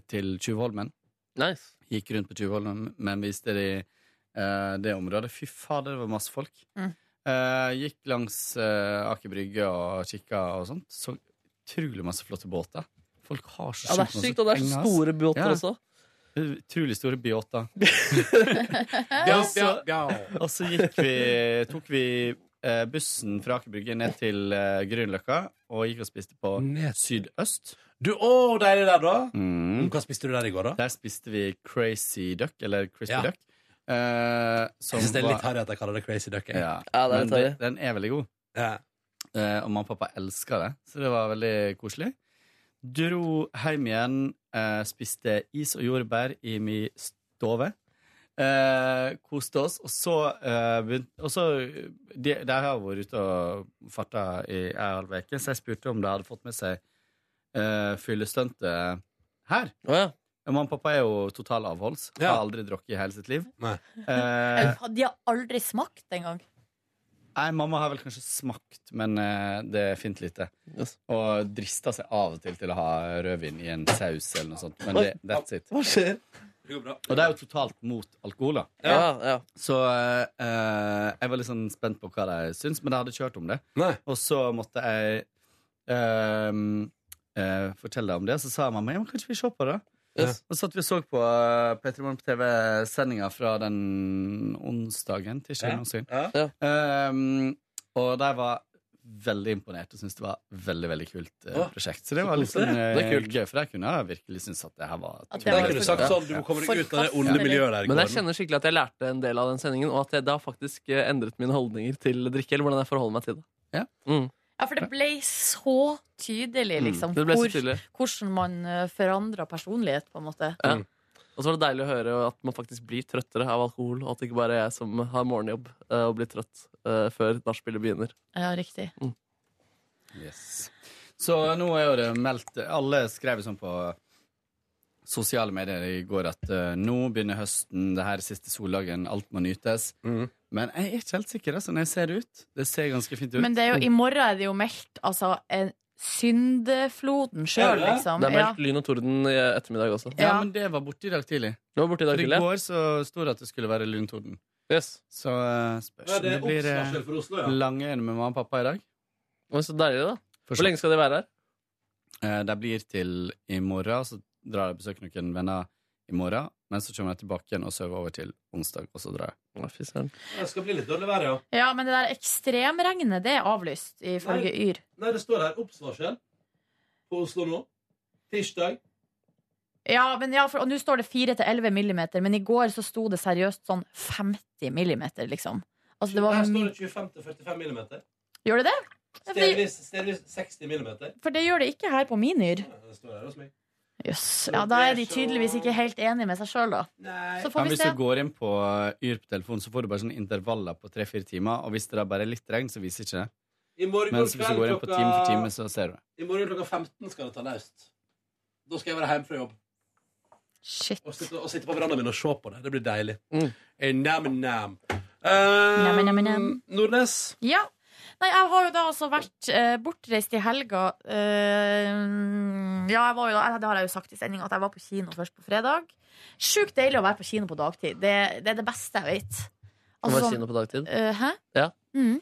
O: til Tjuvholmen. Gikk rundt på Tjuvholmen, men viste de eh, det området. Fy fader, det var masse folk.
C: Mm.
O: Eh, gikk langs eh, Aker Brygge og kikka og sånt. Så utrolig masse flotte båter. Folk har så
D: Ja, det er
O: masse
D: sykt, og det er så
O: penger, ass.
D: store båter også.
O: Utrolig store båter.
B: Bjau,
O: Og så-
B: bjau, bjau.
O: Og så gikk vi, tok vi eh, bussen fra Aker Brygge ned til eh, Grünerløkka og gikk og spiste på
D: Mm.
O: sydøst.
B: Du, å, deilig der, da.
O: Hva
B: spiste du der i går, da?
O: Der spiste vi Crazy Duck, eller Crispy
B: Ja.
O: Duck. Eh, som
B: Jeg synes det er
O: var-
B: litt harry at jeg kaller det Crazy Duck. jeg.
O: Ja,
D: Ja, det er
O: men
D: litt harry.
O: den- den er veldig god. Eh, og mamma og pappa elsker det, så det var veldig koselig. Dro hjem igjen, eh, spiste is og jordbær i mi stove. Eh, koste oss, og så eh, begynte Og så De, de har vært ute og farta i ei halv uke, så jeg spurte om de hadde fått med seg eh, fyllestuntet her. Mamma og pappa er jo total avholds. Har aldri drukket i hele sitt liv. Eh,
C: Au, De har aldri smakt engang.
O: Nei, mamma har vel kanskje smakt, men eh, det er fint lite. Og drista seg av og til til å ha rødvin i en saus eller noe sånt. Men det, that's it.
D: Hva skjer?
B: Det går bra.
O: Og det er jo totalt mot alkohol, da.
D: Ja, ja.
O: Så eh, jeg var litt sånn spent på hva de syns, men de hadde ikke hørt om det. Og så måtte jeg eh, eh, fortelle dem om det, og så sa mamma ja, men kanskje vi ser på det.
D: Yes.
O: Og så satt vi og så på eh, P3 Morgen på TV-sendinga fra den onsdagen.
D: Ja.
O: Tirsdagen, onsdagen. Eh, og de var veldig imponert og syntes det var veldig veldig kult eh,
B: Å,
O: prosjekt. Så det
B: så
O: var litt
B: koselig.
O: sånn, eh,
B: Det er kult.
O: gøy, for jeg kunne virkelig syntes at det her var
C: At
B: det var Da kunne du sagt sånn, du
O: Ja.
B: kommer deg ut av det onde miljøet der i
D: Men jeg
B: gården.
D: kjenner skikkelig at jeg lærte en del av den sendingen, og at jeg da faktisk eh, endret mine holdninger til drikke. Eller hvordan jeg forholder meg til det. Mm.
C: Ja, for det ble så tydelig,
D: Mm,
C: liksom,
D: det ble så
C: hvor-
D: tydelig.
C: hvordan man eh, forandra personlighet, på en måte.
D: Ja. Og så var det deilig å høre at man faktisk blir trøttere av alkohol, og at det ikke bare er jeg som har morgenjobb eh, og blir trøtt eh, før nachspielet begynner.
C: Ja, riktig.
O: Yes. Så nå er jo det meldt Alle skrev sånn på sosiale medier i går at eh, nå begynner høsten, det her er siste soldagen, alt må nytes.
B: Mm.
O: Men jeg er ikke helt sikker, altså, når jeg ser det ut. Det ser ganske fint ut.
C: Men det er jo, i morgen er det jo meldt altså, en syndefloden sjøl, liksom.
D: Det er
C: Ja.
D: meldt lyn og torden i ettermiddag også.
O: Ja, men det var borte i dag tidlig.
D: Det var borte i dag
O: For i
D: tidlig.
O: går så sto det at det skulle være lyntorden. Så eh, spørs
D: Ja,
O: om
D: det er
O: det blir eh,
D: oppslagsfelt for Oslo, ja.
O: lange øyne med mamma og pappa i dag.
D: Men så deilig, da. Hvor lenge skal de være her?
O: Eh, De blir til i morgen, så drar jeg og besøker noen venner i morgen. Men så kommer jeg tilbake igjen og sover over til onsdag, og så drar
D: jeg.
B: Det skal bli litt dårlig vær, ja.
C: Ja, men det der ekstremregnet, det er avlyst, ifølge
B: Nei.
C: Yr.
B: Nei, det står her oppsvarsel på Oslo nå. Tirsdag.
C: Ja, men ja, for, og nå står det 4-11 millimeter, men i går så sto det seriøst sånn 50 millimeter, liksom. Altså, det var,
B: Her står det 25 til 45 millimeter.
C: gjør det det? Ja, for det-
B: Stedvis, stedvis 60 millimeter.
C: For det gjør det ikke her på min Yr.
B: Det står her hos meg.
C: Jøss. Ja, da er de tydeligvis ikke helt enige med seg sjøl, da. Så får
O: Men
C: vi
O: hvis
C: se.
O: du går inn på Yr på telefonen, så får du bare sånne intervaller på tre-fire timer. Og hvis det da bare er litt regn, så viser ikke det.
B: I morgen
O: Mens hvis
B: kveld
O: du går inn på
B: klokka-
O: time for time, så ser du det.
B: I morgen klokka 15 skal det ta naust. Da skal jeg være hjemme fra jobb.
C: Shit.
B: Og sitte, og sitte på verandaen min og se på det. Det blir deilig.
D: Mm.
B: Eh, Nam, nam. Eh,
C: Nam, nam, nam.
B: Nordnes.
C: Ja. Nei, jeg har jo da altså vært eh, bortreist i helga. Eh, ja, jeg var jo da, eh, det har jeg jo sagt i sending, at jeg var på kino først på fredag. Sjukt deilig å være på kino på dagtid. Det, det er det beste jeg vet.
D: Kan
C: Altså
D: være
C: sånn-
D: kino på dagtid.
C: Eh, hæ?
D: Ja.
C: Mhm.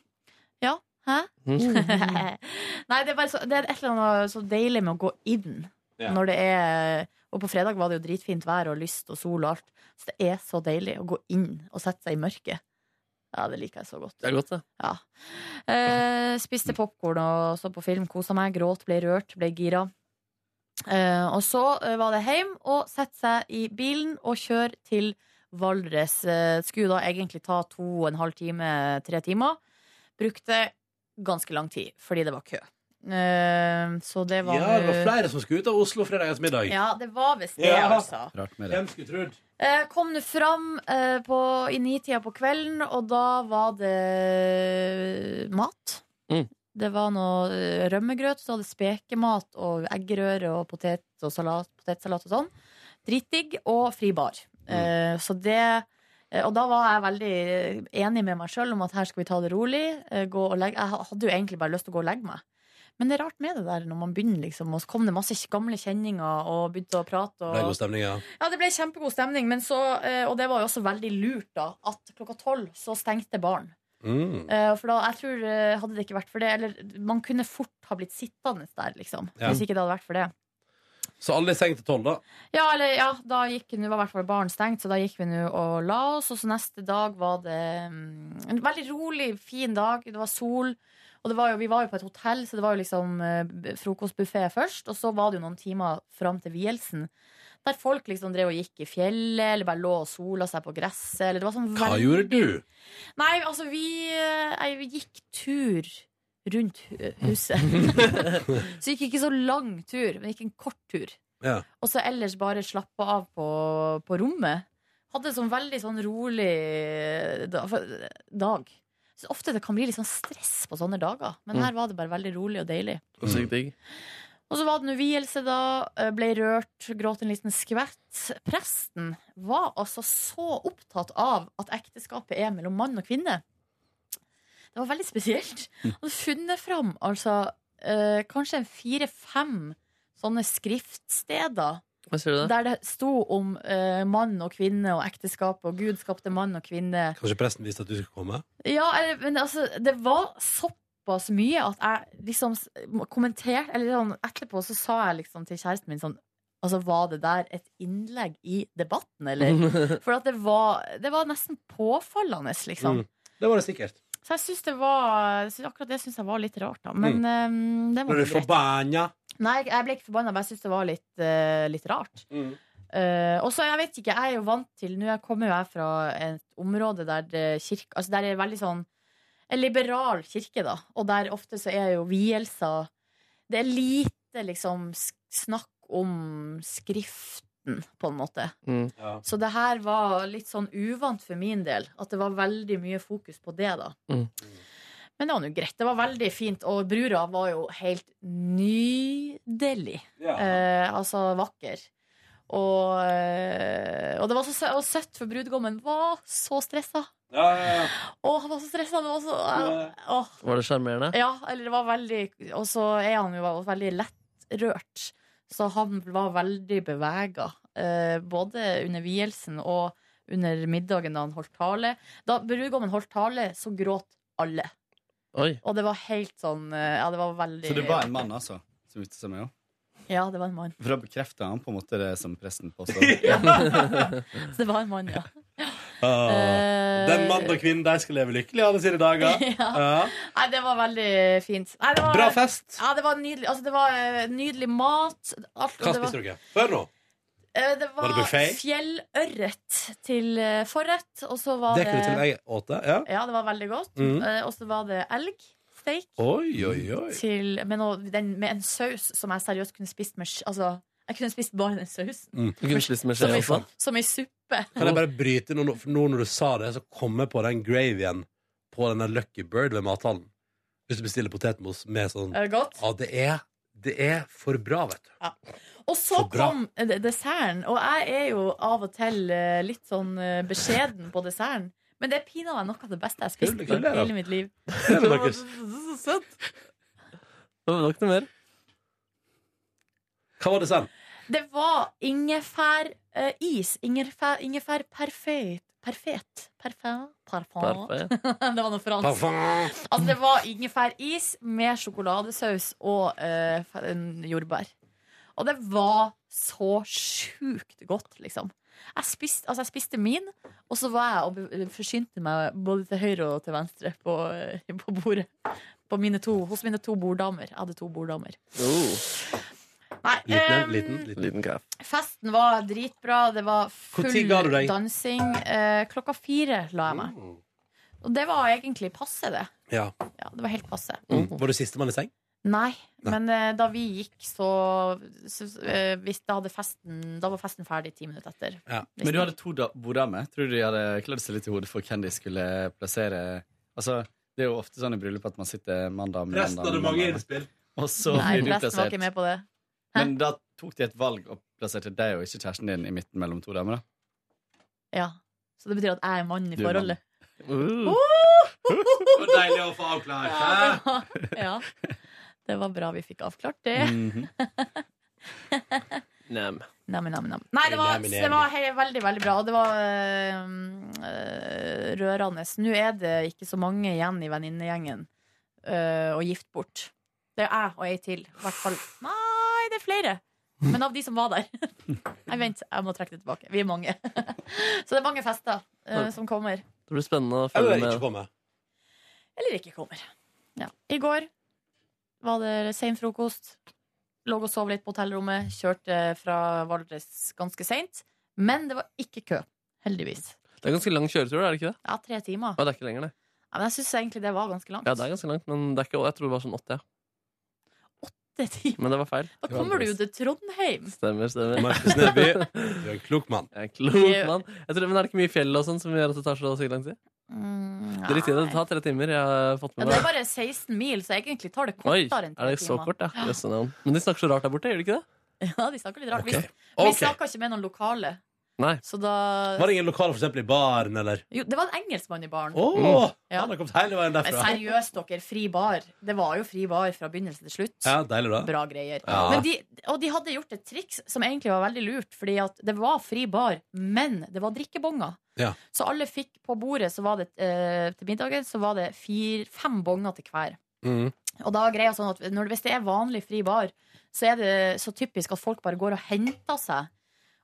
C: Ja. Hæ?
D: Mm.
C: Nei, det er, bare så, det er et eller annet så deilig med å gå inn
D: Ja.
C: når det er Og på fredag var det jo dritfint vær og lyst og sol og alt. Så det er så deilig å gå inn og sette seg i mørket. Ja, det liker jeg så godt.
D: Det er godt, det.
C: Ja. Eh, spiste popkorn og så på film, kosa meg, gråt, ble rørt, ble gira. Eh, og så eh, var det hjem og sette seg i bilen og kjøre til Valdres. Eh, skulle da egentlig ta to og en halv time, tre timer. Brukte ganske lang tid fordi det var kø. Eh, så det var
B: Ja, det var flere som skulle ut av Oslo fredagens middag.
C: Ja, det var visst det, altså.
B: Hvem skulle trodd?
C: Eh, Kom nå fram eh, på, i nitida på kvelden, og da var det mat.
D: Mm.
C: Det var noe eh, rømmegrøt, så hadde spekemat og eggerøre og potet og salat, potetsalat og sånn. Dritdigg og fri bar. Eh, så det eh, og da var jeg veldig eh, enig med meg sjøl om at her skal vi ta det rolig. eh, Gå og legge. Jeg hadde jo egentlig bare lyst til å gå og legge meg. Men det er rart med det der når man begynner, liksom. Og så kom det masse gamle kjenninger og begynte å prate. Og
B: Ble god stemning, ja.
C: ja, det ble kjempegod stemning, men så, eh, og det var jo også veldig lurt da, at klokka tolv så stengte baren.
B: Mm.
C: Eh, For da, jeg tror, eh, hadde det ikke vært for det, eller man kunne fort ha blitt sittende der, liksom,
B: Ja.
C: hvis ikke det hadde vært for det.
B: Så alle i seng til tolv, da.
C: Ja, eller, ja da gikk, nå var i hvert fall baren stengt, så da gikk vi nå og la oss. Og så neste dag var det mm, en veldig rolig, fin dag. Det var sol. Og det var jo, vi var jo på et hotell, så det var jo liksom eh, frokostbuffé først. Og så var det jo noen timer fram til vielsen. Der folk liksom drev og gikk i fjellet, eller bare lå og sola seg på gresset. Eller det var sånn
B: Hva
C: veldig-
B: gjorde du?
C: Nei, altså, vi eh, jeg gikk tur rundt eh, huset. så gikk ikke så lang tur, men gikk en kort tur.
B: Ja.
C: Og så ellers bare slappe av på, på rommet. Hadde sånn veldig sånn rolig da- for- eh, dag. Så ofte det kan bli litt sånn stress på sånne dager, men
D: Mm.
C: her var det bare veldig rolig og deilig.
D: Og Sykt digg.
C: Og så var det en vielse da, eh, ble rørt, gråt en liten skvett. Presten var altså så opptatt av at ekteskapet er mellom mann og kvinne. Det var veldig spesielt. Han hadde funnet fram altså eh, kanskje en fire-fem sånne skriftsteder
D: Hva sier du da?
C: der det sto om eh, mann og kvinne og ekteskap og Gud skapte mann og kvinne.
B: Kanskje presten visste at du skulle komme?
C: Ja, eller- men altså, det var såpass mye at jeg liksom s- kommenterte Eller sånn, etterpå så sa jeg liksom til kjæresten min sånn Altså, var det der et innlegg i
D: Mm.
C: debatten, eller? For at det var, det var nesten påfallende, liksom.
B: Mm. Det var det sikkert.
C: Så jeg syns det var synes- Akkurat det syns jeg var litt rart, da. Men eh, det var
B: Blir du
C: greit.
B: forbanna?
C: Nei, jeg ble ikke forbanna, men jeg syns det var litt, eh, litt rart.
B: Mm.
C: Eh, og så, jeg vet ikke, jeg er jo vant til Nå jeg kommer jo jeg fra et område der det kirke Altså der er veldig sånn En liberal kirke, da. Og der ofte så er jo vielser Det er lite liksom sk- snakk om skriften, på en måte.
P: Mm.
C: Så det her var litt sånn uvant for min del. At det var veldig mye fokus på det, da.
P: Mm.
C: Men det var nå greit. Det var veldig fint. Og brura var jo helt nydelig.
G: Ja.
C: Eh, altså vakker. Og, eh, og det var så sø og søtt, for brudgommen var så stressa.
B: Ja, ja, ja.
C: Å, han var så stressa! Det var så eh, Åh.
D: Var det sjarmerende?
C: Ja, eller det var veldig Og så er han jo veldig lettrørt. Så han var veldig bevega. Eh, både under vielsen og under middagen da han holdt tale. Da brudgommen holdt tale, så gråt alle.
D: Oi.
C: Og det var helt sånn eh, Ja, det var veldig
O: Så det var en mann, altså, som gifta seg med henne?
C: Ja, det var en mann.
O: For da bekrefta han på en måte det som presten påstår.
C: Så det var en mann, ja.
B: Ah,
C: Eh.
B: Den mann og kvinne, de skal leve lykkelig alle sine dager.
C: Ja. Nei, det var veldig fint. Nei, det var,
B: Bra fest.
C: Ja, det var nydelig, altså, det var eh, nydelig mat. Alt, og det
B: Hva
C: var-
B: spiste dere? Hør nå.
C: Eh, Det var,
B: Var det buffet?
C: fjellørret til eh, forrett, og så var
B: Det
C: det
B: kunne til og med jeg åt det. Ja.
C: Ja, det var veldig godt.
B: Mhm.
C: Eh, Og så var det elg. Steak.
B: Oi, oi, oi.
C: Til, med, noe, den, med en saus som jeg seriøst kunne spist med sk- Altså, jeg kunne spist bare den sausen.
D: Du kunne spist med skje
C: Som i,
D: også.
C: som i suppe.
B: Kan jeg bare bryte inn nå, nå- for nå når du sa det, så kom jeg på den gravyen på denne Lucky Bird ved mathallen. Hvis du bestiller potetmos med sånn
C: Er det Eh, godt?
B: Ja, det er, det er for bra, vet du.
C: Og så
B: Så bra.
C: kom eh, desserten, og jeg er jo av og til eh, litt sånn eh, beskjeden på desserten. Men det er pinadø noe av det beste jeg har spist
D: Gratulerer.
C: på hele mitt liv.
D: Så søtt. Det var nok noe mer.
B: Hva var det sen?
C: Det var ingefæris. ingefær, ingefær perfekt. Perfekt. Perfekt. Parfait. det var noe fransk.
B: Parfait.
C: Altså, det var ingefæris med sjokoladesaus og eh, fe- en jordbær. Og det var så sjukt godt, liksom. Jeg spiste, altså jeg spiste min, og så var jeg og be- forsynte meg både til høyre og til venstre på, eh, på bordet. På mine to, hos mine to borddamer. Jeg hadde to borddamer.
D: Oh,
C: Nei,
B: Liten,
C: ehm,
B: liten, liten.
C: Festen var dritbra. Det var
B: Hvor tid ga du
C: full
B: deg? Mm.
C: dansing. Eh, klokka fire la jeg meg. Og det var egentlig passe, det.
B: Ja.
C: Ja, det var helt passe.
B: Mm. Var du sistemann i seng?
C: Nei, men eh, da vi gikk, så, så eh, hvis da, hadde festen, da var festen ferdig ti minutter etter.
O: Men du hadde to da- borddamer. Tror du de hadde klødd seg litt i hodet for hvem de skulle plassere? Altså, det er jo ofte sånn i bryllup at man sitter mann, dame, mann,
B: Resten
O: dame,
B: hadde
O: mann,
B: mange
O: dame.
B: innspill.
O: Og så
C: Nei,
O: blir du
C: resten var
O: plassert.
C: ikke med på det.
O: Men da tok de et valg og plasserte deg og ikke kjæresten din i midten mellom to damer, da?
C: Ja. Så det betyr at jeg er mann i
O: Du er mann.
C: forholdet.
O: Uh.
C: Oh.
B: Det var deilig å få avklart.
C: Ja,
B: hæ?
C: det var, ja. Det var bra vi fikk avklart det.
B: Mhm.
D: Nem.
C: Nam, nam, nam. Nei, det var,
D: Nemlig, nemlig.
C: det var he veldig, veldig bra. Og det var eh, eh, rørende. Nå er det ikke så mange igjen i venninnegjengen eh, å gifte bort. Det er jeg og ei til. I hvert fall Nei, det er flere. Men av de som var der. Nei, vent, jeg må trekke det tilbake. Vi er mange. Så det er mange fester eh, som kommer.
D: Det blir spennende å
B: Eller
D: følge
B: ikke
D: med.
B: komme.
C: Eller ikke kommer. Ja. I går var det sen frokost. Lå og sov litt på hotellrommet. Kjørte fra Valdres ganske seint. Men det var ikke kø, heldigvis.
D: Det er ganske lang kjøretur, er det ikke det?
C: Ja, tre timer.
D: Nei, det er ikke lenger, det.
C: Ja, men jeg syns egentlig det var ganske langt.
D: Ja, det er ganske langt, men det er ikke, jeg tror det var sånn åtte.
C: Åtte timer?
D: Men det var feil.
C: Da kommer du jo til Trondheim.
D: Stemmer, stemmer.
B: Markus Neby, du er en klok mann.
D: Jeg er en klok mann. Jeg tror, men er det ikke mye fjell og sånn som gjør at det tar så sykt lang tid?
C: Mm,
D: Det er riktig, det tar tre timer. Jeg har fått
C: Ja,
D: med
C: det er
D: meg.
C: bare 16 mil, så egentlig tar det
D: Oi,
C: kortere
D: er
C: enn tre
D: det så
C: timer.
D: kort, ja? Jøsse navn. Men de snakker så rart der borte, gjør de ikke det?
C: Ja, de snakker litt rart. Vi,
B: Ok.
C: vi snakka ikke med noen lokale,
D: Nei.
C: så da
B: Var det ingen lokal for eksempel i baren, eller?
C: Jo, det var en engelskmann i baren.
B: Åh,
C: Mm. Ja.
B: han har kommet hele veien
C: Men
B: derfra.
C: seriøst, dere. Fri bar. Det var jo fri bar fra begynnelse til slutt.
B: Ja, deilig da.
C: Bra greier.
B: Ja.
C: Men de, og de hadde gjort et triks som egentlig var veldig lurt, fordi at det var fri bar, men det var drikkebonger.
B: Ja.
C: Så alle fikk på bordet så var det, eh, til middagen så var det fire, fem bonger til hver.
B: Mm.
C: Og da er greia sånn at når, Hvis det er vanlig fri bar, så er det så typisk at folk bare går og henter seg.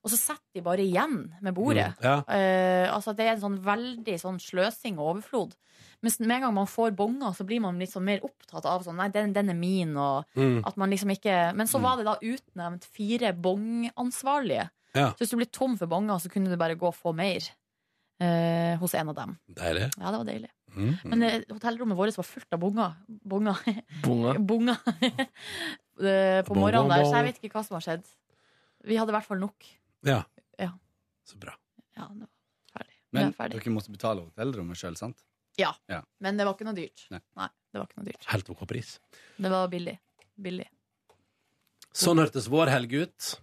C: Og så setter de bare igjen med bordet.
B: Mm, ja.
C: Eh, altså Det er en sånn veldig sånn sløsing og overflod. Men med en gang man får bonger, så blir man litt sånn mer opptatt av sånn Nei, den, den er min, og
B: Mm.
C: at man liksom ikke Men så var det da utnevnt fire bongansvarlige.
B: Ja.
C: Så hvis du blir tom for bonger, så kunne du bare gå og få mer eh, hos en av dem.
B: Deilig.
C: Ja, det var deilig.
B: Mm.
C: Men eh, hotellrommet vårt var fullt av bonger. Bonger.
B: Bonger?
C: Bonger. Eh, på
B: Bong,
C: morgenen
B: bong,
C: der, så jeg
B: bong.
C: vet ikke hva som har skjedd. Vi hadde i hvert fall nok.
B: Ja.
C: Ja.
B: Så bra.
C: Ja, nå- Vi
O: Men
C: er ferdig.
O: dere måtte betale hotellrommet sjøl, sant?
C: ja.
O: Ja.
C: Men det var ikke noe dyrt.
O: Nei.
C: det var ikke noe dyrt.
B: Helt OK pris.
C: Det var billig. Billig.
B: Sånn hørtes vår helg ut.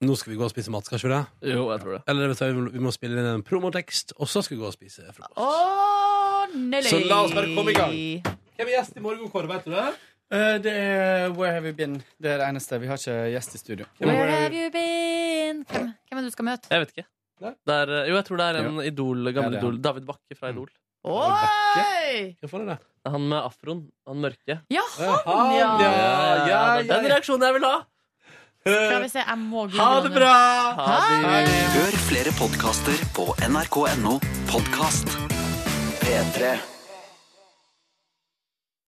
B: Nå skal vi gå og spise mat, skal ikke vi det?
D: Jo, jeg tror det.
B: Eller vet du, hva, vi må- vi må spille inn en promotekst, og så skal vi gå og spise frokost.
C: Ordentlig!
B: Så la oss bare komme i gang. Hvem er gjest i morgen, Kåre? Vet du det?
O: Eh, Det er Where Have You Been. Det er det eneste. Vi har ikke gjest i studio.
C: Where have you been? Hvem, hvem er det du skal møte?
D: Jeg vet ikke. Det er, eh, jo, jeg tror det er en idol,
O: Ja,
D: gammel
O: det er Mm.
D: idol. David Bakke fra Idol.
C: Oi!
D: Det er Han med afroen. Han mørke.
C: Ja, han,
D: Han, ja,
C: ja!
D: ja,
B: Eh, ja,
D: Det er den reaksjonen jeg vil ha!
B: Eh,
C: Skal vi se, jeg må google
D: Ha det
C: nå.
D: bra!
C: Ha det!
E: Hør flere podkaster på nrk.no podkast. P3.